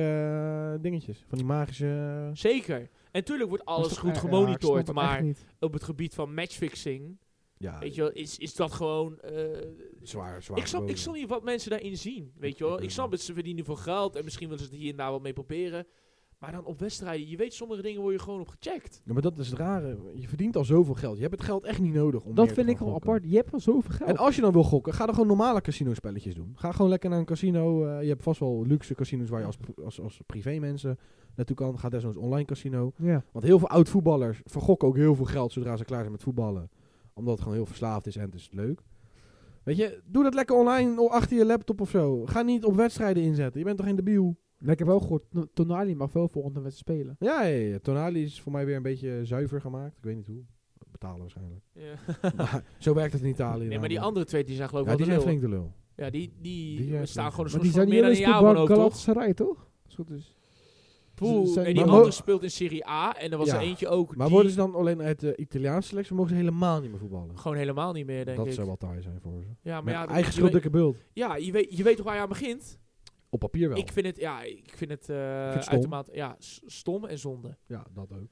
[SPEAKER 2] eh, dingetjes. Van die magische...
[SPEAKER 1] zeker. En tuurlijk wordt
[SPEAKER 3] Dat is
[SPEAKER 1] alles
[SPEAKER 3] toch-
[SPEAKER 1] goed
[SPEAKER 3] ja, ja, ik
[SPEAKER 1] gemonitord,
[SPEAKER 3] snap het echt
[SPEAKER 1] maar
[SPEAKER 3] niet.
[SPEAKER 1] op het gebied van matchfixing,
[SPEAKER 2] Ja,
[SPEAKER 1] weet je wel, is, is dat gewoon... eh,
[SPEAKER 2] zwaar, zwaar.
[SPEAKER 1] Ik snap, ik
[SPEAKER 2] verboden.
[SPEAKER 1] snap niet wat mensen daarin zien. Weet je
[SPEAKER 2] Ik
[SPEAKER 1] wel,
[SPEAKER 2] ook
[SPEAKER 1] ik snap
[SPEAKER 2] niet.
[SPEAKER 1] het, ze verdienen veel geld en misschien willen ze het hier en daar wat mee proberen. Maar dan op wedstrijden, je weet, sommige dingen word je gewoon op gecheckt.
[SPEAKER 2] Ja, maar dat is het rare. Je verdient al zoveel geld. Je hebt het geld echt niet nodig om
[SPEAKER 3] Dat
[SPEAKER 2] meer te
[SPEAKER 3] vind ik
[SPEAKER 2] gaan
[SPEAKER 3] wel
[SPEAKER 2] gokken.
[SPEAKER 3] apart. Je hebt al zoveel geld.
[SPEAKER 2] En als je dan wil gokken, ga dan gewoon normale casino spelletjes doen. Ga gewoon lekker naar een casino. eh, je hebt vast wel luxe casino's waar je als, pri- als, als privé mensen naartoe kan. Ga desnoods online casino.
[SPEAKER 3] ja.
[SPEAKER 2] Want heel veel oud-voetballers vergokken ook heel veel geld zodra ze klaar zijn met voetballen. Omdat het gewoon heel verslaafd is en het is leuk. Weet je, doe dat lekker online o- achter je laptop of zo. Ga niet op wedstrijden inzetten. Je bent toch geen debiel?
[SPEAKER 3] Maar ik heb wel gehoord, no- Tonali mag wel volgende wedstrijd spelen.
[SPEAKER 2] Ja, ja, ja, Tonali is voor mij weer een beetje zuiver gemaakt. Ik weet niet hoe. Betalen
[SPEAKER 1] <laughs>
[SPEAKER 2] waarschijnlijk.
[SPEAKER 1] Ja.
[SPEAKER 2] maar zo werkt het in
[SPEAKER 1] Nee,
[SPEAKER 2] Italië.
[SPEAKER 1] maar die
[SPEAKER 2] namelijk.
[SPEAKER 1] andere twee, die zijn geloof ik
[SPEAKER 2] Ja,
[SPEAKER 1] wel
[SPEAKER 2] die
[SPEAKER 1] de
[SPEAKER 2] zijn
[SPEAKER 1] lul.
[SPEAKER 2] flink de lul.
[SPEAKER 1] Ja, die, die,
[SPEAKER 2] Die zijn
[SPEAKER 1] staan gewoon
[SPEAKER 2] flink.
[SPEAKER 1] een soort van
[SPEAKER 3] Maar die zijn
[SPEAKER 1] meer
[SPEAKER 3] hier
[SPEAKER 1] dan een
[SPEAKER 3] eens
[SPEAKER 1] jaar
[SPEAKER 3] bij
[SPEAKER 1] wanhoop, toch?
[SPEAKER 3] Galatasaray, toch? Als het goed dus. is.
[SPEAKER 1] Poeh, en
[SPEAKER 3] zijn die
[SPEAKER 1] die
[SPEAKER 2] maar-
[SPEAKER 1] andere speelt in Serie A en er was
[SPEAKER 2] Ja.
[SPEAKER 1] er eentje ook.
[SPEAKER 2] Maar
[SPEAKER 1] die
[SPEAKER 2] worden ze dan alleen uit de Italiaanse selectie? of Mogen ze helemaal niet meer voetballen?
[SPEAKER 1] Gewoon helemaal niet meer, denk
[SPEAKER 2] dat
[SPEAKER 1] ik.
[SPEAKER 2] zou wel taai zijn voor ze.
[SPEAKER 1] Ja, maar
[SPEAKER 2] Met
[SPEAKER 1] ja,
[SPEAKER 2] eigen
[SPEAKER 1] je weet-
[SPEAKER 2] schuld, dikke bult.
[SPEAKER 1] Ja, je weet, je weet toch waar je aan begint?
[SPEAKER 2] Op papier wel.
[SPEAKER 1] Ik vind het, ja, ik vind het, eh
[SPEAKER 2] het stom.
[SPEAKER 1] uitermate ja, s- stom en zonde.
[SPEAKER 2] Ja, dat ook.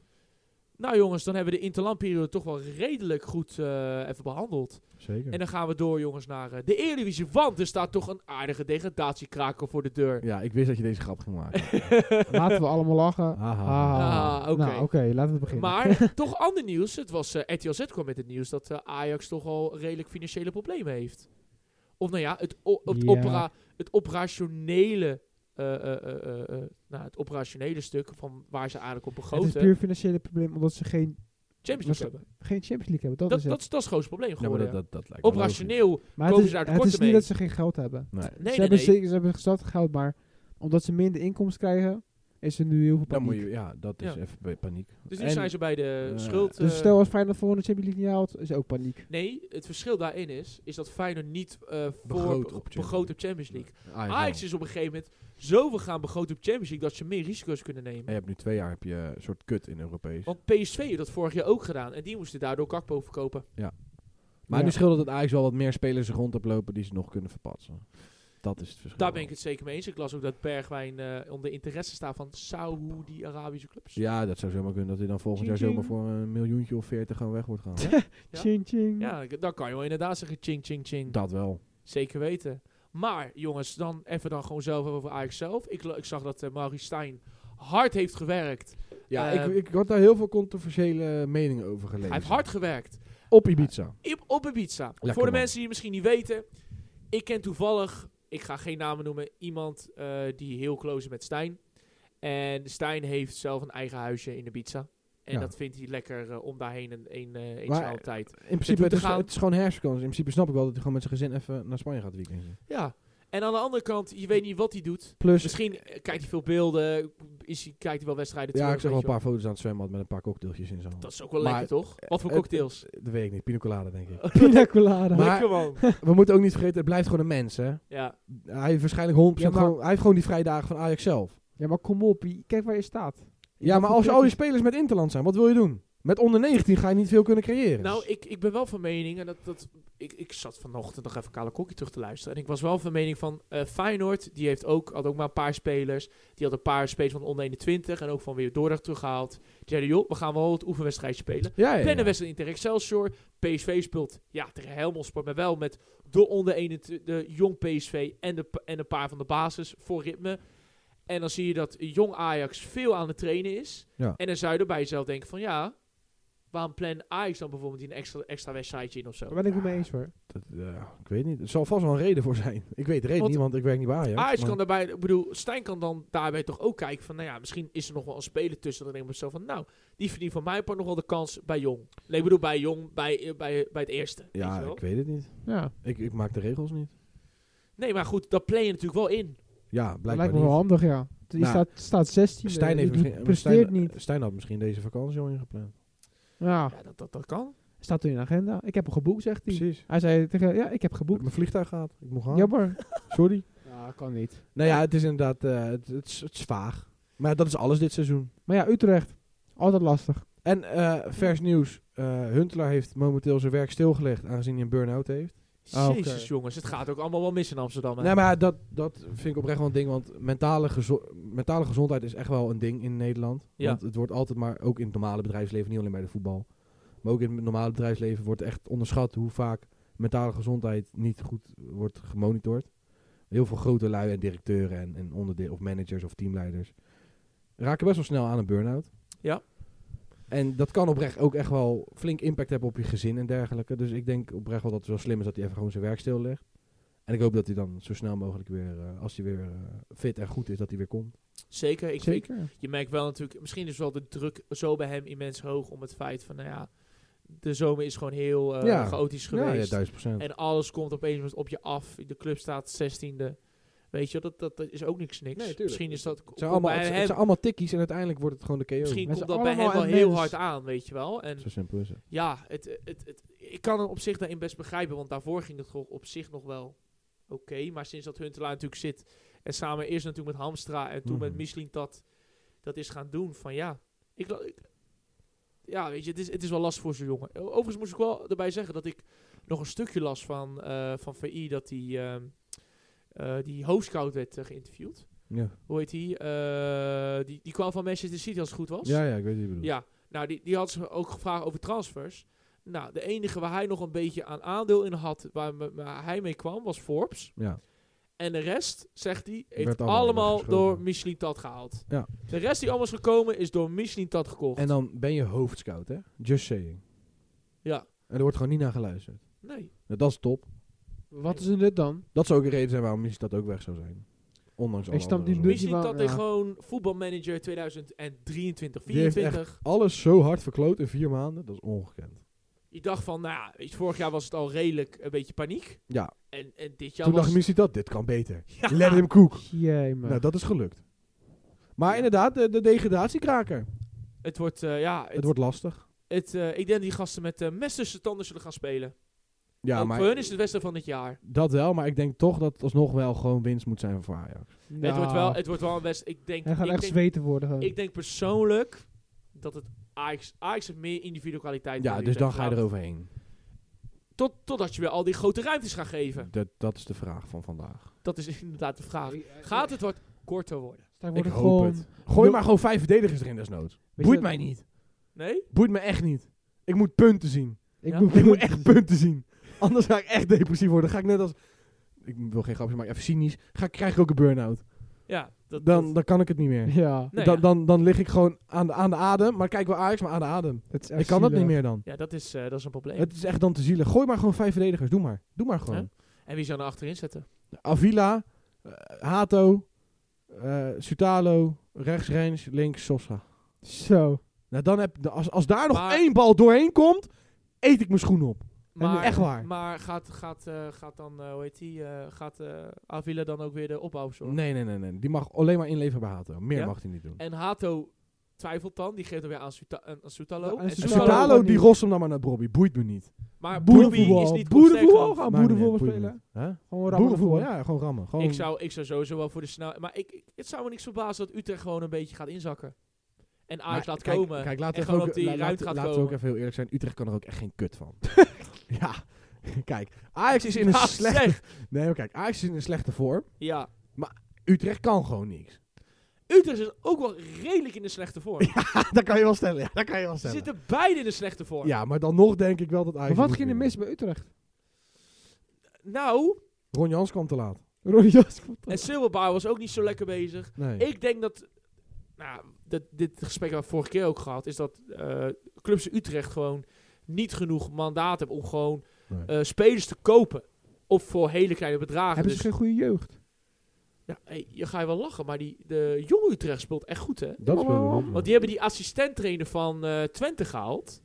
[SPEAKER 1] Nou jongens, dan hebben we de interlandperiode toch wel redelijk goed eh, even behandeld.
[SPEAKER 2] Zeker.
[SPEAKER 1] En dan gaan we door, jongens, naar eh, de Eredivisie. Want er staat toch een aardige degradatiekraker voor de <laughs> deur.
[SPEAKER 2] Ja, ik wist dat je deze grap ging maken.
[SPEAKER 3] Laten
[SPEAKER 1] <laughs>
[SPEAKER 3] we allemaal lachen.
[SPEAKER 2] Haha.
[SPEAKER 1] Ah, oké.
[SPEAKER 3] Nou, oké, laten we beginnen.
[SPEAKER 1] Maar toch ander nieuws. Het was eh, RTLZ kwam met het nieuws dat eh, Ajax toch al redelijk financiële problemen heeft. Of nou ja, het, o- het,
[SPEAKER 3] Ja.
[SPEAKER 1] opera- het operationele. eh, eh, eh, eh, eh, nou, het operationele stuk van waar ze eigenlijk op
[SPEAKER 3] het is
[SPEAKER 1] begroten.
[SPEAKER 3] puur financiële probleem omdat ze geen,
[SPEAKER 1] Champions
[SPEAKER 3] was-
[SPEAKER 1] League hebben.
[SPEAKER 3] geen Champions League hebben. Dat,
[SPEAKER 1] Dat,
[SPEAKER 3] is het.
[SPEAKER 1] dat, is- dat is het grootste probleem
[SPEAKER 2] Ja, maar
[SPEAKER 1] geworden.
[SPEAKER 2] dat, dat, dat lijkt me
[SPEAKER 1] Ah, Operationeel.
[SPEAKER 3] maar
[SPEAKER 1] komen
[SPEAKER 3] het is,
[SPEAKER 1] ze daar
[SPEAKER 3] het
[SPEAKER 1] tekorten
[SPEAKER 3] is
[SPEAKER 1] mee?
[SPEAKER 3] niet dat ze geen geld hebben.
[SPEAKER 2] logisch. Nee.
[SPEAKER 1] Nee, nee,
[SPEAKER 3] ze, hebben
[SPEAKER 1] nee.
[SPEAKER 3] Zeker, ze hebben gestart geld, maar omdat ze minder inkomsten krijgen, is er nu heel veel
[SPEAKER 2] Dan
[SPEAKER 3] paniek.
[SPEAKER 2] moet je, ja, dat is
[SPEAKER 1] Ja.
[SPEAKER 2] even bij paniek.
[SPEAKER 1] Dus nu
[SPEAKER 2] En-
[SPEAKER 1] zijn ze bij de
[SPEAKER 2] eh,
[SPEAKER 1] schuld.
[SPEAKER 3] Dus
[SPEAKER 1] eh,
[SPEAKER 3] stel als Feyenoord volgende Champions League niet haalt, is ook paniek.
[SPEAKER 1] Nee, het verschil daarin is, is dat Feyenoord niet eh voor
[SPEAKER 2] Begroot
[SPEAKER 1] begroot
[SPEAKER 2] op
[SPEAKER 1] op,
[SPEAKER 2] Champions
[SPEAKER 1] Champions League.
[SPEAKER 2] Ajax
[SPEAKER 1] Ajax
[SPEAKER 2] wel.
[SPEAKER 1] is op een gegeven moment zoveel gaan begroten op Champions League dat ze meer risico's kunnen
[SPEAKER 2] En
[SPEAKER 1] nemen.
[SPEAKER 2] je hebt nu twee jaar heb je een soort kut in Europees.
[SPEAKER 1] Want PSV heeft dat vorig jaar ook gedaan en die moesten daardoor Kakpo verkopen.
[SPEAKER 2] Maar
[SPEAKER 3] Ja.
[SPEAKER 2] nu scheelt het Ajax wel wat meer spelers rond hebt lopen die ze nog kunnen verpatsen. Dat is het verschil.
[SPEAKER 1] Daar ben ik het zeker mee eens. Ik las ook dat Bergwijn eh, onder interesse staat van Saoedi-Arabische clubs.
[SPEAKER 2] Ja, dat zou zomaar kunnen dat hij dan volgend jaar
[SPEAKER 3] Ching,
[SPEAKER 2] zomaar
[SPEAKER 3] ching.
[SPEAKER 2] voor een miljoentje of veertig gewoon weg wordt gehaald.
[SPEAKER 1] <laughs> Ja.
[SPEAKER 3] Ching, ching.
[SPEAKER 1] Ja, ik- dan kan je wel inderdaad zeggen ching ching ching.
[SPEAKER 2] dat wel.
[SPEAKER 1] Zeker weten. Maar jongens, dan even dan gewoon zelf over Ajax zelf. Ik, la- ik zag dat eh Maurice Stijn hard heeft gewerkt.
[SPEAKER 2] Ja,
[SPEAKER 1] Eh,
[SPEAKER 2] ik, ik had daar heel veel controversiële meningen over gelezen.
[SPEAKER 1] Hij heeft hard gewerkt.
[SPEAKER 2] Op Ibiza.
[SPEAKER 1] Op, op Ibiza. Voor de
[SPEAKER 2] man.
[SPEAKER 1] mensen die het misschien niet weten. Ik ken toevallig, ik ga geen namen noemen, iemand eh, die heel close is met Stijn. En Stijn heeft zelf een eigen huisje in Ibiza. En
[SPEAKER 2] Ja.
[SPEAKER 1] dat vindt hij lekker eh, om daarheen een, een, eh,
[SPEAKER 2] Maar-
[SPEAKER 1] eenzame tijd.
[SPEAKER 2] In principe, het
[SPEAKER 1] te
[SPEAKER 2] is,
[SPEAKER 1] gaan.
[SPEAKER 2] het is gewoon herfstvakantie. In principe snap ik wel dat hij gewoon met zijn gezin even naar Spanje gaat weekendje.
[SPEAKER 1] Ja. En aan de andere kant, je weet niet wat hij doet.
[SPEAKER 2] Plus,
[SPEAKER 3] <laughs>
[SPEAKER 1] Misschien eh, kijkt hij veel beelden, is hij, kijkt hij wel wedstrijden
[SPEAKER 2] ja,
[SPEAKER 1] terug,
[SPEAKER 2] ik zag
[SPEAKER 1] weet
[SPEAKER 2] wel een
[SPEAKER 1] je wel.
[SPEAKER 2] paar foto's aan het zwembad met een paar cocktailtjes en zo.
[SPEAKER 1] Dat is ook wel
[SPEAKER 2] Maar, eh,
[SPEAKER 1] lekker, toch? Wat voor
[SPEAKER 2] het-
[SPEAKER 1] cocktails?
[SPEAKER 2] Dat weet ik niet. Pina colada,
[SPEAKER 1] <laughs>
[SPEAKER 2] denk ik.
[SPEAKER 3] Pina colada.
[SPEAKER 2] Maar-
[SPEAKER 1] lekker, man.
[SPEAKER 2] We moeten ook niet vergeten, het blijft gewoon een mens, hè.
[SPEAKER 1] ja.
[SPEAKER 2] Hij heeft waarschijnlijk 100%
[SPEAKER 3] Ja, maar-
[SPEAKER 2] gewoon, hij heeft gewoon die vrije dagen van Ajax zelf.
[SPEAKER 3] ja, maar kom op. je- Kijk waar je staat.
[SPEAKER 2] Ja, maar als al je spelers met Interland zijn, wat wil je doen? Met onder 19 ga je niet veel kunnen creëren.
[SPEAKER 1] Nou, ik, ik ben wel van mening, en dat, dat, ik, ik zat vanochtend nog even Kale Kokkie terug te luisteren. En ik was wel van mening van eh Feyenoord, die heeft ook, had ook maar een paar spelers. Die had een paar spelers van onder 21 en ook van weer Dordrecht teruggehaald. Die zeiden, joh, we gaan wel het oefenwedstrijd spelen.
[SPEAKER 2] ja, ja, ja.
[SPEAKER 1] Plannen wedstrijd in tegen Excelsior. PSV speelt, ja, tegen Helmelsport, maar wel met de onder 21, de jong PSV en, de, pa- en een paar van de basis voor ritme. En dan zie je dat jong Ajax veel aan het trainen is.
[SPEAKER 2] Ja.
[SPEAKER 1] En dan zou je er bij jezelf denken van, ja, waarom plan Ajax dan bijvoorbeeld niet een extra, extra wedstrijdje in of zo?
[SPEAKER 3] Daar ben ik het mee eens hoor.
[SPEAKER 2] Dat, ja, ik weet niet. Er zal vast wel een reden voor zijn. Ik weet de reden
[SPEAKER 1] Want-
[SPEAKER 2] niet, want ik werk niet bij Ajax.
[SPEAKER 1] Ajax
[SPEAKER 2] maar-
[SPEAKER 1] kan daarbij, ik bedoel, Stijn kan dan daarbij toch ook kijken van, nou ja, misschien is er nog wel een speler tussen. Dan denk ik zo van, nou, die verdient van mijn part nog wel de kans bij Jong. Nee, ik bedoel, bij Jong, bij, eh, bij, bij het eerste. weet je
[SPEAKER 2] Ja,
[SPEAKER 1] wel?
[SPEAKER 2] ik weet het niet.
[SPEAKER 3] Ja,
[SPEAKER 2] Ik, ik maak de regels niet.
[SPEAKER 1] Nee, maar goed, dat play je natuurlijk wel in.
[SPEAKER 2] Ja,
[SPEAKER 3] dat
[SPEAKER 2] blijkbaar
[SPEAKER 3] lijkt me
[SPEAKER 2] niet.
[SPEAKER 3] wel handig ja. Die
[SPEAKER 2] Nou,
[SPEAKER 3] staat, staat 16.
[SPEAKER 2] Stijn heeft
[SPEAKER 3] die,
[SPEAKER 2] misschien,
[SPEAKER 3] presteert
[SPEAKER 2] Stijn,
[SPEAKER 3] niet.
[SPEAKER 2] Stijn had misschien deze vakantie al ingepland. Ah.
[SPEAKER 3] Ja,
[SPEAKER 1] Ja, dat, dat, dat kan.
[SPEAKER 3] staat toen in de agenda. Ik heb hem geboekt, zegt hij.
[SPEAKER 2] Precies.
[SPEAKER 3] Hij zei tegen ja, ik heb
[SPEAKER 2] Ik heb
[SPEAKER 3] geboekt.
[SPEAKER 2] mijn vliegtuig gehad. Ik moet gaan.
[SPEAKER 3] Jammer.
[SPEAKER 2] Sorry.
[SPEAKER 3] Ja, kan niet.
[SPEAKER 2] Nou ja, het is inderdaad eh, het, het, is, het is vaag. Maar dat is alles dit seizoen.
[SPEAKER 3] Maar ja, Utrecht. Altijd lastig.
[SPEAKER 2] En eh, vers nieuws. Eh, Huntelaar heeft momenteel zijn werk stilgelegd aangezien hij een burn-out heeft.
[SPEAKER 3] Ah, oké.
[SPEAKER 1] Jezus jongens, het gaat ook allemaal wel mis in Amsterdam. Hè?
[SPEAKER 2] Nee, maar dat, dat vind ik oprecht wel een ding. Want mentale, gezo- mentale gezondheid is echt wel een ding in Nederland.
[SPEAKER 1] Ja.
[SPEAKER 2] Want het wordt altijd maar, ook in het normale bedrijfsleven, niet alleen bij de voetbal. Maar ook in het normale bedrijfsleven wordt echt onderschat hoe vaak mentale gezondheid niet goed wordt gemonitord. Heel veel grote lui en directeuren en, en onderde- of managers of teamleiders raken best wel snel aan een burn-out.
[SPEAKER 1] Ja.
[SPEAKER 2] En dat kan oprecht ook echt wel flink impact hebben op je gezin en dergelijke. Dus ik denk oprecht wel dat het wel slim is dat hij even gewoon zijn werk stillegt. En ik hoop dat hij dan zo snel mogelijk weer, eh, als hij weer eh, fit en goed is, dat hij weer komt.
[SPEAKER 1] Zeker, ik, ik-
[SPEAKER 3] Zeker.
[SPEAKER 1] je merkt wel natuurlijk, misschien is wel de druk zo bij hem immens hoog om het feit van, nou ja, de zomer is gewoon heel eh,
[SPEAKER 2] Ja.
[SPEAKER 1] chaotisch
[SPEAKER 2] Ja, ja,
[SPEAKER 1] geweest.
[SPEAKER 2] duizend procent.
[SPEAKER 1] en alles komt opeens op je af. De club staat 16e. Weet je, dat, dat, dat is ook niks niks.
[SPEAKER 2] Nee, tuurlijk.
[SPEAKER 1] misschien is dat
[SPEAKER 2] Het zijn,
[SPEAKER 1] komt
[SPEAKER 2] allemaal,
[SPEAKER 1] bij
[SPEAKER 2] het, het
[SPEAKER 1] hem-
[SPEAKER 2] zijn allemaal tikkies en uiteindelijk wordt het gewoon de KO.
[SPEAKER 1] Misschien
[SPEAKER 3] Het
[SPEAKER 1] komt
[SPEAKER 3] zijn
[SPEAKER 1] dat bij hem
[SPEAKER 3] allemaal
[SPEAKER 1] wel heel
[SPEAKER 3] immens.
[SPEAKER 1] hard aan, weet je wel. En
[SPEAKER 2] Zo simpel is het.
[SPEAKER 1] ja, het, het, het, ik kan hem op zich daarin best begrijpen, want daarvoor ging het gewoon op zich nog wel oké. Maar sinds dat Huntelaar natuurlijk zit en samen eerst natuurlijk met Hamstra en toen met
[SPEAKER 2] Mhm.
[SPEAKER 1] Misling dat, dat is gaan doen, van ja, ik, la- ik- ja, weet je, het is, het is wel last voor zo'n jongen. O- Overigens moest ik wel erbij zeggen dat ik nog een stukje las van, eh, van VI dat die, ehm eh, die hoofdscout werd eh, geïnterviewd.
[SPEAKER 2] Ja.
[SPEAKER 1] Hoe heet die? Eh, die? Die kwam van Manchester City als het goed was.
[SPEAKER 2] ja, ja, ik weet wie je bedoelt.
[SPEAKER 1] Ja, nou, die, die had ze ook gevraagd over transfers. Nou, de enige waar hij nog een beetje aan aandeel in had, waar, me- waar hij mee kwam, was Forbes.
[SPEAKER 2] Ja.
[SPEAKER 1] En de rest, zegt hij,
[SPEAKER 2] Werd
[SPEAKER 1] heeft
[SPEAKER 2] allemaal
[SPEAKER 1] allemaal
[SPEAKER 2] weggeschoven.
[SPEAKER 1] door Michelin Tat gehaald.
[SPEAKER 2] Ja.
[SPEAKER 1] De rest die allemaal is gekomen, is door Michelin Tat gekocht.
[SPEAKER 2] En dan ben je hoofdscout, hè? Just saying.
[SPEAKER 1] Ja.
[SPEAKER 2] En er wordt gewoon niet naar geluisterd.
[SPEAKER 1] nee.
[SPEAKER 2] Nou, dat is top.
[SPEAKER 3] Wat is het nut dan?
[SPEAKER 2] Dat zou ook een reden zijn waarom misschien dat ook weg zou zijn. Ondanks
[SPEAKER 3] Ik
[SPEAKER 2] alle
[SPEAKER 3] snap
[SPEAKER 2] andere
[SPEAKER 3] die
[SPEAKER 2] zorgen.
[SPEAKER 3] nut-
[SPEAKER 1] Michelin
[SPEAKER 3] wel-
[SPEAKER 1] Tat
[SPEAKER 3] ja.
[SPEAKER 1] is gewoon voetbalmanager 2023,
[SPEAKER 2] Die heeft echt-
[SPEAKER 1] 2024.
[SPEAKER 2] Alles zo hard verkloot in vier maanden, dat is ongekend.
[SPEAKER 1] Je dacht van, nou ja, weet je, vorig jaar was het al redelijk een beetje paniek.
[SPEAKER 2] Ja,
[SPEAKER 1] En, en dit jaar
[SPEAKER 2] toen
[SPEAKER 1] was...
[SPEAKER 2] dacht misschien Nou, dat, dit kan beter. Let him cook.
[SPEAKER 3] Jee, man.
[SPEAKER 2] Nou, dat is gelukt. Maar inderdaad, de, de degradatiekraker.
[SPEAKER 1] Het wordt, eh, ja, het,
[SPEAKER 2] Het wordt lastig.
[SPEAKER 1] het, eh, ik denk dat die gasten met eh mes tussen tanden zullen gaan spelen.
[SPEAKER 2] Ja,
[SPEAKER 1] Ook voor hun
[SPEAKER 2] maar
[SPEAKER 1] is het beste van het jaar.
[SPEAKER 2] dat wel. Maar ik denk toch dat het alsnog wel gewoon winst moet zijn voor Ajax.
[SPEAKER 1] Het, wordt wel, het wordt wel een best. Ik denk,
[SPEAKER 3] Nou, Hij gaat
[SPEAKER 1] ik
[SPEAKER 3] echt
[SPEAKER 1] denk,
[SPEAKER 3] zweten worden. gewoon.
[SPEAKER 1] ik denk persoonlijk dat het Ajax, Ajax heeft meer individuele kwaliteit.
[SPEAKER 2] Ja,
[SPEAKER 1] die
[SPEAKER 2] dus dan
[SPEAKER 1] heeft
[SPEAKER 2] ga je
[SPEAKER 1] gehad.
[SPEAKER 2] eroverheen.
[SPEAKER 1] Tot, totdat je weer al die grote ruimtes gaat geven.
[SPEAKER 2] Dat, dat is de vraag van vandaag.
[SPEAKER 1] Dat is inderdaad de vraag. Gaat het wat korter worden?
[SPEAKER 3] Daar
[SPEAKER 2] Ik
[SPEAKER 3] worden
[SPEAKER 2] hoop
[SPEAKER 3] gewoon...
[SPEAKER 2] het. Gooi maar gewoon vijf verdedigers erin desnoods.
[SPEAKER 3] je
[SPEAKER 2] Boeit
[SPEAKER 3] dat-
[SPEAKER 2] mij niet.
[SPEAKER 1] Nee?
[SPEAKER 2] Boeit me echt niet. Ik moet punten
[SPEAKER 1] <laughs>
[SPEAKER 2] zien.
[SPEAKER 3] Ik
[SPEAKER 1] Ja.
[SPEAKER 3] moet,
[SPEAKER 2] Ik moet echt punten zien. Anders ga ik echt depressief worden. Ga ik net als... Ik wil geen grapjes, maar even cynisch. Ga, ik- krijg ik ook een burn-out.
[SPEAKER 1] Ja. Dat,
[SPEAKER 2] Dan,
[SPEAKER 1] dat-
[SPEAKER 2] dan kan ik het niet meer.
[SPEAKER 3] <laughs> Ja.
[SPEAKER 1] nee,
[SPEAKER 2] dan,
[SPEAKER 1] ja.
[SPEAKER 2] dan, dan lig ik gewoon aan de, aan de adem. Maar kijk wel Ajax, maar aan de adem.
[SPEAKER 3] Het is echt
[SPEAKER 2] Ik kan dat niet
[SPEAKER 3] zielig.
[SPEAKER 2] meer dan.
[SPEAKER 1] Ja, dat is, eh, dat is een probleem.
[SPEAKER 2] Het is echt dan te zielig. Gooi maar gewoon vijf verdedigers. Doe maar. Doe maar gewoon.
[SPEAKER 1] En wie zou er achterin zetten?
[SPEAKER 2] Avila, eh, Hato, eh, Sutalo, rechts Rens, links Sosa.
[SPEAKER 3] Zo.
[SPEAKER 2] Nou, dan heb, als, als daar nog
[SPEAKER 1] Maar-
[SPEAKER 2] één bal doorheen komt, eet ik mijn schoen op.
[SPEAKER 1] Maar,
[SPEAKER 2] echt waar.
[SPEAKER 1] Maar gaat, gaat, eh, gaat dan, eh, hoe heet die, eh, gaat eh, Avila dan ook weer de opbouw zorgen?
[SPEAKER 2] Nee, nee, nee, nee. Die mag alleen maar inleveren bij Hato. Meer
[SPEAKER 1] Ja?
[SPEAKER 2] mag hij niet doen.
[SPEAKER 1] En Hato twijfelt dan, die geeft hem weer aan, Suta aan- aan Soetalo.
[SPEAKER 3] Aan
[SPEAKER 1] En
[SPEAKER 2] En
[SPEAKER 3] Soetalo.
[SPEAKER 1] Soetalo-
[SPEAKER 3] Soetalo-
[SPEAKER 2] Dus Sutalo, die
[SPEAKER 3] niet.
[SPEAKER 2] rost hem dan maar naar Bobby. Boeit me niet.
[SPEAKER 1] Maar Bobby
[SPEAKER 3] Boerenvoetbal.
[SPEAKER 1] is niet
[SPEAKER 3] Boerenvoetbal.
[SPEAKER 1] constant.
[SPEAKER 3] Gaan
[SPEAKER 2] Maakt niet
[SPEAKER 3] boerenvoetbal
[SPEAKER 2] uit, boeit me
[SPEAKER 3] spelen.
[SPEAKER 2] niet. Hè?
[SPEAKER 3] Gewoon rammen
[SPEAKER 2] Boerenvoetbal,
[SPEAKER 3] ervoor.
[SPEAKER 2] ja. Gewoon rammen. Gewoon
[SPEAKER 1] Ik zou, ik zou sowieso wel voor de snel... Maar ik, ik- het zou me niks verbazen dat Utrecht gewoon een beetje gaat inzakken. En Ajax
[SPEAKER 2] Maar
[SPEAKER 1] laat
[SPEAKER 2] kijk-
[SPEAKER 1] komen. <laughs>
[SPEAKER 2] Kijk, laten
[SPEAKER 1] en
[SPEAKER 2] we
[SPEAKER 1] gewoon
[SPEAKER 2] ook-
[SPEAKER 1] op die
[SPEAKER 2] la- laten-
[SPEAKER 1] ruimte gaat
[SPEAKER 2] Laten we
[SPEAKER 1] komen.
[SPEAKER 2] ook even heel eerlijk zijn. Utrecht kan er ook echt geen kut <laughs> van. ja. <laughs> Kijk, Ajax is in een
[SPEAKER 1] Ja,
[SPEAKER 2] slechte...
[SPEAKER 1] zeg.
[SPEAKER 2] Nee, maar kijk. Ajax is in een slechte vorm.
[SPEAKER 1] Ja.
[SPEAKER 2] Utrecht kan gewoon niks. <laughs>
[SPEAKER 1] Utrecht is ook wel redelijk in de slechte vorm.
[SPEAKER 2] Ah, dat kan je wel stellen. Ja, dat kan je wel
[SPEAKER 1] Ze
[SPEAKER 2] stellen.
[SPEAKER 1] zitten beide in de slechte vorm.
[SPEAKER 2] Ja, maar dan nog denk ik wel dat
[SPEAKER 3] Maar
[SPEAKER 2] Ajax...
[SPEAKER 3] wat
[SPEAKER 2] moet
[SPEAKER 3] ging er
[SPEAKER 2] winnen.
[SPEAKER 3] mis bij Utrecht? <laughs>
[SPEAKER 1] Nou,
[SPEAKER 2] Ron Jans kwam te laat.
[SPEAKER 3] Ronny Jans.
[SPEAKER 1] en Silberbauer was ook niet zo lekker bezig.
[SPEAKER 2] Nee.
[SPEAKER 1] Ik denk dat, nou, dat dit gesprek hebben we vorige keer ook gehad, is dat eh, clubs Utrecht gewoon niet genoeg mandaat hebben om gewoon
[SPEAKER 2] Nee.
[SPEAKER 1] eh, spelers te kopen. Of voor hele kleine bedragen.
[SPEAKER 3] Hebben
[SPEAKER 1] Dus,
[SPEAKER 3] ze geen goede jeugd?
[SPEAKER 1] ja, hey, je ga je wel lachen, maar die, de jonge Utrecht speelt echt goed, hè?
[SPEAKER 2] Dat speelde wel.
[SPEAKER 1] Want die hebben die assistent-trainer van eh, Twente gehaald.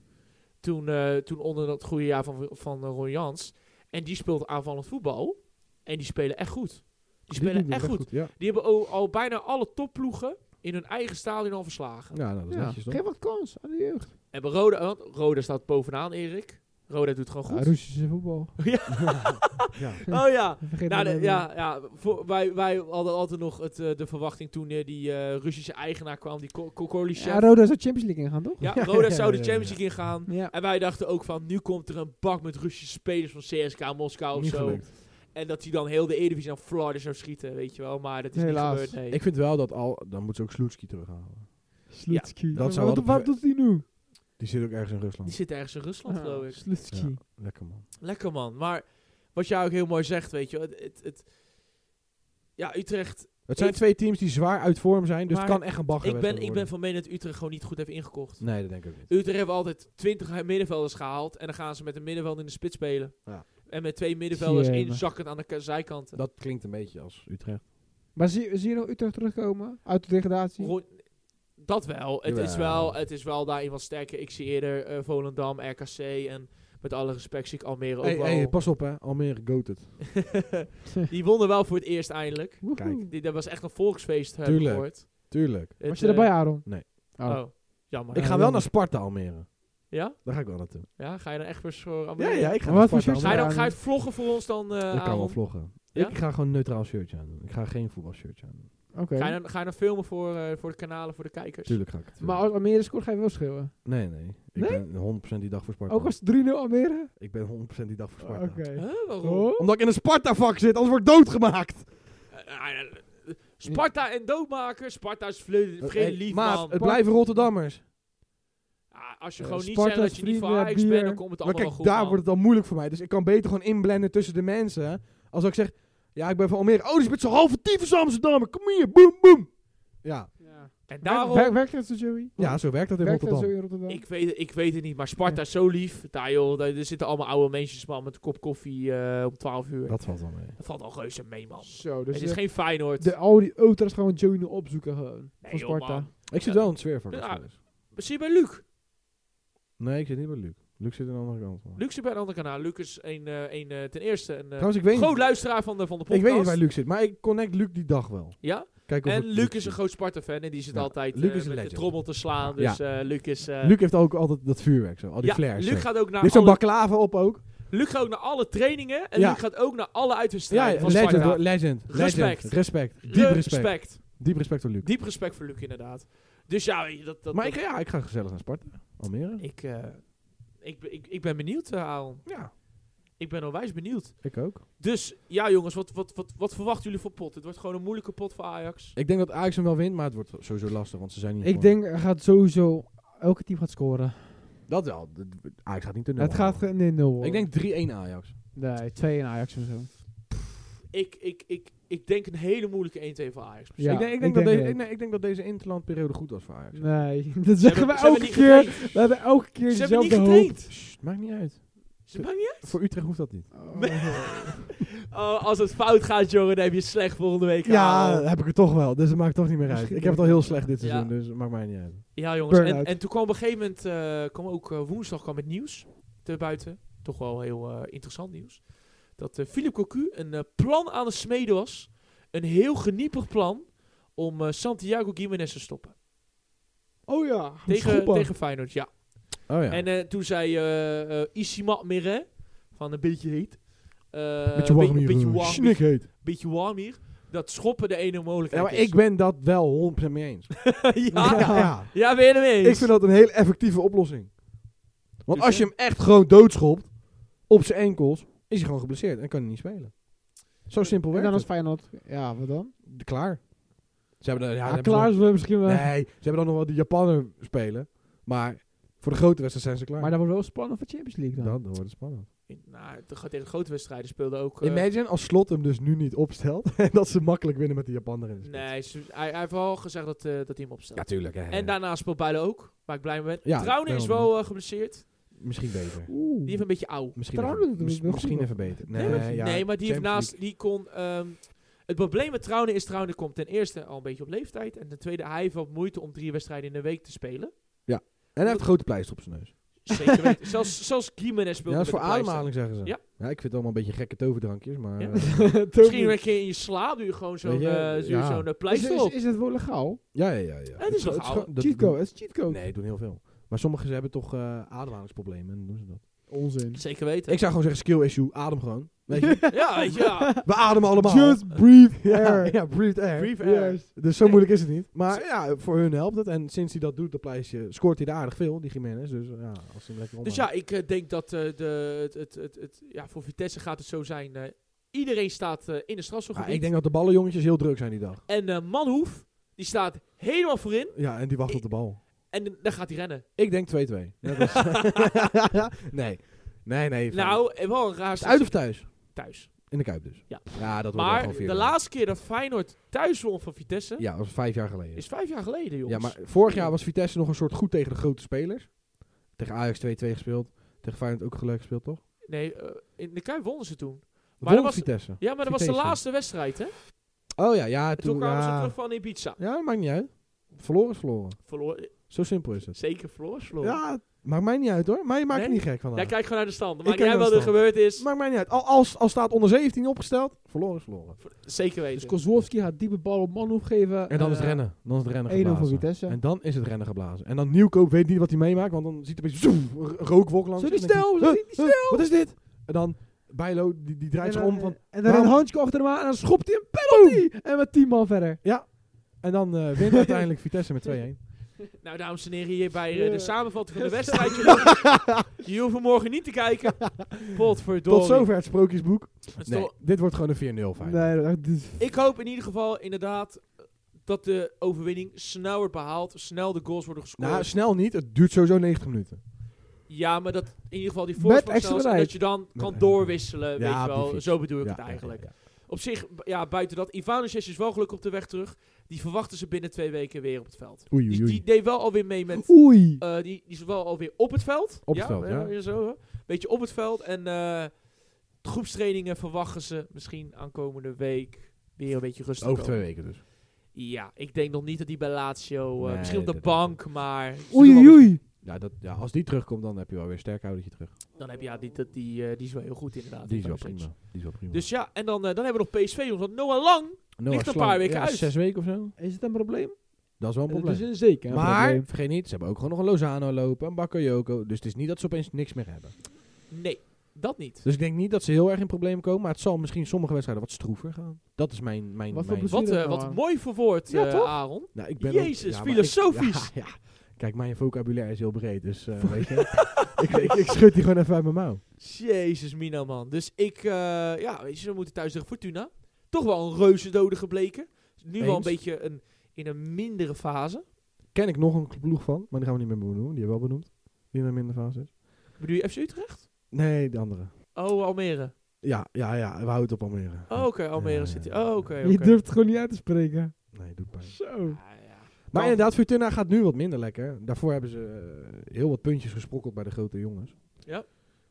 [SPEAKER 1] Toen, eh, toen onder dat goede jaar van, van eh, Ron Jans. En die speelt aanvallend voetbal. En die spelen echt goed. Die spelen
[SPEAKER 2] doen
[SPEAKER 1] echt
[SPEAKER 2] het
[SPEAKER 1] goed.
[SPEAKER 2] Ja,
[SPEAKER 1] Die hebben al, al bijna alle topploegen in hun eigen stadion al verslagen.
[SPEAKER 2] ja nou, dat is
[SPEAKER 3] Ja.
[SPEAKER 2] netjes toch?
[SPEAKER 3] Geef wat kans aan de jeugd.
[SPEAKER 1] En bij Roda, want Roda staat bovenaan, Erik. Roda doet gewoon
[SPEAKER 3] Ja,
[SPEAKER 1] goed.
[SPEAKER 3] Russische <laughs> voetbal.
[SPEAKER 2] Ja.
[SPEAKER 1] oh ja.
[SPEAKER 3] Vergeet
[SPEAKER 1] Nou,
[SPEAKER 3] dat
[SPEAKER 1] de-
[SPEAKER 3] even.
[SPEAKER 1] ja, ja voor, wij, wij hadden altijd nog het, eh, de verwachting toen eh, die eh, Russische eigenaar kwam, die Kokorlishev.
[SPEAKER 3] Ja, Roda zou Champions League ingaan, toch?
[SPEAKER 1] ja,
[SPEAKER 2] Ja,
[SPEAKER 1] Roda
[SPEAKER 2] ja,
[SPEAKER 1] zou de
[SPEAKER 2] ja,
[SPEAKER 1] Champions
[SPEAKER 2] ja.
[SPEAKER 1] League ingaan.
[SPEAKER 3] Ja.
[SPEAKER 1] En wij dachten ook van, nu komt er een bak met Russische spelers van CSKA Moskou of
[SPEAKER 2] Niet
[SPEAKER 1] zo.
[SPEAKER 2] gelukt.
[SPEAKER 1] En dat die dan heel de Eredivisie naar Florida zou schieten, weet je wel. Maar dat is
[SPEAKER 3] Helaas.
[SPEAKER 1] niet gebeurd, nee.
[SPEAKER 2] Ik vind wel dat al... Dan moeten ze ook Sloetski terughalen.
[SPEAKER 3] Slutski.
[SPEAKER 2] dat zou
[SPEAKER 3] wat,
[SPEAKER 2] wel de-
[SPEAKER 3] wat doet hij nu?
[SPEAKER 2] Die zit ook ergens in Rusland.
[SPEAKER 1] Die zit ergens in Rusland, geloof ik.
[SPEAKER 3] Slutski.
[SPEAKER 2] Ja. Lekker man.
[SPEAKER 1] Lekker man. Maar wat jij ook heel mooi zegt, weet je wel. Het, het, het- ja, Utrecht.
[SPEAKER 2] Het zijn
[SPEAKER 1] Ik-
[SPEAKER 2] twee teams die zwaar uit vorm zijn, dus
[SPEAKER 1] Maar
[SPEAKER 2] het kan echt een bagger
[SPEAKER 1] Ik ben, ik ben van mening dat Utrecht gewoon niet goed heeft ingekocht.
[SPEAKER 2] Nee, dat denk ik ook niet.
[SPEAKER 1] Utrecht heeft altijd 20 middenvelders gehaald. En dan gaan ze met een middenvelder in de spits spelen.
[SPEAKER 2] Ja.
[SPEAKER 1] En met twee middenvelders
[SPEAKER 3] Jemig.
[SPEAKER 1] één zakkend aan de ka- zijkanten.
[SPEAKER 2] Dat klinkt een beetje als Utrecht.
[SPEAKER 3] Maar zie, zie je nog Utrecht terugkomen? Uit de degradatie?
[SPEAKER 1] Ro- dat wel. Het, is
[SPEAKER 2] Jawel.
[SPEAKER 1] wel. het is wel daarin wat sterker. Ik zie eerder eh, Volendam, RKC en met alle respect zie ik Almere ook
[SPEAKER 2] Hey,
[SPEAKER 1] wel.
[SPEAKER 2] hey, pas op hè, Almere
[SPEAKER 1] <laughs>
[SPEAKER 2] goated.
[SPEAKER 1] Die wonnen wel voor het eerst eindelijk.
[SPEAKER 3] Woehoe.
[SPEAKER 2] Kijk.
[SPEAKER 1] Die, dat was echt een volksfeest, heb ik
[SPEAKER 2] Tuurlijk.
[SPEAKER 1] gehoord.
[SPEAKER 2] Tuurlijk.
[SPEAKER 1] Het,
[SPEAKER 3] Was je
[SPEAKER 1] eh,
[SPEAKER 3] erbij, Aaron?
[SPEAKER 1] Oh,
[SPEAKER 3] Oh.
[SPEAKER 1] jammer.
[SPEAKER 2] ik ga wel naar Sparta Almere.
[SPEAKER 1] Ja?
[SPEAKER 2] Daar ga ik wel naartoe.
[SPEAKER 1] Ja, ga je dan echt weer voor
[SPEAKER 2] Ja,
[SPEAKER 1] Almere?
[SPEAKER 2] ja, ik ga naar
[SPEAKER 3] Maar wat voor
[SPEAKER 2] Sparta
[SPEAKER 3] shirt
[SPEAKER 1] Ga je,
[SPEAKER 2] Almere.
[SPEAKER 1] dan, ga je het vloggen voor ons dan, eh
[SPEAKER 2] Ik kan wel
[SPEAKER 1] Aaron?
[SPEAKER 2] vloggen.
[SPEAKER 1] Ja?
[SPEAKER 2] Ik ga gewoon een neutraal shirtje aan doen. Ik ga geen voetbalshirtje aan doen.
[SPEAKER 3] Oké.
[SPEAKER 1] Ga je dan, ga je dan filmen voor, eh, voor de kanalen, voor de kijkers?
[SPEAKER 2] Tuurlijk ga ik het doen.
[SPEAKER 3] Maar als Almere scoort, ga je wel schreeuwen.
[SPEAKER 2] Nee, nee. Ik ben 100% die dag voor Sparta.
[SPEAKER 3] Ook als 3-0 Almere?
[SPEAKER 2] Ik ben 100% die dag voor Sparta.
[SPEAKER 3] Oké.
[SPEAKER 1] Huh, waarom?
[SPEAKER 3] Oh.
[SPEAKER 2] Omdat ik in een Sparta-vak zit, anders word ik doodgemaakt.
[SPEAKER 1] Eh, eh, eh, Sparta en doodmaker. Sparta is vle-
[SPEAKER 2] Eh, Hey,
[SPEAKER 1] vergeet lief,
[SPEAKER 2] maat,
[SPEAKER 1] man.
[SPEAKER 2] het blijven Rotterdammers.
[SPEAKER 1] Ah, als je
[SPEAKER 3] eh,
[SPEAKER 1] gewoon niet
[SPEAKER 3] Sparta
[SPEAKER 1] zegt dat
[SPEAKER 3] is
[SPEAKER 1] je niet van
[SPEAKER 3] vrienden,
[SPEAKER 1] Ajax bent,
[SPEAKER 3] bier.
[SPEAKER 1] dan komt het
[SPEAKER 2] Maar
[SPEAKER 1] allemaal
[SPEAKER 2] kijk,
[SPEAKER 1] wel goed,
[SPEAKER 2] daar
[SPEAKER 1] man.
[SPEAKER 2] wordt het dan moeilijk voor mij. Dus ik kan beter gewoon inblenden tussen de mensen. Als dat ik zeg, ja, ik ben van Almere. Oh, die is met zo'n halve tyfus Amsterdammer. Kom hier, boem, boem. Ja.
[SPEAKER 3] Ja.
[SPEAKER 1] En
[SPEAKER 3] Daarom...
[SPEAKER 1] daarom,
[SPEAKER 3] werkt dat zo, Joey?
[SPEAKER 2] ja, zo werkt dat in
[SPEAKER 3] werkt dat zo
[SPEAKER 2] Rotterdam.
[SPEAKER 3] in Rotterdam?
[SPEAKER 1] ik weet, het- ik weet het niet, maar Sparta is zo lief. Daar, joh, daar, er zitten allemaal oude mensen, man, met een kop koffie eh, om 12 uur.
[SPEAKER 2] Dat eh, valt wel mee.
[SPEAKER 1] Dat valt al reuze mee, man.
[SPEAKER 3] Zo, dus
[SPEAKER 1] het is
[SPEAKER 3] de,
[SPEAKER 1] geen Feyenoord.
[SPEAKER 3] de, al die ultras gaan we Joey nu opzoeken gewoon.
[SPEAKER 1] Nee,
[SPEAKER 3] van
[SPEAKER 1] joh,
[SPEAKER 3] Sparta.
[SPEAKER 1] man.
[SPEAKER 2] Ik zit
[SPEAKER 1] Ja.
[SPEAKER 2] wel in het sfeervak. als
[SPEAKER 1] Ja.
[SPEAKER 2] het is.
[SPEAKER 1] Misschien bij Luc.
[SPEAKER 2] Nee, ik zit niet bij Luc. Luc zit aan de andere kant.
[SPEAKER 1] Luc eh, zit bij een ander kanaal. Luc is een, eh, een, eh, ten eerste een eh,
[SPEAKER 2] Trouwens, ik weet,
[SPEAKER 1] groot
[SPEAKER 2] niet,
[SPEAKER 1] luisteraar van de, van de
[SPEAKER 2] ik
[SPEAKER 1] podcast.
[SPEAKER 2] weet niet waar Luc zit. Maar ik connect Luc die dag wel.
[SPEAKER 1] Ja?
[SPEAKER 2] Kijken of
[SPEAKER 1] En
[SPEAKER 2] het
[SPEAKER 1] Luc
[SPEAKER 2] lukt.
[SPEAKER 1] is een groot Sparta-fan en die zit
[SPEAKER 2] Ja,
[SPEAKER 1] altijd eh,
[SPEAKER 2] Luc is een
[SPEAKER 1] met de
[SPEAKER 2] legend.
[SPEAKER 1] trommel te slaan. Dus eh Luc is... eh,
[SPEAKER 2] Luc heeft ook altijd dat vuurwerk zo, al die
[SPEAKER 1] ja,
[SPEAKER 2] flares. zo.
[SPEAKER 1] Luc gaat, ook naar
[SPEAKER 2] Die heeft zo'n
[SPEAKER 1] alle,
[SPEAKER 2] baklava op ook.
[SPEAKER 1] Luc gaat ook naar alle trainingen en
[SPEAKER 2] Ja.
[SPEAKER 1] Luc gaat ook naar alle
[SPEAKER 2] Ja,
[SPEAKER 1] uitwedstrijden van
[SPEAKER 2] legend,
[SPEAKER 1] Sparta.
[SPEAKER 2] hoor, legend,
[SPEAKER 1] Respect.
[SPEAKER 2] legend. Respect. Diep respect.
[SPEAKER 1] respect.
[SPEAKER 2] Diep respect voor Luc.
[SPEAKER 1] Diep respect voor Luc, inderdaad. Dus ja, weet je, dat... dat
[SPEAKER 2] Maar
[SPEAKER 1] dat-
[SPEAKER 2] ik, ja, ik ga gezellig naar Sparta. Almere.
[SPEAKER 1] Ik, eh, ik, ben- ik, ik ben benieuwd, eh, Aaron.
[SPEAKER 2] Ja,
[SPEAKER 1] Ik ben onwijs benieuwd.
[SPEAKER 2] ik ook.
[SPEAKER 1] Dus ja, jongens, wat, wat, wat, wat verwachten jullie van pot? Het wordt gewoon een moeilijke pot voor Ajax.
[SPEAKER 2] Ik denk dat Ajax hem wel wint, maar het wordt sowieso lastig, want ze zijn niet
[SPEAKER 3] Ik denk, er gaat sowieso... Elke team gaat scoren.
[SPEAKER 2] Dat wel. D- d- Ajax gaat niet te nul.
[SPEAKER 3] het gaat... ge- Nee, nul.
[SPEAKER 2] Ik denk 3-1 Ajax.
[SPEAKER 3] Nee, 2 in Ajax of zo.
[SPEAKER 1] Ik, ik, ik, ik denk een hele moeilijke 1-2 voor Ajax.
[SPEAKER 3] Ja,
[SPEAKER 2] ik, denk, ik, denk dat deze, ik, nee, ik denk dat deze interlandperiode goed was voor Ajax.
[SPEAKER 3] Nee,
[SPEAKER 1] Ze
[SPEAKER 3] <laughs> dat
[SPEAKER 1] hebben-
[SPEAKER 3] zeggen we
[SPEAKER 1] ze hebben
[SPEAKER 3] elke
[SPEAKER 1] niet
[SPEAKER 3] keer.
[SPEAKER 1] getraind.
[SPEAKER 3] We hebben elke keer
[SPEAKER 1] Ze hebben niet
[SPEAKER 3] dezelfde hoop.
[SPEAKER 1] getraind.
[SPEAKER 2] Sst, maakt niet uit.
[SPEAKER 1] Ze hebben niet
[SPEAKER 2] Voor Utrecht hoeft dat niet.
[SPEAKER 1] Oh, als het fout gaat, jongen, dan heb je slecht volgende week.
[SPEAKER 2] Ja,
[SPEAKER 1] Haal.
[SPEAKER 2] heb ik het toch wel. Dus het maakt toch niet meer uit.
[SPEAKER 3] Misschien
[SPEAKER 2] Ik heb het al heel slecht dit
[SPEAKER 1] Ja.
[SPEAKER 2] seizoen, dus het maakt mij niet uit.
[SPEAKER 1] ja jongens. En,
[SPEAKER 3] Burn-out.
[SPEAKER 1] en toen kwam op een gegeven moment, eh, kwam ook eh, woensdag kwam het nieuws te buiten. Toch wel heel eh, interessant nieuws. Dat eh Philip Cocu een eh, plan aan het smeden was. Een heel geniepig plan om eh, Santiago Gimenez te stoppen.
[SPEAKER 3] Oh ja.
[SPEAKER 1] Tegen,
[SPEAKER 3] schoppen.
[SPEAKER 1] tegen Feyenoord, ja.
[SPEAKER 2] Oh ja.
[SPEAKER 1] En eh, toen zei eh eh Isimat Miret, van een beetje heet. eh,
[SPEAKER 2] beetje warm hier.
[SPEAKER 1] beetje
[SPEAKER 2] eh,
[SPEAKER 1] warm, beetje,
[SPEAKER 2] Snikheet.
[SPEAKER 1] beetje warm hier. Dat schoppen de ene
[SPEAKER 2] Ja,
[SPEAKER 1] mogelijkheid
[SPEAKER 2] maar ik ben dat wel 100% mee eens.
[SPEAKER 1] is. <laughs> ja, Ah, ja.
[SPEAKER 2] Ja, ja.
[SPEAKER 1] ben je er mee eens?
[SPEAKER 2] Ik vind dat een heel effectieve oplossing. Want
[SPEAKER 1] Dus,
[SPEAKER 2] als je
[SPEAKER 1] hè?
[SPEAKER 2] hem echt gewoon doodschopt, op zijn enkels, is hij gewoon geblesseerd en kan hij niet spelen. Zo simpel
[SPEAKER 3] En
[SPEAKER 2] werkt
[SPEAKER 3] dan als
[SPEAKER 2] het.
[SPEAKER 3] Feyenoord. Ja, wat dan?
[SPEAKER 2] Klaar. Ze hebben, dan- ja,
[SPEAKER 1] Ah,
[SPEAKER 3] Ja,
[SPEAKER 2] dan hebben ze
[SPEAKER 3] klaar
[SPEAKER 2] nog-
[SPEAKER 3] zullen we misschien wel.
[SPEAKER 1] eh.
[SPEAKER 2] Nee, ze hebben dan nog wel die Japaner spelen. Maar voor de grote wedstrijd zijn ze klaar.
[SPEAKER 3] Maar dat wordt wel spannend voor Champions League
[SPEAKER 2] dan,
[SPEAKER 3] dan.
[SPEAKER 2] dan wordt het spannend.
[SPEAKER 1] In- Nou, te- tegen de grote wedstrijden speelde ook... eh,
[SPEAKER 2] Imagine als Slot hem dus nu niet opstelt. <laughs> En dat ze makkelijk winnen met die Japaner in de spits.
[SPEAKER 1] nee, ze- hij, hij heeft wel gezegd dat, eh, dat hij hem opstelt.
[SPEAKER 2] Ja, eh. tuurlijk. hè,
[SPEAKER 1] en daarna speelt Bijlo ook, waar ik blij mee ben.
[SPEAKER 2] Ja,
[SPEAKER 1] Trouwen is
[SPEAKER 2] daarom,
[SPEAKER 1] wel eh, geblesseerd.
[SPEAKER 2] Misschien beter.
[SPEAKER 3] Oeh. <laughs>
[SPEAKER 1] Die heeft een beetje oud.
[SPEAKER 2] Misschien,
[SPEAKER 3] Trouwens,
[SPEAKER 2] even,
[SPEAKER 3] dat doet het
[SPEAKER 2] mis-
[SPEAKER 3] wel
[SPEAKER 2] misschien even
[SPEAKER 3] goed.
[SPEAKER 2] beter.
[SPEAKER 3] Nee,
[SPEAKER 2] Nee,
[SPEAKER 3] maar-
[SPEAKER 2] ja,
[SPEAKER 1] nee, maar die heeft
[SPEAKER 2] Champions
[SPEAKER 1] naast... Die kon, ehm, het probleem met Trouwen is, Trouwen komt ten eerste al een beetje op leeftijd. En ten tweede, hij heeft wat moeite om drie wedstrijden in de week te spelen.
[SPEAKER 2] League. En hij heeft een grote pleister op zijn neus. <laughs>
[SPEAKER 1] Zeker weten. zelfs, zelfs Gimenez
[SPEAKER 2] Ja,
[SPEAKER 1] speelde
[SPEAKER 2] dat is
[SPEAKER 1] met
[SPEAKER 2] voor
[SPEAKER 1] de pleister.
[SPEAKER 2] ademhaling, zeggen ze.
[SPEAKER 1] Ja.
[SPEAKER 2] ik vind het allemaal een beetje gekke toverdrankjes, maar...
[SPEAKER 1] Ja.
[SPEAKER 2] eh,
[SPEAKER 1] Misschien een keer in je slaap doe je gewoon zo'n
[SPEAKER 2] Weet je,
[SPEAKER 1] eh, doe je
[SPEAKER 2] ja.
[SPEAKER 1] zo'n eh,
[SPEAKER 3] is,
[SPEAKER 1] pleister
[SPEAKER 3] is,
[SPEAKER 1] op.
[SPEAKER 3] is het wel legaal?
[SPEAKER 2] Ja, ja, ja. ja.
[SPEAKER 1] Het is legaal.
[SPEAKER 2] gewoon- dat-
[SPEAKER 3] Cheat code, het is cheat code.
[SPEAKER 2] Nee, doen heel veel. Maar sommigen ze hebben toch eh, ademhalingsproblemen en dan doen ze dat. Dus-
[SPEAKER 3] Onzin.
[SPEAKER 1] Zeker weten.
[SPEAKER 2] Ik zou gewoon zeggen, skill issue, adem gewoon. Weet
[SPEAKER 3] <laughs>
[SPEAKER 2] je,
[SPEAKER 1] ja, weet je, ja.
[SPEAKER 2] we ademen allemaal.
[SPEAKER 3] Just breathe
[SPEAKER 2] <laughs> ja,
[SPEAKER 3] air.
[SPEAKER 2] <laughs> ja, breathe air.
[SPEAKER 1] Brief air.
[SPEAKER 3] Yes.
[SPEAKER 2] Dus zo moeilijk is het niet. Maar ja, voor hun helpt het. En sinds hij dat doet, dat pleisje, scoort hij er aardig veel, die Jiménez. Dus ja, als hij hem lekker
[SPEAKER 1] Dus
[SPEAKER 2] omhoudt.
[SPEAKER 1] ja, ik eh, denk dat eh, de, het, het, het, het- ja, voor Vitesse gaat het zo zijn. eh, iedereen staat eh, in de
[SPEAKER 2] Maar
[SPEAKER 1] strafschopgebied.
[SPEAKER 2] ik denk dat de ballenjongetjes heel druk zijn die dag.
[SPEAKER 1] En eh, Manhoef, die staat helemaal voorin.
[SPEAKER 2] Ja, en die wacht op de bal.
[SPEAKER 1] En dan gaat hij rennen.
[SPEAKER 2] Ik denk 2-2. Net als-
[SPEAKER 1] <laughs>
[SPEAKER 2] <laughs> nee. Nee, nee. van-
[SPEAKER 1] Nou, eh, wel een raar
[SPEAKER 2] Is het uit of thuis?
[SPEAKER 1] thuis.
[SPEAKER 2] In de Kuip dus.
[SPEAKER 1] Ja.
[SPEAKER 2] ja dat wordt wel
[SPEAKER 1] Maar
[SPEAKER 2] gewoon
[SPEAKER 1] de
[SPEAKER 2] 4-1.
[SPEAKER 1] laatste keer dat Feyenoord thuis won van Vitesse
[SPEAKER 2] Ja, dat was vijf jaar geleden.
[SPEAKER 1] is vijf jaar geleden, jongens.
[SPEAKER 2] Ja, maar vorig jaar was Vitesse nog een soort goed tegen de grote spelers. Tegen Ajax 2-2 gespeeld. Tegen Feyenoord ook gelijk gespeeld, toch?
[SPEAKER 1] Nee, eh, in de Kuip wonnen ze toen.
[SPEAKER 2] Maar
[SPEAKER 1] dat
[SPEAKER 2] dat
[SPEAKER 1] was-
[SPEAKER 2] was Vitesse.
[SPEAKER 1] Ja, maar dat was de
[SPEAKER 2] Vitesse.
[SPEAKER 1] laatste wedstrijd, hè? En
[SPEAKER 2] Oh ja, ja.
[SPEAKER 1] toen,
[SPEAKER 2] Toen,
[SPEAKER 1] kwamen ze
[SPEAKER 2] ja.
[SPEAKER 1] terug van Ibiza.
[SPEAKER 2] ja, dat maakt niet uit. Verloren is verloren.
[SPEAKER 1] Verloor,
[SPEAKER 2] Zo simpel is het.
[SPEAKER 1] zeker verloor, is verloor.
[SPEAKER 2] Ja, het maakt mij niet uit hoor. Maar je maakt
[SPEAKER 1] Nee?
[SPEAKER 2] het niet gek vandaag.
[SPEAKER 1] Jij kijkt gewoon naar de stand. Maar
[SPEAKER 2] kijk
[SPEAKER 1] jij
[SPEAKER 2] naar
[SPEAKER 1] wat
[SPEAKER 2] de
[SPEAKER 1] er
[SPEAKER 2] stand.
[SPEAKER 1] gebeurd is,
[SPEAKER 2] Maakt mij niet uit. Al, als, als staat onder 17 opgesteld, verloren is verloren.
[SPEAKER 1] zeker weten.
[SPEAKER 3] Dus Kozlowski gaat diepe bal op Manhoef geven.
[SPEAKER 2] En dan is
[SPEAKER 3] Eh,
[SPEAKER 2] het rennen. Dan is het rennen
[SPEAKER 3] 1-0 voor
[SPEAKER 2] geblazen.
[SPEAKER 3] Vitesse.
[SPEAKER 2] En dan is het rennen geblazen. En dan Nieuwkoop weet niet wat hij meemaakt, want dan ziet hij opeens zoem, een rookwolk langs.
[SPEAKER 3] Zo die
[SPEAKER 2] En dan
[SPEAKER 3] stel,
[SPEAKER 2] denkt
[SPEAKER 3] zo
[SPEAKER 2] hij,
[SPEAKER 3] die
[SPEAKER 2] "Huh, huh, Wat is dit? En dan Bijlo, die, die draait zich om van...
[SPEAKER 3] En dan een
[SPEAKER 2] waarom-
[SPEAKER 3] handje achter hem aan en dan schopt hij een penalty. En met 10 man verder.
[SPEAKER 2] En dan eh, wint uiteindelijk <laughs> Vitesse met 2-1.
[SPEAKER 1] Nou, dames en heren, hier bij eh, de
[SPEAKER 3] Ja.
[SPEAKER 1] samenvatting
[SPEAKER 2] <laughs>
[SPEAKER 1] van de wedstrijd. Jullie- Jullie hoeven morgen niet te kijken. Potverdorie.
[SPEAKER 2] Tot zover het sprookjesboek.
[SPEAKER 1] Het is
[SPEAKER 2] Nee,
[SPEAKER 1] toch-
[SPEAKER 2] dit wordt gewoon een 4-0 fijn.
[SPEAKER 3] Nee, dat- dit is
[SPEAKER 1] Ik hoop in ieder geval inderdaad eh, dat de overwinning snel wordt behaald. Snel de goals worden gescoord.
[SPEAKER 2] Nou, snel niet. Het duurt sowieso 90 minuten.
[SPEAKER 1] ja, maar dat in ieder geval die
[SPEAKER 3] Met
[SPEAKER 1] voorsprong snel
[SPEAKER 3] extra
[SPEAKER 1] is en
[SPEAKER 3] tijd.
[SPEAKER 1] dat je dan kan
[SPEAKER 2] extra
[SPEAKER 1] doorwisselen.
[SPEAKER 2] Ja,
[SPEAKER 1] weet je
[SPEAKER 2] op die
[SPEAKER 1] wel.
[SPEAKER 2] fiets.
[SPEAKER 1] Zo bedoel ik
[SPEAKER 2] Ja,
[SPEAKER 1] het
[SPEAKER 2] ja,
[SPEAKER 1] eigenlijk.
[SPEAKER 2] ja,
[SPEAKER 1] Op zich, b- ja, buiten dat. Ivanusjes is wel gelukkig op de weg terug. Die verwachten ze binnen twee weken weer op het veld.
[SPEAKER 2] ja. Oei,
[SPEAKER 1] Die,
[SPEAKER 2] oei,
[SPEAKER 1] die
[SPEAKER 2] oei.
[SPEAKER 1] deed wel alweer mee met
[SPEAKER 3] Oei.
[SPEAKER 1] Eh, die, die is wel alweer op het veld.
[SPEAKER 2] Op het veld, ja.
[SPEAKER 1] weer Zo, hè. Beetje op het veld. En eh groepstrainingen verwachten ze misschien aankomende week weer een beetje rustig.
[SPEAKER 2] Over twee
[SPEAKER 1] komen.
[SPEAKER 2] weken dus.
[SPEAKER 1] Ja, ik denk nog niet dat die bij Lazio... eh,
[SPEAKER 2] Nee,
[SPEAKER 1] misschien op de
[SPEAKER 2] dat-
[SPEAKER 1] bank, maar... ze doen
[SPEAKER 3] Oei,
[SPEAKER 1] wel-
[SPEAKER 3] oei.
[SPEAKER 2] Ja, dat, ja, als die terugkomt, dan heb je wel weer een sterk houdertje terug.
[SPEAKER 1] Dan heb je ja, die, dat- die, Dus eh, die Ah, is wel heel goed inderdaad.
[SPEAKER 2] Die is wel
[SPEAKER 1] Ivanusec.
[SPEAKER 2] prima. Die is wel prima.
[SPEAKER 1] Dus ja, en dan, eh, dan hebben we nog PSV. jongens, Want Noah Lang
[SPEAKER 2] Noah
[SPEAKER 1] Ligt een
[SPEAKER 2] Slang,
[SPEAKER 1] paar weken
[SPEAKER 2] ja,
[SPEAKER 1] uit.
[SPEAKER 2] zes weken of zo.
[SPEAKER 3] Is het een probleem?
[SPEAKER 2] Dat is wel een
[SPEAKER 3] Het is
[SPEAKER 2] probleem.
[SPEAKER 3] een zeker een
[SPEAKER 2] maar,
[SPEAKER 3] probleem.
[SPEAKER 2] vergeet niet, ze hebben ook gewoon nog een Lozano lopen, een Bakayoko. Dus het is niet dat ze opeens niks meer hebben.
[SPEAKER 1] Nee, dat niet.
[SPEAKER 2] Dus ik denk niet dat ze heel erg in problemen komen. Maar het zal misschien sommige wedstrijden wat stroever gaan. Dat is mijn... mijn,
[SPEAKER 3] Wat voor
[SPEAKER 2] mijn
[SPEAKER 3] blessure-
[SPEAKER 1] Wat,
[SPEAKER 3] je dat
[SPEAKER 1] eh,
[SPEAKER 3] nou
[SPEAKER 1] wat
[SPEAKER 3] aan?
[SPEAKER 1] mooi verwoord,
[SPEAKER 3] Ja,
[SPEAKER 1] eh,
[SPEAKER 3] toch?
[SPEAKER 1] Aaron.
[SPEAKER 2] Nou, ik ben
[SPEAKER 1] Jezus,
[SPEAKER 2] maar ik-
[SPEAKER 1] filosofisch.
[SPEAKER 2] <laughs> ja, ja. Kijk, mijn vocabulaire is heel breed, dus eh, weet je. ik, ik, ik schud die gewoon even uit mijn mouw.
[SPEAKER 1] Jezus, Mina, man. Dus ik, eh, ja, weet je, we moeten thuis tegen Fortuna. Toch wel een reuze dode gebleken. Dus Nu wel een
[SPEAKER 2] Eens.
[SPEAKER 1] beetje een, in een mindere fase.
[SPEAKER 2] Ken ik nog een ploeg van, maar die gaan we niet meer benoemen. Die hebben we wel benoemd. Die in een minder fase is.
[SPEAKER 1] Bedoel je FC Utrecht?
[SPEAKER 2] Nee, de andere.
[SPEAKER 1] Oh, Almere.
[SPEAKER 2] Ja, ja, ja. We houden het op Almere.
[SPEAKER 1] Oh, oké, Almere
[SPEAKER 2] Ja, ja,
[SPEAKER 1] City.
[SPEAKER 2] ja.
[SPEAKER 1] Oh, oké, oké.
[SPEAKER 3] Je durft het gewoon niet uit te spreken.
[SPEAKER 2] Nee, doet pijn.
[SPEAKER 3] Zo.
[SPEAKER 1] Ja, ja.
[SPEAKER 2] Maar inderdaad, Fortuna gaat nu wat minder lekker. Daarvoor hebben ze eh, heel wat puntjes gesprokkeld bij de grote jongens.
[SPEAKER 1] Ja.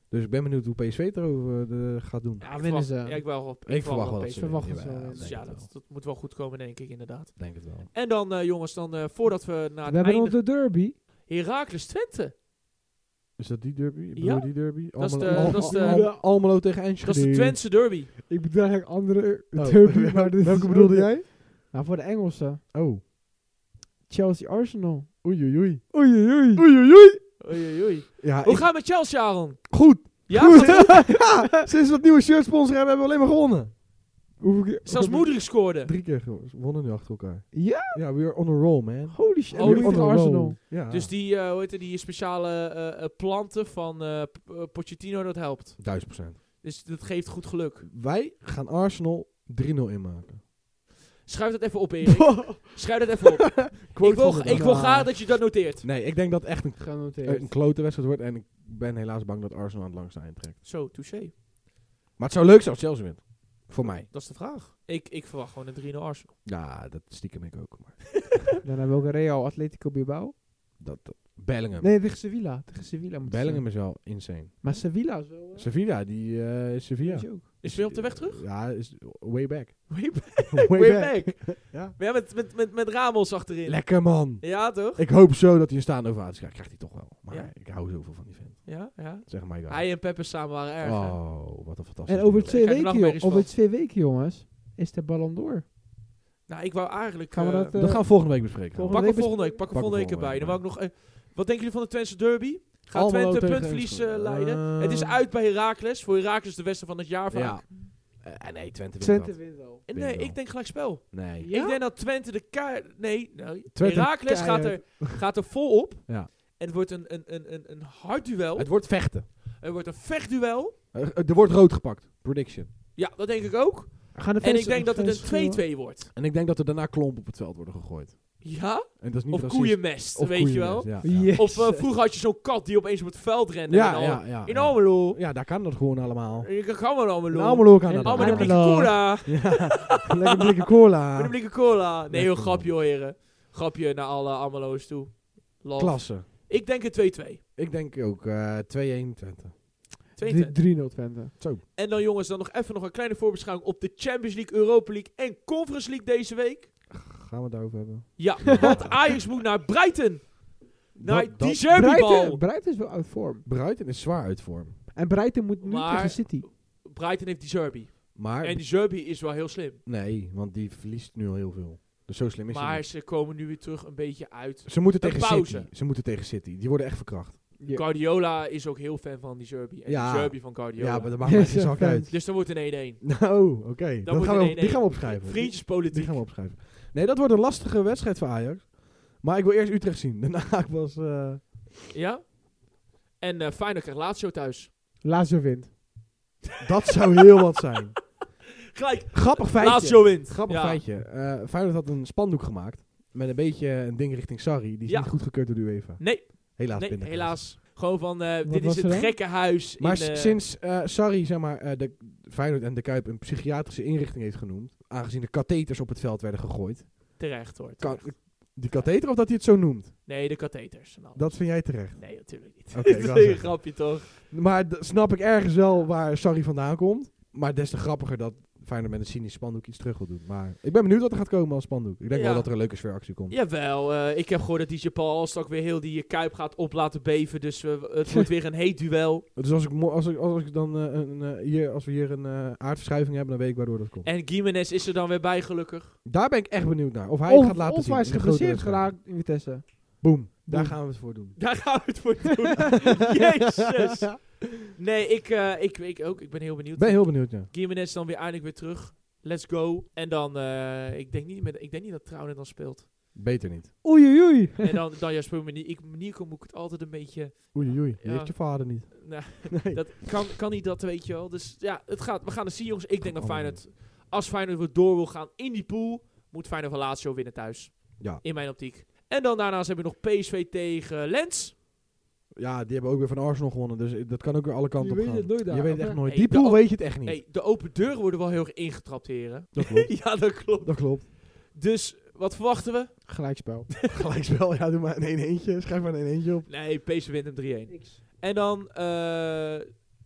[SPEAKER 2] Dus ik ben benieuwd hoe PSV het erover eh, de- gaat doen.
[SPEAKER 1] Ja,
[SPEAKER 3] Ja,
[SPEAKER 1] ik
[SPEAKER 3] winnen
[SPEAKER 1] verwacht-
[SPEAKER 3] ze.
[SPEAKER 1] ja, ik, wel, ik,
[SPEAKER 2] ik verwacht
[SPEAKER 1] wel
[SPEAKER 2] wel dat ze
[SPEAKER 1] PSV.
[SPEAKER 3] verwacht
[SPEAKER 2] winnen.
[SPEAKER 3] het wel,
[SPEAKER 2] Jawel,
[SPEAKER 3] ja.
[SPEAKER 1] Dus
[SPEAKER 2] denk
[SPEAKER 1] ja,
[SPEAKER 2] het wel.
[SPEAKER 1] dat, dat moet wel goed komen, denk ik, inderdaad.
[SPEAKER 2] Denk het wel.
[SPEAKER 1] En dan, eh, jongens, dan eh, voordat we naar
[SPEAKER 3] We
[SPEAKER 1] het
[SPEAKER 3] hebben
[SPEAKER 1] einde...
[SPEAKER 3] nog de derby.
[SPEAKER 1] Heracles Twente.
[SPEAKER 2] Is dat die derby? Ik
[SPEAKER 1] Ja.
[SPEAKER 2] bedoel die derby?
[SPEAKER 1] Dat is
[SPEAKER 2] Almelo-
[SPEAKER 1] de-
[SPEAKER 2] Al-
[SPEAKER 1] dat is de-
[SPEAKER 2] Al- Al- Almelo tegen
[SPEAKER 1] Dat
[SPEAKER 2] Enschede.
[SPEAKER 1] is de Twentse derby.
[SPEAKER 3] Ik bedoel eigenlijk andere
[SPEAKER 2] Oh.
[SPEAKER 3] <laughs> derby. Maar dit
[SPEAKER 2] Welke
[SPEAKER 3] is
[SPEAKER 2] bedoelde
[SPEAKER 3] ook-
[SPEAKER 2] jij?
[SPEAKER 3] Nou, voor de Engelsen.
[SPEAKER 2] Oh.
[SPEAKER 3] Chelsea-Arsenal.
[SPEAKER 2] Oei, oei, oei.
[SPEAKER 3] Oei, oei, oei.
[SPEAKER 2] Oei, oei, oei.
[SPEAKER 1] Oei, oei, oei.
[SPEAKER 2] Ja,
[SPEAKER 1] Hoe
[SPEAKER 2] ik-
[SPEAKER 1] gaat het met Chelsea, Aaron?
[SPEAKER 2] goed.
[SPEAKER 1] Ja,
[SPEAKER 2] goed.
[SPEAKER 1] gaat-
[SPEAKER 2] <laughs> ja, sinds we dat nieuwe shirt sponsor hebben, hebben we alleen maar gewonnen.
[SPEAKER 3] Hoeveel keer-
[SPEAKER 1] zelfs Moederik scoorde.
[SPEAKER 2] Drie keer gewonnen. We wonnen nu achter elkaar.
[SPEAKER 3] Ja?
[SPEAKER 2] Ja, we are on a roll, man.
[SPEAKER 1] Oh,
[SPEAKER 3] Holy shit.
[SPEAKER 1] Holy
[SPEAKER 3] En nu
[SPEAKER 1] shit.
[SPEAKER 3] voor Arsenal.
[SPEAKER 2] Ja.
[SPEAKER 1] Dus die, eh, hoe heet het, die speciale eh, eh, planten van eh, P- eh, Pochettino, dat helpt.
[SPEAKER 2] Duizend procent.
[SPEAKER 1] Dus dat geeft goed geluk.
[SPEAKER 2] Wij gaan Arsenal 3-0 inmaken.
[SPEAKER 1] Schrijf dat even op, Erik. Schrijf dat even op. ik
[SPEAKER 2] van
[SPEAKER 1] wil,
[SPEAKER 2] de
[SPEAKER 1] ik
[SPEAKER 2] dag.
[SPEAKER 1] wil graag dat je dat noteert.
[SPEAKER 2] Nee, ik denk dat echt een,
[SPEAKER 3] Genoteerd.
[SPEAKER 2] een klote wedstrijd wordt. En ik ben helaas bang dat Arsenal aan het langste eind trekt.
[SPEAKER 1] Zo, touché.
[SPEAKER 2] Maar het zou leuk zijn als Chelsea wint. Voor mij.
[SPEAKER 1] Dat is de vraag. Ik, ik verwacht gewoon een 3-0
[SPEAKER 2] <laughs>
[SPEAKER 1] Arsenal.
[SPEAKER 2] Ja, dat stiekem ik ook. Maar
[SPEAKER 3] Dan hebben we ook een Real Atletico Bilbao.
[SPEAKER 2] dat, dat- Bellingham.
[SPEAKER 3] Nee, tegen Sevilla. Tegen Sevilla moet het
[SPEAKER 2] Bellingham is wel insane.
[SPEAKER 3] zijn. Maar Sevilla is wel... eh,
[SPEAKER 2] Sevilla, die eh, Sevilla.
[SPEAKER 3] is ook.
[SPEAKER 1] Is weer op de weg terug?
[SPEAKER 2] Ja, is way back.
[SPEAKER 1] <laughs> Way back.
[SPEAKER 2] way
[SPEAKER 1] Way back.
[SPEAKER 2] Ja.
[SPEAKER 1] <laughs> Ja, met, met, met, met Ramos achterin.
[SPEAKER 2] Lekker man.
[SPEAKER 1] Ja, toch?
[SPEAKER 2] Ik hoop zo dat hij een staande ovatie krijgt. Krijgt hij toch wel. Maar
[SPEAKER 1] Ja.
[SPEAKER 2] ik hou zoveel van die vent.
[SPEAKER 1] Ja, ja.
[SPEAKER 2] Zeg maar.
[SPEAKER 1] Hij en Peppe samen waren erg. hè?
[SPEAKER 2] Oh, wat een fantastisch.
[SPEAKER 3] En over
[SPEAKER 2] duo.
[SPEAKER 3] twee,
[SPEAKER 1] Krijg je
[SPEAKER 3] weken,
[SPEAKER 1] nachtmerries
[SPEAKER 3] joh, over
[SPEAKER 1] van.
[SPEAKER 3] twee weken, jongens, is de Ballon d'Or.
[SPEAKER 1] Nou, ik wou eigenlijk...
[SPEAKER 3] Gaan we
[SPEAKER 1] eh,
[SPEAKER 3] dat, eh,
[SPEAKER 2] Dat gaan we volgende week bespreken.
[SPEAKER 3] volgende
[SPEAKER 1] pak
[SPEAKER 3] week
[SPEAKER 1] hem
[SPEAKER 3] bes-
[SPEAKER 1] volgende week. Pak hem
[SPEAKER 2] Pak
[SPEAKER 1] volgende week
[SPEAKER 2] hem
[SPEAKER 1] erbij. Dan wou ik
[SPEAKER 2] volgende
[SPEAKER 1] nog... eh, wat denken jullie van de Twentse derby? Gaat
[SPEAKER 2] Almelo
[SPEAKER 1] Twente
[SPEAKER 2] tegen
[SPEAKER 1] puntverlies eh,
[SPEAKER 2] Enschede.
[SPEAKER 1] leiden?
[SPEAKER 2] Eh.
[SPEAKER 1] het is uit bij Heracles. Voor Heracles de beste van het jaar vaak.
[SPEAKER 2] Ja. Eh, nee, Twente wint
[SPEAKER 3] Twente
[SPEAKER 2] dat.
[SPEAKER 3] wint wel.
[SPEAKER 1] En
[SPEAKER 2] Denk
[SPEAKER 1] nee,
[SPEAKER 2] ik wel.
[SPEAKER 1] ik denk gelijk spel.
[SPEAKER 2] Nee.
[SPEAKER 1] Ik denk dat Twente de kaart... Nee, nou,
[SPEAKER 2] Twente
[SPEAKER 1] Heracles gaat er, gaat er vol op.
[SPEAKER 2] Ja.
[SPEAKER 1] En het wordt een, een, een, een, een hard duel.
[SPEAKER 2] Het wordt vechten. Eh,
[SPEAKER 1] Het wordt een vechtduel.
[SPEAKER 2] Er, er wordt rood gepakt. Prediction.
[SPEAKER 1] Ja, dat denk ik ook.
[SPEAKER 3] Gaan de
[SPEAKER 1] En
[SPEAKER 3] fans-
[SPEAKER 1] ik denk dat
[SPEAKER 3] fans
[SPEAKER 1] het
[SPEAKER 3] schreeuwen?
[SPEAKER 1] een 2-2 wordt.
[SPEAKER 2] En ik denk dat er daarna klomp op het veld worden gegooid.
[SPEAKER 1] Ja?
[SPEAKER 2] En dat is niet
[SPEAKER 1] Of
[SPEAKER 2] racist.
[SPEAKER 1] koeienmest,
[SPEAKER 2] Of
[SPEAKER 1] weet je wel.
[SPEAKER 2] koeienmest, Ja, ja.
[SPEAKER 3] Yes.
[SPEAKER 1] Of
[SPEAKER 2] <laughs>
[SPEAKER 1] eh, vroeger had je zo'n kat die opeens op het veld rende.
[SPEAKER 2] Ja,
[SPEAKER 1] in, Al-
[SPEAKER 2] ja, ja,
[SPEAKER 1] in
[SPEAKER 2] ja.
[SPEAKER 1] Almelo.
[SPEAKER 2] Ja, daar kan dat gewoon allemaal.
[SPEAKER 1] Je kan gewoon Almelo.
[SPEAKER 2] In Almelo kan
[SPEAKER 3] En
[SPEAKER 2] dat
[SPEAKER 1] Almelo
[SPEAKER 3] Almelo.
[SPEAKER 1] met een blikje cola. <laughs>
[SPEAKER 2] Lekker blikje
[SPEAKER 1] Met een
[SPEAKER 2] cola.
[SPEAKER 1] blikje cola. Nee,
[SPEAKER 2] Lekker,
[SPEAKER 1] heel
[SPEAKER 2] man.
[SPEAKER 1] grapje hoor, heren. Grapje naar alle Almelo's toe. Love.
[SPEAKER 2] Klasse.
[SPEAKER 1] Ik denk een 2-2.
[SPEAKER 2] Ik denk ook eh 2-1 Twente.
[SPEAKER 1] 2-2.
[SPEAKER 3] Drie- 3-0 Twente.
[SPEAKER 1] En dan jongens, dan nog even nog een kleine voorbeschouwing op de Champions League, Europa League en Conference League deze week.
[SPEAKER 2] Gaan we het daarover hebben?
[SPEAKER 1] Ja,
[SPEAKER 2] <laughs> Ja.
[SPEAKER 1] want Ajax moet naar Brighton. Naar
[SPEAKER 2] Dat-
[SPEAKER 1] Nou, die
[SPEAKER 2] dat-
[SPEAKER 1] Zerbibal.
[SPEAKER 3] Breiten, Breiten is wel uit vorm.
[SPEAKER 2] Bruiten is zwaar uit vorm.
[SPEAKER 3] En Breiten moet nu
[SPEAKER 1] Maar-
[SPEAKER 3] tegen City.
[SPEAKER 1] Brighton heeft die Zerbi.
[SPEAKER 2] Maar,
[SPEAKER 1] En die Zerbi is wel heel slim.
[SPEAKER 2] nee, want die verliest nu al heel veel. Dus zo slim is hij
[SPEAKER 1] Maar
[SPEAKER 2] niet.
[SPEAKER 1] ze komen nu weer terug een beetje uit.
[SPEAKER 2] Ze moeten
[SPEAKER 1] een
[SPEAKER 2] tegen
[SPEAKER 1] pauze.
[SPEAKER 2] City. Ze moeten tegen City. Die worden echt verkracht.
[SPEAKER 1] Guardiola is ook heel fan van die Zerbi. En
[SPEAKER 2] Ja.
[SPEAKER 1] die Zerbi van Guardiola.
[SPEAKER 2] <laughs> Ja, maar dat maakt mij geen
[SPEAKER 3] Yes,
[SPEAKER 2] zak
[SPEAKER 3] fans.
[SPEAKER 2] uit.
[SPEAKER 1] Dus dan wordt een 1-1.
[SPEAKER 2] Nou, oké. Dat
[SPEAKER 1] moet
[SPEAKER 2] gaan
[SPEAKER 1] een
[SPEAKER 2] we op-
[SPEAKER 1] 1-1.
[SPEAKER 2] Die gaan we opschrijven. Die
[SPEAKER 1] Vriendjespolitiek.
[SPEAKER 2] gaan we opschrijven. Nee, dat wordt een lastige wedstrijd voor Ajax. Maar ik wil eerst Utrecht zien. <laughs> Daarna was... eh
[SPEAKER 1] Ja? En eh Feyenoord krijgt Lazio thuis.
[SPEAKER 3] Lazio wint.
[SPEAKER 2] dat zou heel wat zijn.
[SPEAKER 1] Gelijk,
[SPEAKER 2] Grappig feitje.
[SPEAKER 1] Lazio wint.
[SPEAKER 2] Grappig
[SPEAKER 1] Ja.
[SPEAKER 2] feitje. Eh Feyenoord had een spandoek gemaakt. Met een beetje een ding richting Sarri. Die is
[SPEAKER 1] Ja.
[SPEAKER 2] niet goedgekeurd door de UEFA.
[SPEAKER 1] Nee,
[SPEAKER 2] Helaas
[SPEAKER 1] nee
[SPEAKER 2] binnen.
[SPEAKER 1] helaas. Gewoon van, eh,
[SPEAKER 3] Wat
[SPEAKER 1] dit
[SPEAKER 3] was
[SPEAKER 1] is
[SPEAKER 3] er
[SPEAKER 1] het
[SPEAKER 3] dan?
[SPEAKER 1] gekke huis.
[SPEAKER 2] Maar
[SPEAKER 1] in, eh,
[SPEAKER 2] s- sinds eh Sarri, zeg maar, eh, de Feyenoord en de Kuip een psychiatrische inrichting heeft genoemd. Aangezien de katheters op het veld werden gegooid.
[SPEAKER 1] Terecht hoor.
[SPEAKER 2] Kan-
[SPEAKER 1] terecht.
[SPEAKER 2] die katheter of dat hij het zo noemt?
[SPEAKER 1] Nee, de katheters. en al.
[SPEAKER 2] Dat vind jij
[SPEAKER 3] <laughs>
[SPEAKER 2] terecht.
[SPEAKER 1] Nee, natuurlijk
[SPEAKER 2] <laughs>
[SPEAKER 1] niet.
[SPEAKER 2] Oké, ik
[SPEAKER 1] Dit is
[SPEAKER 2] wou
[SPEAKER 1] een
[SPEAKER 2] zeggen.
[SPEAKER 1] grapje toch?
[SPEAKER 2] Maar d- snap ik ergens wel waar Sarri vandaan komt. Maar des te grappiger dat Feyenoord met een cynisch spandoek iets terug wil doen. Maar ik ben benieuwd wat er gaat komen als spandoek. Ik denk
[SPEAKER 1] Ja.
[SPEAKER 2] wel dat er een leuke sfeeractie komt.
[SPEAKER 1] Jawel, eh, ik heb gehoord dat DJ Paul Alstak weer heel die eh, Kuip gaat op laten beven. Dus eh, het wordt weer een heet duel.
[SPEAKER 2] Dus als, ik mo- als, ik, als, ik dan, eh, een, eh, hier, als we hier een eh, aardverschuiving hebben, dan weet ik waardoor dat komt.
[SPEAKER 1] En Gimenez is er dan weer bij, gelukkig.
[SPEAKER 2] Daar ben ik echt benieuwd naar. Of hij
[SPEAKER 3] of,
[SPEAKER 2] het gaat laten
[SPEAKER 3] of
[SPEAKER 2] zien.
[SPEAKER 3] hij is
[SPEAKER 2] in de grote
[SPEAKER 3] geblesseerd
[SPEAKER 2] wedstrijd.
[SPEAKER 3] geraakt in <laughs> Vitesse.
[SPEAKER 2] Boom. Daar
[SPEAKER 3] Boom.
[SPEAKER 2] gaan we het voor doen.
[SPEAKER 1] Daar gaan we het voor
[SPEAKER 2] <laughs>
[SPEAKER 1] doen. Jezus. Nee, ik, eh, ik, ik ook. Ik ben heel benieuwd.
[SPEAKER 2] Ik ben heel benieuwd, ja.
[SPEAKER 1] Gimenez dan weer eindelijk weer terug. Let's go. En dan, eh, ik, denk niet met, ik denk niet dat Trouwen dan
[SPEAKER 2] <laughs>
[SPEAKER 1] speelt.
[SPEAKER 2] Beter niet.
[SPEAKER 3] <laughs> Oei, oei, oei.
[SPEAKER 1] en dan, dan juist voor manier. Ik, Nico moet ik het altijd een beetje...
[SPEAKER 2] Oei, oei. Je
[SPEAKER 1] Ja.
[SPEAKER 2] heeft je vader niet.
[SPEAKER 1] Nou,
[SPEAKER 2] Nee.
[SPEAKER 1] dat kan, kan niet dat, weet je wel. Dus ja, het gaat, we gaan het zien, jongens. Ik denk dat
[SPEAKER 2] Oh.
[SPEAKER 1] Feyenoord, als Feyenoord weer door wil gaan in die pool, moet Feyenoord van Lazio winnen thuis.
[SPEAKER 2] Ja.
[SPEAKER 1] In mijn optiek. En dan daarnaast hebben we nog PSV tegen Lens.
[SPEAKER 2] Ja, die hebben ook weer van Arsenal gewonnen. Dus eh, dat kan ook weer alle kanten
[SPEAKER 3] Je
[SPEAKER 2] op
[SPEAKER 3] weet
[SPEAKER 2] gaan.
[SPEAKER 3] het nooit daar,
[SPEAKER 2] Je weet het
[SPEAKER 3] maar-
[SPEAKER 2] echt nooit.
[SPEAKER 1] Hey,
[SPEAKER 2] Die
[SPEAKER 1] de
[SPEAKER 2] pool
[SPEAKER 1] op-
[SPEAKER 2] weet je het echt niet.
[SPEAKER 1] Nee, de open deuren worden wel heel erg ingetrapt,
[SPEAKER 2] <laughs>
[SPEAKER 1] heren.
[SPEAKER 2] Dat klopt.
[SPEAKER 1] ja, dat klopt.
[SPEAKER 2] dat <laughs> klopt.
[SPEAKER 1] Dus wat verwachten we?
[SPEAKER 3] Gelijkspel. <laughs>
[SPEAKER 2] Gelijkspel, ja, doe maar een 1 eentje. Schrijf maar een 1 eentje op.
[SPEAKER 1] Nee, PSV wint hem 3-1.
[SPEAKER 3] Niks.
[SPEAKER 1] En dan, eh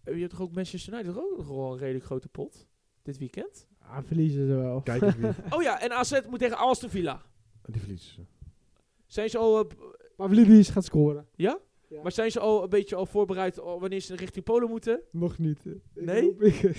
[SPEAKER 1] je hebt toch ook Manchester United, toch ook nog wel een redelijk grote pot dit weekend?
[SPEAKER 3] Ah, verliezen ze wel.
[SPEAKER 2] Kijk eens <laughs> wie.
[SPEAKER 1] Oh ja, en AZ moet tegen Aston Villa.
[SPEAKER 2] Die verliezen ze.
[SPEAKER 1] Zijn ze al eh,
[SPEAKER 3] Maar Vlidis gaat scoren.
[SPEAKER 1] Ja?
[SPEAKER 3] Ja.
[SPEAKER 1] Maar zijn ze al een beetje al voorbereid al wanneer ze richting Polen moeten?
[SPEAKER 3] Nog niet.
[SPEAKER 1] Nee?
[SPEAKER 3] hoop ik-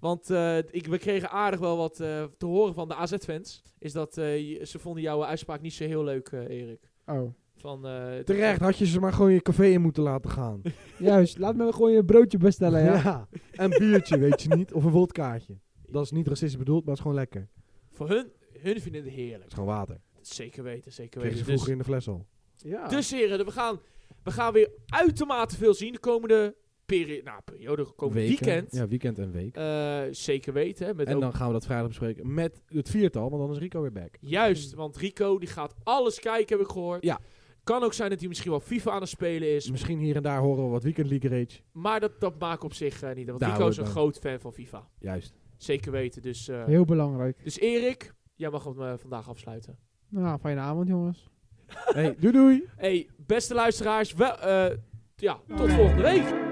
[SPEAKER 1] Want eh, ik, we kregen aardig wel wat eh, te horen van de AZ-fans. Is dat eh, je- ze vonden jouw uitspraak niet zo heel leuk, eh, Erik.
[SPEAKER 3] Oh.
[SPEAKER 1] Van, eh,
[SPEAKER 2] Terecht had je ze maar gewoon je café in moeten laten <laughs> gaan.
[SPEAKER 3] Juist, laat me gewoon je broodje bestellen,
[SPEAKER 2] <laughs>
[SPEAKER 3] ja.
[SPEAKER 2] En biertje, weet je niet. Of een
[SPEAKER 1] <laughs>
[SPEAKER 2] wodkaartje. Dat is niet racistisch bedoeld, maar het is gewoon lekker. Het
[SPEAKER 1] Voor hun, hun vinden het heerlijk.
[SPEAKER 2] is gewoon water.
[SPEAKER 1] Zeker weten, zeker
[SPEAKER 2] Kreeg je
[SPEAKER 1] weten. Dus,
[SPEAKER 2] vroeger in de fles al. Oh.
[SPEAKER 3] Ja.
[SPEAKER 1] dus heren, we gaan, we gaan weer uitermate veel zien de komende peri nou, periode, de komende weekend.
[SPEAKER 2] Ja, weekend en week.
[SPEAKER 1] Eh, zeker weten. hè, Met
[SPEAKER 2] en
[SPEAKER 1] ook-
[SPEAKER 2] dan gaan we dat vrijdag bespreken met het viertal, want dan is Rico weer back.
[SPEAKER 1] Juist, want Rico die gaat alles kijken, heb ik gehoord.
[SPEAKER 2] Ja. Mm.
[SPEAKER 1] Kan ook zijn dat hij misschien wel FIFA aan het spelen is.
[SPEAKER 2] Dus Misschien hier en daar horen we wat weekend league rage.
[SPEAKER 1] Maar dat, dat maakt op zich eh, niet uit. Want
[SPEAKER 2] Daar
[SPEAKER 1] Rico is een
[SPEAKER 2] hoort bij.
[SPEAKER 1] groot fan van FIFA.
[SPEAKER 2] Juist.
[SPEAKER 1] Zeker weten. Dus, eh,
[SPEAKER 3] Heel belangrijk.
[SPEAKER 1] dus Erik, jij mag hem eh, vandaag afsluiten.
[SPEAKER 3] Nou, fijne avond, jongens.
[SPEAKER 2] hey, doei doei!
[SPEAKER 1] hey, beste luisteraars. Wel, eh, ja, tot volgende week.